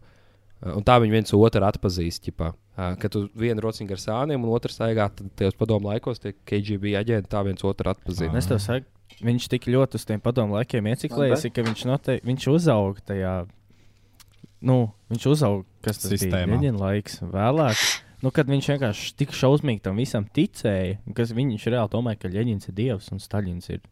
Speaker 1: Eh, Un tā viņi viens otru atpazīst. Ķipā. Kad tu vienu rociņu ar sāniem un otru staigā, tad tajos padomu laikos tie KGB aģenti tā viens otru atpazīst.
Speaker 8: Es tev saku, viņš tik ļoti uz tiem padomu laikiem ieciklējies, ka viņš, noteik, viņš uzauga tajā. Nu, viņš uzauga, kas tas Sistēmā. bija
Speaker 9: Sistēmā.
Speaker 8: Leņķina laiks vēlāk. Nu, kad viņš vienkārši tik šausmīgi tam visam ticēja, un kas viņš reāli domāja, ka Leņķins ir dievs un Staļins ir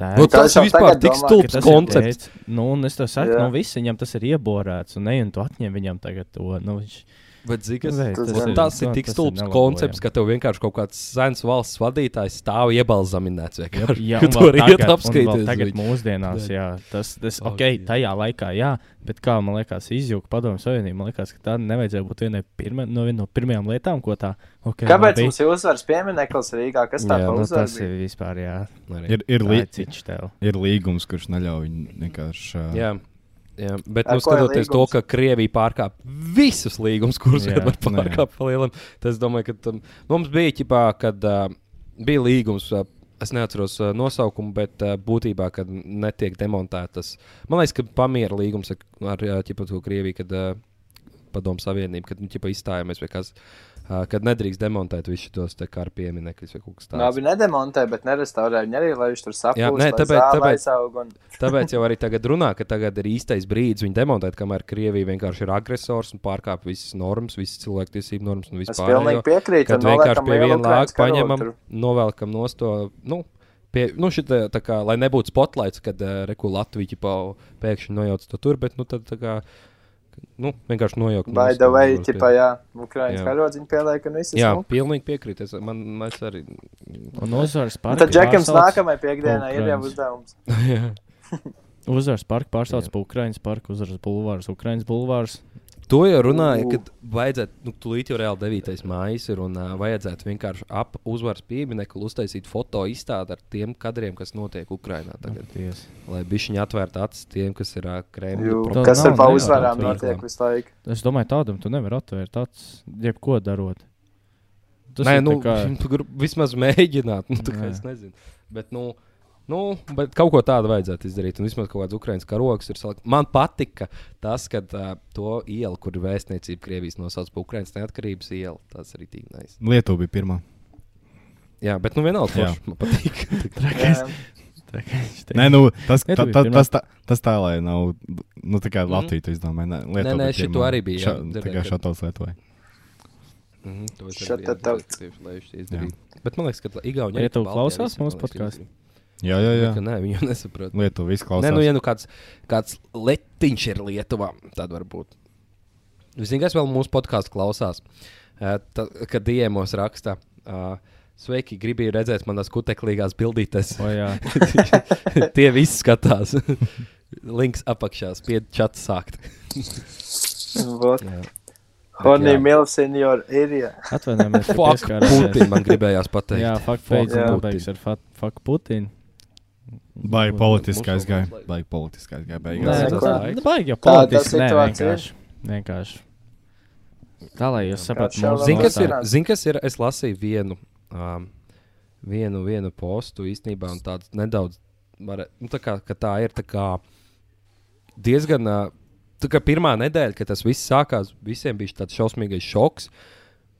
Speaker 8: Tā
Speaker 1: Nu, tas
Speaker 4: jau
Speaker 1: ir vispār
Speaker 4: tagad
Speaker 1: tik
Speaker 4: domā,
Speaker 1: stulbs koncepts.
Speaker 8: Teic, nu, un es tev saku,
Speaker 4: Jā.
Speaker 8: nu, viss viņam tas ir ieborēts. Un, ne, un tu atņem viņam tagad to. Nu, viņš,
Speaker 1: Bet, zini,
Speaker 8: Nu,
Speaker 1: kas-
Speaker 8: vei,
Speaker 4: tas
Speaker 1: Un
Speaker 4: ir-
Speaker 1: Tas ir
Speaker 8: nu,
Speaker 1: tik
Speaker 8: tas
Speaker 1: stulbs
Speaker 8: nelabojami.
Speaker 1: koncepts, ka tev vienkārši kaut kāds sens valsts vadītājs stāv iebalzaminēts. vienkārši.
Speaker 8: Jā,
Speaker 1: Tu
Speaker 8: un
Speaker 1: tur
Speaker 8: vēl
Speaker 1: iet
Speaker 8: tagad- un vēl
Speaker 1: apskatīties.
Speaker 8: Tagad
Speaker 1: viņu.
Speaker 8: mūsdienās, jā, tas, tas
Speaker 1: Ak,
Speaker 8: ok,
Speaker 1: Dievs.
Speaker 8: tajā laikā, jā, bet kā man liekas, izjūta padomu savienību, man liekas, ka tā nevajadzēja būt vienai pirma, no, viena no pirmajām lietām, ko tā. Okay,
Speaker 4: Kāpēc mums ir uzvaras piemineklis Rīgā? Kas tā
Speaker 8: Jā,
Speaker 4: par
Speaker 8: nu, tas
Speaker 4: uzvaru?
Speaker 8: ir vispār, jā,
Speaker 1: Arī.
Speaker 9: Ir, ir,
Speaker 8: tā ir
Speaker 9: lī,
Speaker 8: cits tev.
Speaker 9: ir līgums, kurš neļauj viņu vienkārši. ā,
Speaker 1: Jā. Jā, bet,
Speaker 4: Ar
Speaker 1: nu,
Speaker 4: ko ir
Speaker 1: skatoties to,
Speaker 4: līgums?
Speaker 1: ka Krievija pārkāpa visus līgumus, kurus
Speaker 8: Jā,
Speaker 1: vienmēr
Speaker 9: nu jā.
Speaker 1: pārkāpa pa lielam, tad es domāju, ka tam, mums bija ķipā, kad uh, bija līgums. Uh, Es neatceros uh, nosaukumu, bet uh, būtībā, kad netiek demontētas. Man liekas, ka pamiera līgums ar, ar uh, ķipa, to Krieviju, kad uh, padomu savienību, kad nu, ķipa, izstājāmies vai kas, uh, kad nedrīkst demontēt visus tos te kā ar pieminekļus vai kaut kas tāds.
Speaker 4: Nē, Nu, abi nedemontē, bet nerestaurē viņu arī, lai viņš tur saprast.
Speaker 1: nē, tāpēc- tāpēc-
Speaker 4: Aizaug, un...
Speaker 1: Tāpēc jau arī tagad runā, ka tagad ir īstais brīdis viņu demontēt, kamēr Krievija vienkārši ir agresors un pārkāpj visas normas, visas cilvēktiesību normas un
Speaker 4: Es
Speaker 1: vispār.
Speaker 4: pilnīgi piekrītu.
Speaker 1: Kad
Speaker 4: un noliekam
Speaker 1: vienkārši pie
Speaker 4: lielu
Speaker 1: viena
Speaker 4: Ukrainas
Speaker 1: lāča
Speaker 4: karogu
Speaker 1: paņemam,
Speaker 4: tur.
Speaker 1: novelkam no to. Nu, Pie, nu šitā, tā kā, lai nebūtu spotlights, kad uh, Latvija pēkšņi nojauc to tur, bet nu, tad, tā kā, nu, vienkārši nojaukt.
Speaker 4: By
Speaker 1: mūsu
Speaker 4: the way,
Speaker 1: uzvaras
Speaker 4: tipā,
Speaker 1: pie-
Speaker 4: jā, Ukraiņas
Speaker 1: Jā.
Speaker 4: karodziņu pieliek un viss.
Speaker 1: jā,
Speaker 4: nu.
Speaker 1: pilnīgi piekrītu. Es, man, es arī.
Speaker 8: Un uzvaras
Speaker 4: Un
Speaker 8: parka.
Speaker 4: Tad Džekams
Speaker 8: pārsauc-
Speaker 4: nākamajā piekdienā ir jau
Speaker 8: Ukrainas.
Speaker 4: uzdevums.
Speaker 1: Jā.
Speaker 8: Uzvaras parka pārstāvs pa Ukraiņas parku, uzvaras bulvārs, Ukraiņas bulvārs.
Speaker 1: To jau runāja,
Speaker 4: U.
Speaker 1: kad vajadzētu, nu, tūlīt jau reāli 9. maija ir un uh, vajadzētu vienkārši ap uzvaras pieminiektu uztaisīt foto izstādi ar tiem kadriem, kas notiek Ukrajinā tagad.
Speaker 8: Paldies.
Speaker 1: Lai bišķiņi atvērtu acis tiem, kas ir uh, Kremļa.
Speaker 4: Jū,
Speaker 1: propa-
Speaker 4: Kas
Speaker 8: nav,
Speaker 4: ar pa
Speaker 8: nevar
Speaker 4: uzvarām
Speaker 1: atvērt.
Speaker 4: notiek visu laiku?
Speaker 8: Es domāju, tādam tu nevari atvērt tāds, jebko darot. Tas
Speaker 1: Nē,
Speaker 8: ir tā
Speaker 1: nu,
Speaker 8: kā-
Speaker 1: tu gru- vismaz mēģināt. Nu, tā kā
Speaker 8: Nē.
Speaker 1: es nezinu. Bet, nu, nu, bet kaut ko tādu vajadzētu izdarīt. Un vismaz kaut kāds ukraiņš karogs ir salikt. Man patika tas, ka uh, to ielu, kur ir vēstniecība Krievijas nosauc par Ukraiņas neatkarības ielu, tas arī tīk nais.
Speaker 9: Lietuva bija pirmā.
Speaker 1: Jā, bet nu vienalga,
Speaker 9: Jā.
Speaker 1: forši, man patīk.
Speaker 4: Jā.
Speaker 8: tā kā viņš teica.
Speaker 9: Nē, nu, tas,
Speaker 8: Lietuva
Speaker 9: ta, ta,
Speaker 8: bija pirmā.
Speaker 9: tas, tā, tas tā, lai nav nu, tā kā Latvija. Mm. Izdomāja, nē, Lietuva
Speaker 1: Mhm. nē,
Speaker 9: bija
Speaker 1: šito
Speaker 9: pirmā.
Speaker 1: arī bija, jā,
Speaker 9: Ša, tā
Speaker 1: dzirdēju,
Speaker 9: kā
Speaker 1: kad-
Speaker 9: šāds Lietuvai.
Speaker 1: Mhm, to es
Speaker 4: Shut
Speaker 1: arī
Speaker 4: the
Speaker 1: atceros,
Speaker 4: fuck.
Speaker 1: ka tieši, lai viņš to izdarītu. Bet man liekas, ka Igaunija
Speaker 8: Ja tu klausās mūsu podcastu?
Speaker 9: Jā, jā, jā.
Speaker 1: Nu, Nē, viņi jau nesaprot.
Speaker 9: Lietuva
Speaker 1: Nē,
Speaker 9: izklausās.
Speaker 1: nu, ja nu kāds, kāds letiņš ir Lietuvā, tad varbūt. Ziniet, kas vēl mūsu podkāstu klausās, Eh, ta- kad Diemos raksta. eh, Sveiki, gribēju redzēt manas kuteklīgās bildītes.
Speaker 8: O, jā.
Speaker 1: Tie visi skatās. Links apakšā, spied čat sākt.
Speaker 4: Vot. Honey Mills in your area.
Speaker 8: Atvainojamies, ka
Speaker 1: Fuck,
Speaker 8: pieskārāmies.
Speaker 1: Putin, man gribējās pateikt.
Speaker 8: Jā, fuck,
Speaker 1: Fuck
Speaker 8: Putin.
Speaker 1: Putin.
Speaker 8: Pabeigts ar fa- fuck Putin.
Speaker 9: Baigi politiskais
Speaker 1: Musulmanis
Speaker 9: gāja.
Speaker 1: lai-
Speaker 9: Baigi politiskais gāja.
Speaker 1: Nē,
Speaker 9: Beigās.
Speaker 8: Nē, nu
Speaker 1: tas
Speaker 8: tā
Speaker 1: laiks.
Speaker 8: ir baigi jau
Speaker 4: Tāda
Speaker 8: politiski. Nē,
Speaker 4: situācija.
Speaker 8: vienkārši. vienkārši. Tā lai jūs saprastu,
Speaker 4: šā
Speaker 8: mūsu
Speaker 1: Zini, kas, ir-
Speaker 8: nostāja.
Speaker 4: Nostāja.
Speaker 1: zini, kas ir? Es lasīju vienu, um, vienu, vienu postu īstenībā, un tāds nedaudz, var, nu, tā, kā, ka tā ir tā kā diezgan. Uh, tā kā pirmā nedēļa, kad tas viss sākās, visiem bija tāds šausmīgais šoks.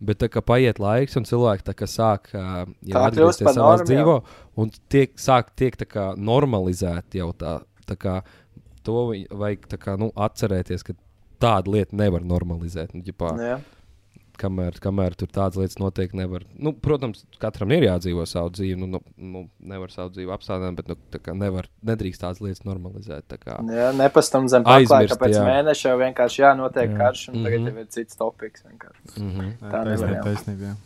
Speaker 1: Bet tā kā paiet laiks, un cilvēki tā kā sāk uh, jau
Speaker 4: Tā kļūst
Speaker 1: atgriezties
Speaker 4: par
Speaker 1: savā
Speaker 4: normu,
Speaker 1: dzīvē, un tiek, sāk tiek tā kā normalizēti jau tā. tā kā, to vi- vajag tā kā, nu, atcerēties, ka tādu lietu nevar normalizēt. Nu, ģipā,
Speaker 4: Jā.
Speaker 1: kamēr, kamēr tur tādas lietas notiek, nevar. Nu, protams, katram ir jādzīvo savu dzīvi. Nu, nu, nu, nevar savu dzīvi apstādināt, bet nu, tā kā nevar, nedrīkst tādas lietas normalizēt. tā kā.
Speaker 4: Jā, nepastāvam zem paklāja,
Speaker 1: Aizmirst,
Speaker 4: ka pēc
Speaker 1: jā.
Speaker 4: mēneša jau vienkārši jānotiek
Speaker 8: Jā.
Speaker 4: karš, un tagad
Speaker 1: Mhm.
Speaker 4: jau ir cits topiks. vienkārši.
Speaker 8: Mhm.
Speaker 4: Tā
Speaker 9: Taisnība,
Speaker 4: nevar.
Speaker 9: taisnība. jā.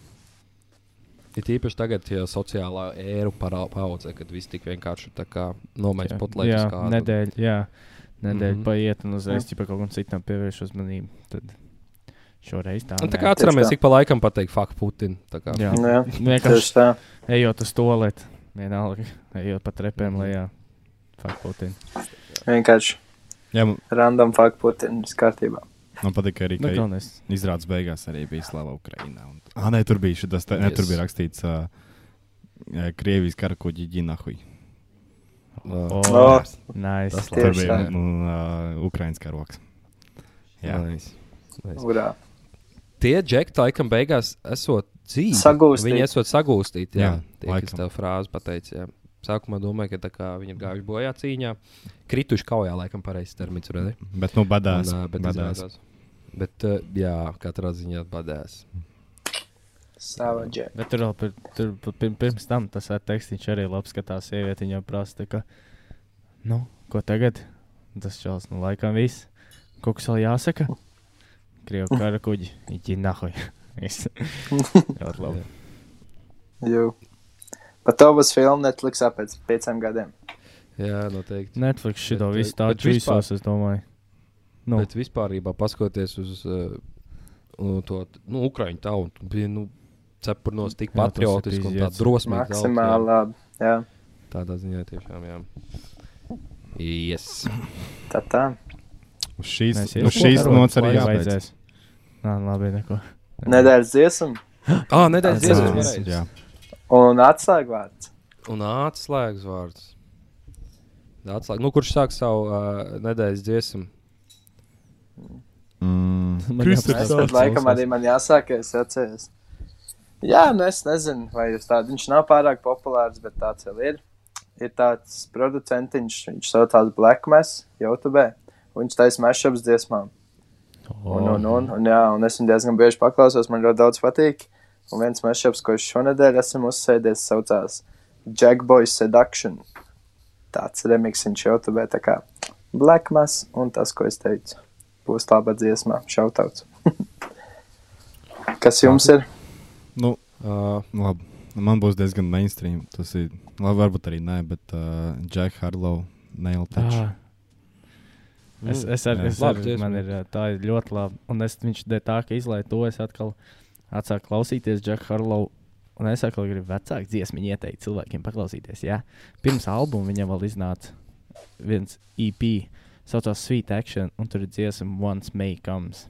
Speaker 1: Ir īpaši tagad, ja sociālā ēra parā- paudze, kad viss tik vienkārši tā kā
Speaker 8: Jā,
Speaker 1: nomainīts
Speaker 8: jā,
Speaker 1: potlaiks.
Speaker 8: nedēļa, jā, nedēļa
Speaker 1: Mhm.
Speaker 8: paiet un uzreiz jau kaut kam citam pievērš uzmanību. Tad šoreiz tā.
Speaker 1: Nu, Tā
Speaker 8: nē.
Speaker 1: kā atceramies,
Speaker 4: Tieši tā.
Speaker 1: ik pa laikam pateikt, fuck, Putin. tā kā.
Speaker 8: Jā,
Speaker 4: Jā.
Speaker 8: vienkārši
Speaker 4: Tieši tā.
Speaker 8: ejot uz toaleti. Vienalga, ejot pa trepēm lejā. Fuck Putin.
Speaker 4: Vienkārši
Speaker 9: Jā, man-
Speaker 4: random fakt Putins kārtībā.
Speaker 9: man patīk arī,
Speaker 8: Nu,
Speaker 9: ka
Speaker 8: galvenais.
Speaker 9: Izrādās beigās arī bija slava Ukraiņā. Un... Ah, nē, tur bija šis te, yes. tur
Speaker 1: Yes.
Speaker 9: bija rakstīts uh, Krievijas kara kuģi Ginahui.
Speaker 1: Nā.
Speaker 8: O,
Speaker 4: Tas
Speaker 8: nice.
Speaker 1: Tas
Speaker 9: Tur
Speaker 4: Tieši
Speaker 9: bija
Speaker 4: tā.
Speaker 9: uh, Ukraiņas karoks. Jā,
Speaker 1: Nice.
Speaker 4: Urā.
Speaker 1: Tie džekti laikam beigās esot dzīvi.
Speaker 4: Sagūstīti.
Speaker 1: Viņi esot sagūstīti. Jā, jā
Speaker 9: Jā,
Speaker 1: tie, kas
Speaker 9: laikam.
Speaker 1: tev frāzi pateica. Jā. Sākumā domāju, ka tā kā viņi ir gājuši bojā cīņā, krituši kaujā, laikam, pareizs termins. Redzi?
Speaker 9: bet nu badās.
Speaker 1: Un, ā, bet
Speaker 9: badās.
Speaker 1: izrādās. Bet, uh, jā, katrā ziņā badās.
Speaker 4: Savage.
Speaker 8: Bet tur vēl pir, tur, pa- pir, pirms tam tas ā, tekstīns arī labi skatās. Sieviete viņam prasa, tā ka, nu, ko tagad? Un Tas čels, nu, laikam viss. Kaut kas vēl jāsaka? Krievu kara kuģi, viņi nahoj. Viss. Ļoti labi.
Speaker 4: Jū. Pat to būs filma Netflixā pēc pieciem gadiem.
Speaker 1: Jā,
Speaker 9: Nu,
Speaker 1: noteikti.
Speaker 8: Netflix šito
Speaker 1: Bet,
Speaker 8: visu
Speaker 1: bet
Speaker 8: tādu
Speaker 1: vispār-
Speaker 8: visos, es domāju.
Speaker 1: Nu.
Speaker 8: Nu,
Speaker 1: Bet vispār, paskatoties uz uh, nu, to nu, Ukrāņu tautu, bija nu, cepurnos tik
Speaker 8: Jā, tas ir
Speaker 1: patriotiski un tā
Speaker 8: iziets.
Speaker 1: drosmīgi.
Speaker 4: Maksimāli labi. Jā,
Speaker 1: Tādā ziņā tiešām, jā. Yes.
Speaker 4: tā tā.
Speaker 9: Uz šīs,
Speaker 8: mēs
Speaker 9: uz šīs
Speaker 8: iesim.
Speaker 9: nots arī
Speaker 8: Vai
Speaker 9: jābeidz.
Speaker 8: vajadzēs? Nā, labi, neko.
Speaker 4: Nedēļas dziesma
Speaker 1: Ā, nedēļas
Speaker 4: Tas
Speaker 1: dziesmas
Speaker 4: ir-
Speaker 9: Jā,
Speaker 1: varēja.
Speaker 9: jā.
Speaker 4: un atslēgvārds.
Speaker 1: Un atslēgas vārds. Atslēg... Nu, kurš sāk savu uh, nedēļas dziesmu?
Speaker 9: Mm.
Speaker 4: Es pat laikam arī man jāsāk, ja es atceros. Jā, nu es nezinu, vai jūs tādu. Viņš nav pārāk populārs, bet tāds vēl ir. Ir tāds producentiņš, viņš sauc tādu Black Mass YouTube. un Viņš taisa mashups dziesmām. Un, un, un, un, jā, un es viņu diezgan bieži paklausos, man ļoti daudz patīk. Un viens mashups, ko es šonadēļ esmu uzsēdies, saucās Jackboy Seduction. Tāds remix viņš YouTube. Tā kā Black Mass un tas, ko es teicu, būs laba dziesma, šautauts. Kas jums ir?
Speaker 9: Nu,
Speaker 1: Uh,
Speaker 9: Labi. Nu, Man būs diezgan mainstream. Tas ir. Labi, varbūt arī nē, bet uh, Jack Harlow nail touch.
Speaker 8: Ah. Es, es arī
Speaker 9: Jā.
Speaker 8: es
Speaker 1: Labi,
Speaker 8: labi,
Speaker 1: dziesma.
Speaker 8: man ir ā, tā ir ļoti labi. Un es viņš dēļ tā, ka izlaiž to, es atkal atsāku klausīties Džeku Harlovu. Un es atkal gribu vecāku dziesmu ieteikt cilvēkiem paklausīties. Jā. Pirms albuma viņam vēl iznāca viens EP, saucās Sweet Action, un tur ir dziesma Once May Comes.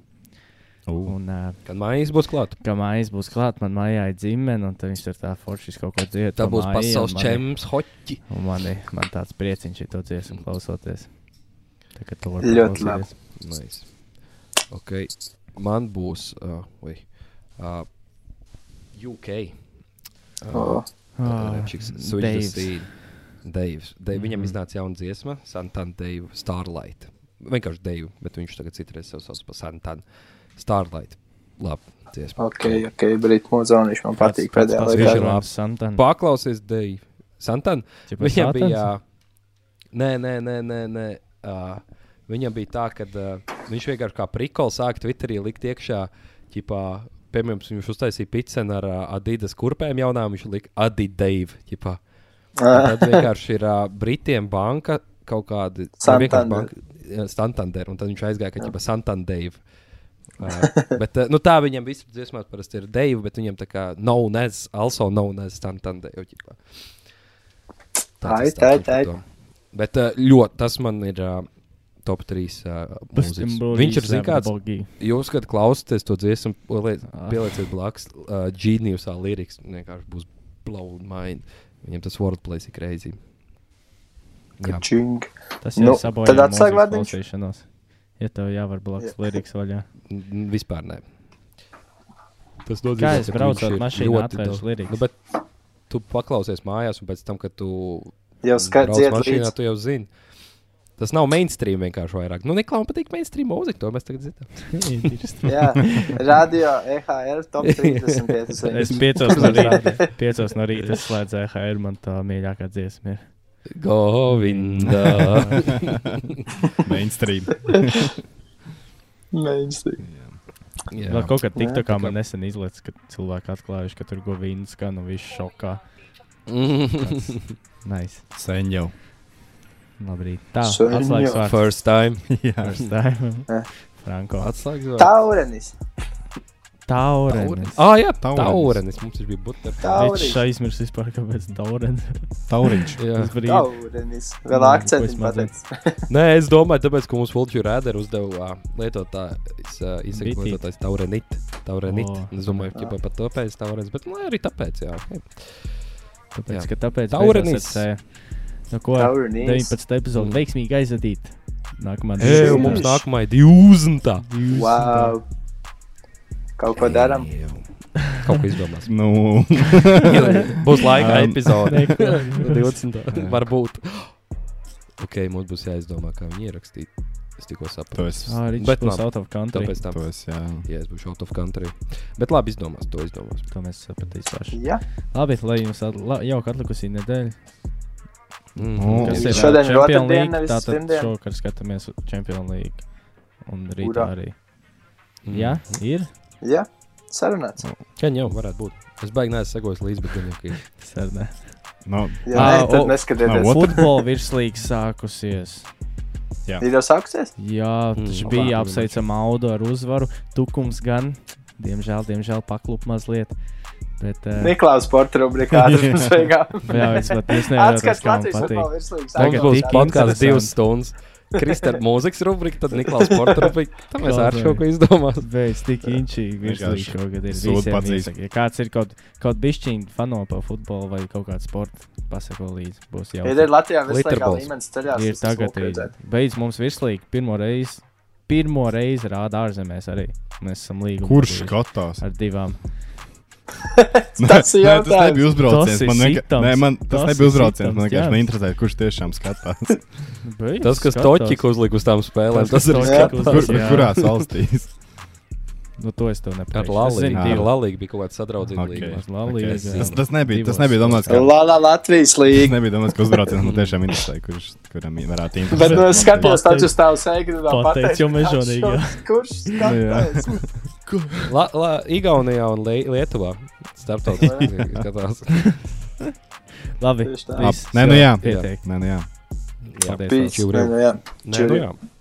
Speaker 9: Uh.
Speaker 8: Un, uh,
Speaker 1: kad mājas būs klāta,
Speaker 8: kā mājas būs klāta, man mājā ir ģimene, un tad viņš tur tā forši kaut ko dzied.
Speaker 1: tā
Speaker 8: pa
Speaker 1: būs
Speaker 8: māju, un
Speaker 1: pasaules
Speaker 8: man ir-
Speaker 1: čempions hoķi.
Speaker 8: Un man ir man tāds prieciņš, ja to dziesmu klausoties. Tagad to var
Speaker 4: Ļoti
Speaker 8: paklausīties.
Speaker 1: Nice. Okay. Man būs uh, vai, uh, UK.
Speaker 4: Oh,
Speaker 8: Ah, Dave's.
Speaker 1: Daivs. Viņam iznāca jauna dziesma, Santana Deiva Starlight. Vienkārši Deiva, bet viņš tagad citreiz sev sauc par Santana Starlight. Labi, dziesma.
Speaker 4: ok, ok, Brīt Mozonīši man patīk pēdējā
Speaker 1: pats
Speaker 4: laikā.
Speaker 1: viņš ir labs.
Speaker 8: Santana.
Speaker 1: Paklausies Deiva. Santana, viņam bija. Nē, nē, nē, nē. nē uh, viņam bija tā, ka uh, viņš vienkārši kā prikols sāka Twitterī likt iekšā, ķipā, piemēram, viņš uztaisīja pitsenu ar uh, Adidas kurpēm jaunām, viņš lika Adideiva. ķipā. Un Tad vienkārši ir uh, Britiem banka kaut nu, kāda.
Speaker 4: Santander.
Speaker 1: Santander. Un tad viņš aizgāja, ka ķipa Santander. Uh, bet, uh, nu, tā viņam vispār dziesmās parasti ir Deiva, bet viņam tā kā nav nes, also nav nes Santander. jau ķipā.
Speaker 4: Ai,
Speaker 1: Tāds
Speaker 4: tai,
Speaker 1: izstāstījums
Speaker 4: tai.
Speaker 1: par to. Bet uh, ļoti tas man ir uh, top 3. Uh, viņš ir zināms,
Speaker 8: Bogi.
Speaker 1: Jūs, kad klausāties to dziesmu, pieliec-
Speaker 8: Ah.
Speaker 1: pielieciet blakus uh, Geniusā liriks. Vienkārši būs blown mind. Viņam tas wordplay ir crazy. Jā,
Speaker 4: Čing.
Speaker 8: Tas
Speaker 4: Nu,
Speaker 8: jau
Speaker 4: tad
Speaker 8: sabojā mūzikas
Speaker 4: atsāk vārdiņš.
Speaker 8: klausīšanos. Ja tev jāvar blakus liriks vaļā.
Speaker 1: n- n- vispār nē. Tas
Speaker 8: Kā
Speaker 1: nozīmē,
Speaker 8: es
Speaker 1: ka
Speaker 8: braucot
Speaker 1: viņš ir
Speaker 8: mašīnā
Speaker 1: ļoti
Speaker 8: atvēršu
Speaker 1: daudz-
Speaker 8: lirikas?
Speaker 1: Nu, bet tu paklausies mājās, un pēc tam, kad tu
Speaker 4: Jau
Speaker 1: brauc
Speaker 4: skats iet
Speaker 1: mašīnā,
Speaker 4: līdz.
Speaker 1: tu jau zini. Tas nav mainstream vienkārši vairāk. Nu, Niklaus patīk mainstream mūzika, to mēs tagad zinām.
Speaker 4: Jā, radio EHR top 35.
Speaker 8: Es
Speaker 4: viņas.
Speaker 8: piecos no rīta, piecos no rīta slēdzu EHR, man tā mīļākā dziesma ir.
Speaker 1: Govinda!
Speaker 9: Mainstream.
Speaker 4: Mainstream.
Speaker 1: Jā.
Speaker 8: Vēl Nu, kaut kā TikTokā
Speaker 1: tā kā-
Speaker 8: man nesen izlaiž, ka cilvēki atklājuši, ka tur govīns skan un viss šokā.
Speaker 1: Mhm.
Speaker 8: Nice.
Speaker 9: Sen jau.
Speaker 8: Labrīt. Tā,
Speaker 4: Seņo.
Speaker 8: atslēgas vārds.
Speaker 1: First time.
Speaker 9: Jā.
Speaker 8: First time.
Speaker 4: Eh.
Speaker 8: Franko.
Speaker 1: Atslēgas vārds.
Speaker 4: Taurenis.
Speaker 8: Taurenis.
Speaker 1: Ah, jā,
Speaker 9: Taurenis.
Speaker 1: taurenis. Mums viņš bija buļbuļs.
Speaker 8: Viņš
Speaker 4: Taurenis.
Speaker 8: aizmirst vispār, kāpēc Taurenis.
Speaker 9: Tauriņš.
Speaker 8: Tas brīdis.
Speaker 4: Taurenis. Vēl
Speaker 8: Nē, ko es
Speaker 4: akcents
Speaker 8: mazliet-
Speaker 4: pateicis.
Speaker 1: Nē, es domāju, tāpēc, ka mums Vulčija Rēdera uzdeva uh, lietotājs, uh,
Speaker 8: Bitīt.
Speaker 1: izsakoties taurenīt. Taurenīt.
Speaker 8: O.
Speaker 1: Es domāju, ka pat tāpēc taurens, bet nu, arī tāpēc, jā. Okay.
Speaker 8: Tāpēc,
Speaker 1: Jā.
Speaker 8: ka tāpēc
Speaker 1: Taurenis.
Speaker 8: beidzās ar C. Nu, ko,
Speaker 4: Taurenis.
Speaker 8: 19. epizode veiksmīgi aizvadīt. Nākamā
Speaker 1: Mm. Ej,
Speaker 4: Ej,
Speaker 1: un mums
Speaker 4: jā.
Speaker 1: nākamā ir 20.
Speaker 4: Wow. Kaut ko darām.
Speaker 1: Ej, Kaut ko izdomās.
Speaker 9: Nu,
Speaker 1: būs laika um,
Speaker 9: Um,
Speaker 1: epizode.
Speaker 8: Nē,
Speaker 1: 20. Varbūt. Ok, mums būs jāizdomā, kā viņu ierakstīt. Es tikko sapratu.
Speaker 9: To es.
Speaker 8: Ah, Ričs
Speaker 1: Bet
Speaker 8: būs
Speaker 1: labi.
Speaker 8: out of country.
Speaker 1: Tāpēc tā.
Speaker 9: To es, jā.
Speaker 1: Jā, es būšu out of country. Bet labi, izdomās, to izdomās.
Speaker 8: To mēs sapratīsim paši.
Speaker 4: Jā,
Speaker 8: Labi, lai jums at- la- jauka atlikusī nedēļa.
Speaker 1: Mm.
Speaker 9: O.
Speaker 8: Kas ir
Speaker 4: Šodien ir
Speaker 8: Champions
Speaker 4: otrdien,
Speaker 8: League,
Speaker 4: nevis
Speaker 8: Tātad
Speaker 4: pirmdien.
Speaker 8: šovakar skatāmies Champions League. Un rīt
Speaker 4: Urā.
Speaker 8: arī.
Speaker 1: Mm.
Speaker 8: Jā, ir.
Speaker 4: jā. sarunāts.
Speaker 1: Čen jau varētu būt. Es baigi neesmu sekojis līdzi, bet gan jau ka ir.
Speaker 8: Sarunā.
Speaker 9: No,
Speaker 4: Jā,
Speaker 8: Ā,
Speaker 4: nē,
Speaker 8: o-
Speaker 4: tad neskatieties.
Speaker 9: Ā, ot-
Speaker 8: Futbola virslīga sākusies.
Speaker 4: Ir jau sākusies?
Speaker 8: Jā,
Speaker 1: Mm,
Speaker 8: tas
Speaker 1: labāk
Speaker 8: bija
Speaker 1: vienmēr.
Speaker 8: apsveicama audu ar uzvaru. Tukums gan, diemžēl, diemžēl paklup mazliet. Bet, eh,
Speaker 4: Niklaus Sports rubrikā
Speaker 9: Jā.
Speaker 4: tas beigās.
Speaker 8: jā, es pat es nevaru
Speaker 4: Atskats
Speaker 8: kā man
Speaker 4: Latvijas
Speaker 8: patīk.
Speaker 4: futbola virslīgas.
Speaker 1: Tagad
Speaker 8: Tagad
Speaker 1: būs
Speaker 8: tik
Speaker 1: podkāsts
Speaker 8: interesanti.
Speaker 1: divas stundas. Kristēna mūzikas rubrika, tad Niklaus Porta rubrika. Tā mēs ar
Speaker 8: Klausās.
Speaker 1: šo ko izdomās.
Speaker 8: Beidz tik inčīgi virslīgi
Speaker 9: Vienkārši
Speaker 8: šogad ir.
Speaker 9: sūdu
Speaker 8: Visiem
Speaker 9: pazīst.
Speaker 8: iesaka. Ja kāds ir kaut, kaut bišķiņi fano pa futbolu vai kaut kādu sportu, pasako līdzi, būs jau.
Speaker 4: Ir Latvijā vislabākā
Speaker 1: Literballs.
Speaker 4: līmenis ceļā.
Speaker 8: ir tagad. ir- Beidz mums virslīgi pirmo reizi, pirmo reizi rāda ārzemēs arī. Mēs esam līgumi.
Speaker 9: Kurš
Speaker 8: padarījuši
Speaker 9: skatās?
Speaker 8: ar divām?
Speaker 4: Tas ir jautājums.
Speaker 9: Nē, tas nebija
Speaker 8: Tas
Speaker 9: uzbrauciens.
Speaker 8: ir
Speaker 9: Man vienkārši,
Speaker 8: sitams.
Speaker 9: nē, man tas,
Speaker 8: Tas
Speaker 9: tas
Speaker 8: ir
Speaker 9: nebija uzbrauciens. Man
Speaker 8: sitams, jā.
Speaker 9: vienkārši neinteresē, kurš tiešām skatās.
Speaker 8: Beidz,
Speaker 1: Tas, kas
Speaker 8: skatās.
Speaker 1: Toķiku uzlika uz tām spēlēm, tas
Speaker 8: Tas, kas
Speaker 1: ir
Speaker 8: Toķiku
Speaker 1: skatās.
Speaker 8: uzlika.
Speaker 9: Kur,
Speaker 8: Jā.
Speaker 9: kurās valstīs?
Speaker 8: Nu, to es tev
Speaker 1: Ar
Speaker 8: nepateicu. Es
Speaker 1: Lalīgu.
Speaker 8: zinu,
Speaker 1: Bija
Speaker 9: jā.
Speaker 1: Lalīga, bija kaut kāds sadraudzīgs
Speaker 9: Ok.
Speaker 1: līgums.
Speaker 8: Uz Lalīgu,
Speaker 9: Ok,
Speaker 8: jā.
Speaker 9: Tas, tas nebija, tas
Speaker 8: Divos.
Speaker 9: nebija domāts, ka.
Speaker 4: Lala Latvijas
Speaker 9: Es
Speaker 4: līnija.
Speaker 9: nebiju domājis, ka uzbrauciens man tiešām interesē, kurš kuram varētu interesēt.
Speaker 4: Bet nu, es skatos
Speaker 8: Pateic-
Speaker 4: taču uz tavu sēklu.
Speaker 8: pateic jau mežonīgi, jā.
Speaker 4: Kurš
Speaker 9: eh,
Speaker 4: skatās?
Speaker 1: La, la, Igaunijā un Lei- Lietuvā. Startautiski skatās.
Speaker 8: Labi.
Speaker 4: Tieši tā.
Speaker 9: Ap-
Speaker 8: viss,
Speaker 9: Nē, nu jā.
Speaker 8: Pietiek.
Speaker 9: Nē, nu jā.
Speaker 1: Jā,
Speaker 8: Paldies,
Speaker 4: Pīts.
Speaker 1: Čuriem.
Speaker 4: Nē, nu jā.
Speaker 1: Nē, nu
Speaker 4: Čuriem.
Speaker 1: jā.